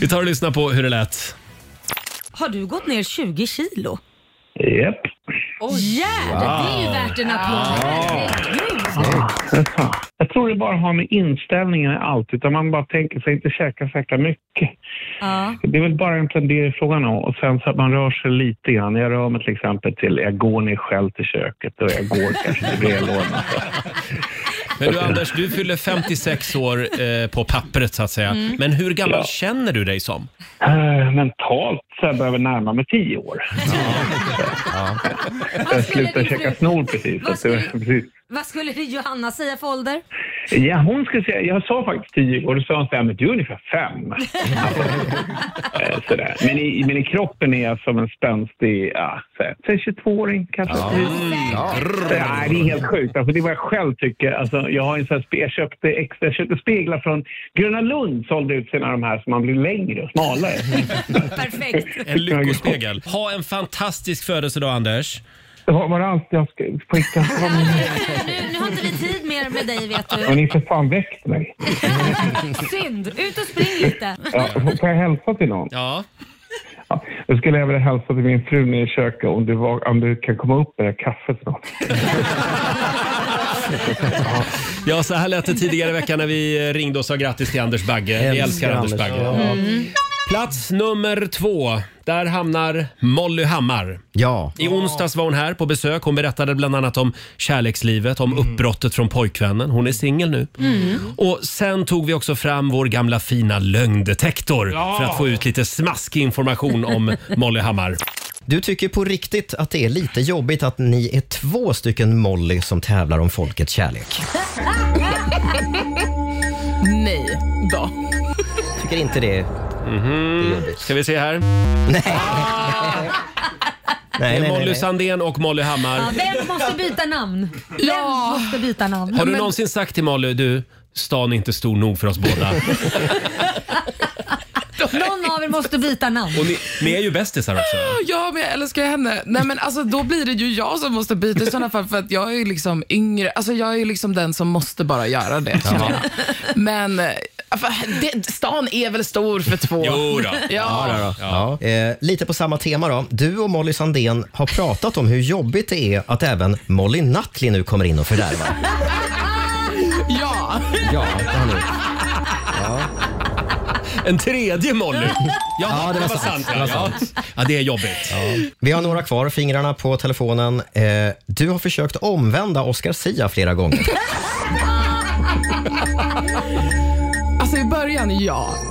Speaker 1: Vi tar och lyssnar på hur det lät.
Speaker 2: Har du gått ner 20 kilo?
Speaker 1: Yep.
Speaker 2: Oh, Jävlar, det är ju värt en applåd.
Speaker 17: Ah. Jag tror det bara har med inställningen i allt, utan man bara tänker sig inte käka så jäkla mycket.
Speaker 2: Ja.
Speaker 17: Det är väl bara egentligen det frågan om. Och sen så att man rör sig lite grann. Jag rör mig till exempel till, jag går ner själv till köket och jag går kanske till brevlådan.
Speaker 1: Men du Anders, du fyller 56 år eh, på pappret så att säga.
Speaker 17: Mm.
Speaker 1: Men hur gammal
Speaker 17: Ja.
Speaker 1: känner du dig som?
Speaker 17: Eh, mentalt så jag behöver närma mig tio år. Jag slutade käka snor precis. så att det var- precis.
Speaker 2: Vad skulle det Johanna säga för ålder?
Speaker 17: Ja, hon skulle säga, jag sa faktiskt tio år, då sa hon så här, men du är ungefär fem. Eh, Sådär. Men, i, men i kroppen är jag som en spänstig, ja, så här, säg 22-åring kanske.
Speaker 6: Ja.
Speaker 17: Mm.
Speaker 6: Ja.
Speaker 17: Så, nej, det är helt sjukt, alltså, det är vad jag själv tycker. Alltså, jag, har en sån här, spe- jag, köpte extra, jag köpte speglar från Gröna Lund, sålde ut sina de här så man blir längre och smalare.
Speaker 2: Perfekt.
Speaker 1: En lyckospegel. Ha en fantastisk födelsedag Anders.
Speaker 17: Det var var det allt jag ska skicka?
Speaker 2: Nu, nu har inte vi tid mer med dig vet
Speaker 17: Och
Speaker 1: Mm.
Speaker 2: du.
Speaker 17: ni för fan väckt mig.
Speaker 2: Synd. Ut och spring lite.
Speaker 17: Ja, får jag hälsa till någon?
Speaker 1: Ja.
Speaker 17: Då skulle jag vilja hälsa till min fru nere i köket om du, var, om du kan komma upp med det här kaffet snart.
Speaker 1: Ja, så här lät det tidigare i veckan när vi ringde och sa grattis till Anders Bagge. Vi älskar Anders Bagge.
Speaker 2: Mm.
Speaker 1: Plats nummer två. Där hamnar Molly Hammar.
Speaker 3: Ja.
Speaker 1: I onsdags var hon här på besök. Hon berättade bland annat om kärlekslivet, om uppbrottet från pojkvännen. Hon är singel nu.
Speaker 2: Mm.
Speaker 1: Och Sen tog vi också fram vår gamla fina lögndetektor
Speaker 3: Ja.
Speaker 1: för att få ut lite smaskig information om Molly Hammar.
Speaker 3: Du tycker på riktigt att det är lite jobbigt att ni är två stycken Molly som tävlar om folkets kärlek.
Speaker 18: Nej då.
Speaker 1: Mhm.
Speaker 3: Tycker inte det är jobbigt.
Speaker 1: Ska vi se här?
Speaker 3: Nej.
Speaker 1: Ah! det är
Speaker 3: nej,
Speaker 1: Molly
Speaker 3: nej.
Speaker 1: Sandén och Molly Hammar.
Speaker 2: Ja, vem måste byta namn? Vem måste byta namn?
Speaker 1: Har du någonsin sagt till Molly, du, stan är inte stor nog för oss båda.
Speaker 2: Någon av er måste byta namn.
Speaker 1: Och ni, ni är ju bästisar också.
Speaker 19: Ja, men jag älskar henne. Nej, men alltså, då blir det ju jag som måste byta i sådana fall för att jag är ju liksom yngre. Alltså, jag är liksom den som måste bara göra det.
Speaker 1: Ja.
Speaker 19: känner jag. Men eh, för- det, stan är väl stor för två? Ja.
Speaker 3: Ja. Eh, lite på samma tema då. Du och Molly Sandén har pratat om hur jobbigt det är att även Molly Nutley nu kommer in och fördärvar.
Speaker 19: Ja.
Speaker 3: Ja, det har ni.
Speaker 1: En tredje Molly. Ja,
Speaker 3: det var sant. Det var
Speaker 1: ja.
Speaker 3: sant.
Speaker 1: ja, det är jobbigt.
Speaker 3: Vi har några kvar, fingrarna på telefonen. Eh, du har försökt omvända Oscar Sia flera gånger.
Speaker 19: Alltså i början, ja.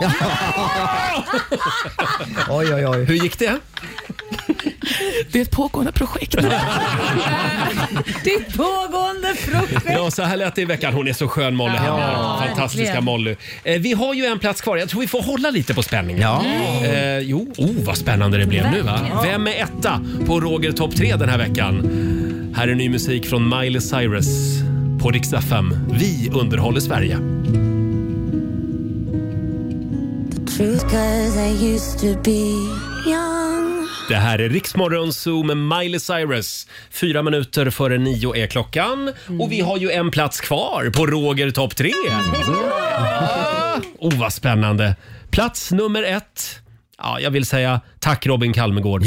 Speaker 3: Ja. ja. Oj, oj, oj.
Speaker 1: Hur gick det?
Speaker 19: Det är ett pågående projekt.
Speaker 2: Det är ett pågående projekt.
Speaker 1: Ja, så här lät det i veckan. Hon är så skön Molly
Speaker 2: Ja,
Speaker 1: Hammar. Fantastiska
Speaker 2: verkligen.
Speaker 1: Molly. Eh, vi har ju en plats kvar. Jag tror vi får hålla lite på spänningen. Ja. Eh, jo, oh, vad spännande det blev nu va?
Speaker 5: Verkligen.
Speaker 1: Vem är etta på Roger topp 3 den här veckan? Här är ny musik från Miley Cyrus på Rix FM. Vi underhåller Sverige.
Speaker 4: Truth, cause I used to be young.
Speaker 1: Det här är Riksmorgon Zoo med Miley Cyrus. Fyra minuter före nio är klockan och vi har ju en plats kvar på Roger topp tre.
Speaker 3: Mm.
Speaker 1: Ah, Oh, vad spännande. Plats nummer ett. Ja, jag vill säga tack Robin Kalmegård,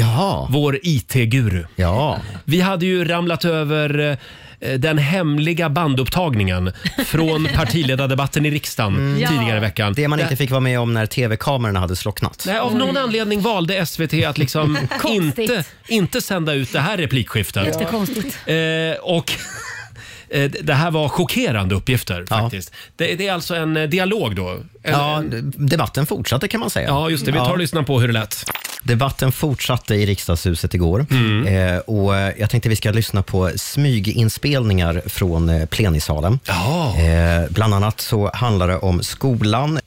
Speaker 1: vår IT-guru.
Speaker 3: Ja.
Speaker 1: Vi hade ju ramlat över eh, den hemliga bandupptagningen från partiledardebatten i riksdagen
Speaker 3: Mm.
Speaker 1: tidigare i
Speaker 3: Ja.
Speaker 1: veckan.
Speaker 3: Det man
Speaker 1: Där-
Speaker 3: inte fick vara med om när tv-kamerorna hade slocknat.
Speaker 1: Nej, av någon anledning valde SVT att liksom
Speaker 2: Konstigt.
Speaker 1: inte, inte sända ut det här replikskiftet.
Speaker 2: Jättekonstigt.
Speaker 1: Eh, och eh, det här var chockerande uppgifter faktiskt. Det, det är alltså en eh, dialog då? En,
Speaker 3: Ja,
Speaker 1: en-
Speaker 3: debatten fortsatte kan man säga.
Speaker 1: ja, just det. Vi tar och lyssnar på hur det lät. Mm.
Speaker 3: Debatten fortsatte i riksdagshuset igår eh, och eh, jag tänkte vi ska lyssna på smyginspelningar från eh, plenisalen. Eh, bland annat så handlar det om skolan.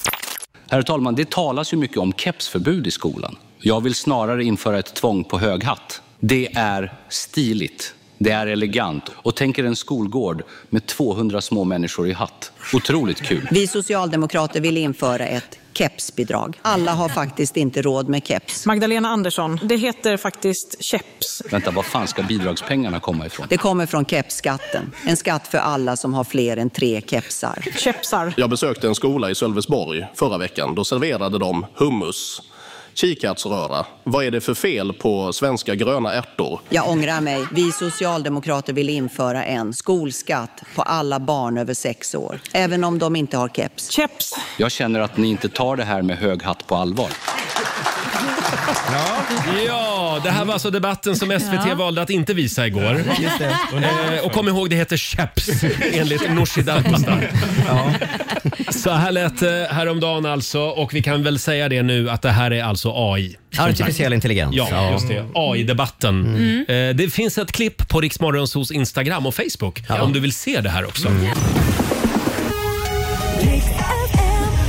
Speaker 20: Herr talman, det talas ju mycket om kepsförbud i skolan. Jag vill snarare införa ett tvång på hög hatt. Det är stiligt. Det är elegant. Och tänk er en skolgård med 200 små människor i hatt. Otroligt kul.
Speaker 21: Vi socialdemokrater vill införa ett kepsbidrag. Alla har faktiskt inte råd med keps.
Speaker 22: Magdalena Andersson, det heter faktiskt keps.
Speaker 20: Vänta, var fan ska bidragspengarna komma ifrån?
Speaker 21: Det kommer från kepsskatten. En skatt för alla som har fler än tre kepsar.
Speaker 22: Kepsar.
Speaker 23: Jag besökte en skola i Sölvesborg förra veckan. Då serverade de hummus, kikärtsröra. Vad är det för fel på svenska gröna ärtor?
Speaker 21: Jag ångrar mig. Vi socialdemokrater vill införa en skolskatt på alla barn över sex år. Även om de inte har keps.
Speaker 22: Keps!
Speaker 20: Jag känner att ni inte tar det här med hög hatt på allvar.
Speaker 1: Ja, det här var alltså debatten som SVT
Speaker 5: Ja.
Speaker 1: valde att inte visa igår.
Speaker 5: Just det.
Speaker 1: Eh, och kom ihåg, det heter Chaps enligt Nooshi Dadgostar. Så här lät det häromdagen alltså och vi kan väl säga det nu att det här är alltså AI. som
Speaker 3: Artificiell
Speaker 1: sagt.
Speaker 3: intelligens.
Speaker 1: Ja,
Speaker 3: Ja. Mm.
Speaker 1: just det. AI-debatten. Eh, det finns ett klipp på Riksmorgonsos Instagram och Facebook om du vill se det här också.
Speaker 3: Mm.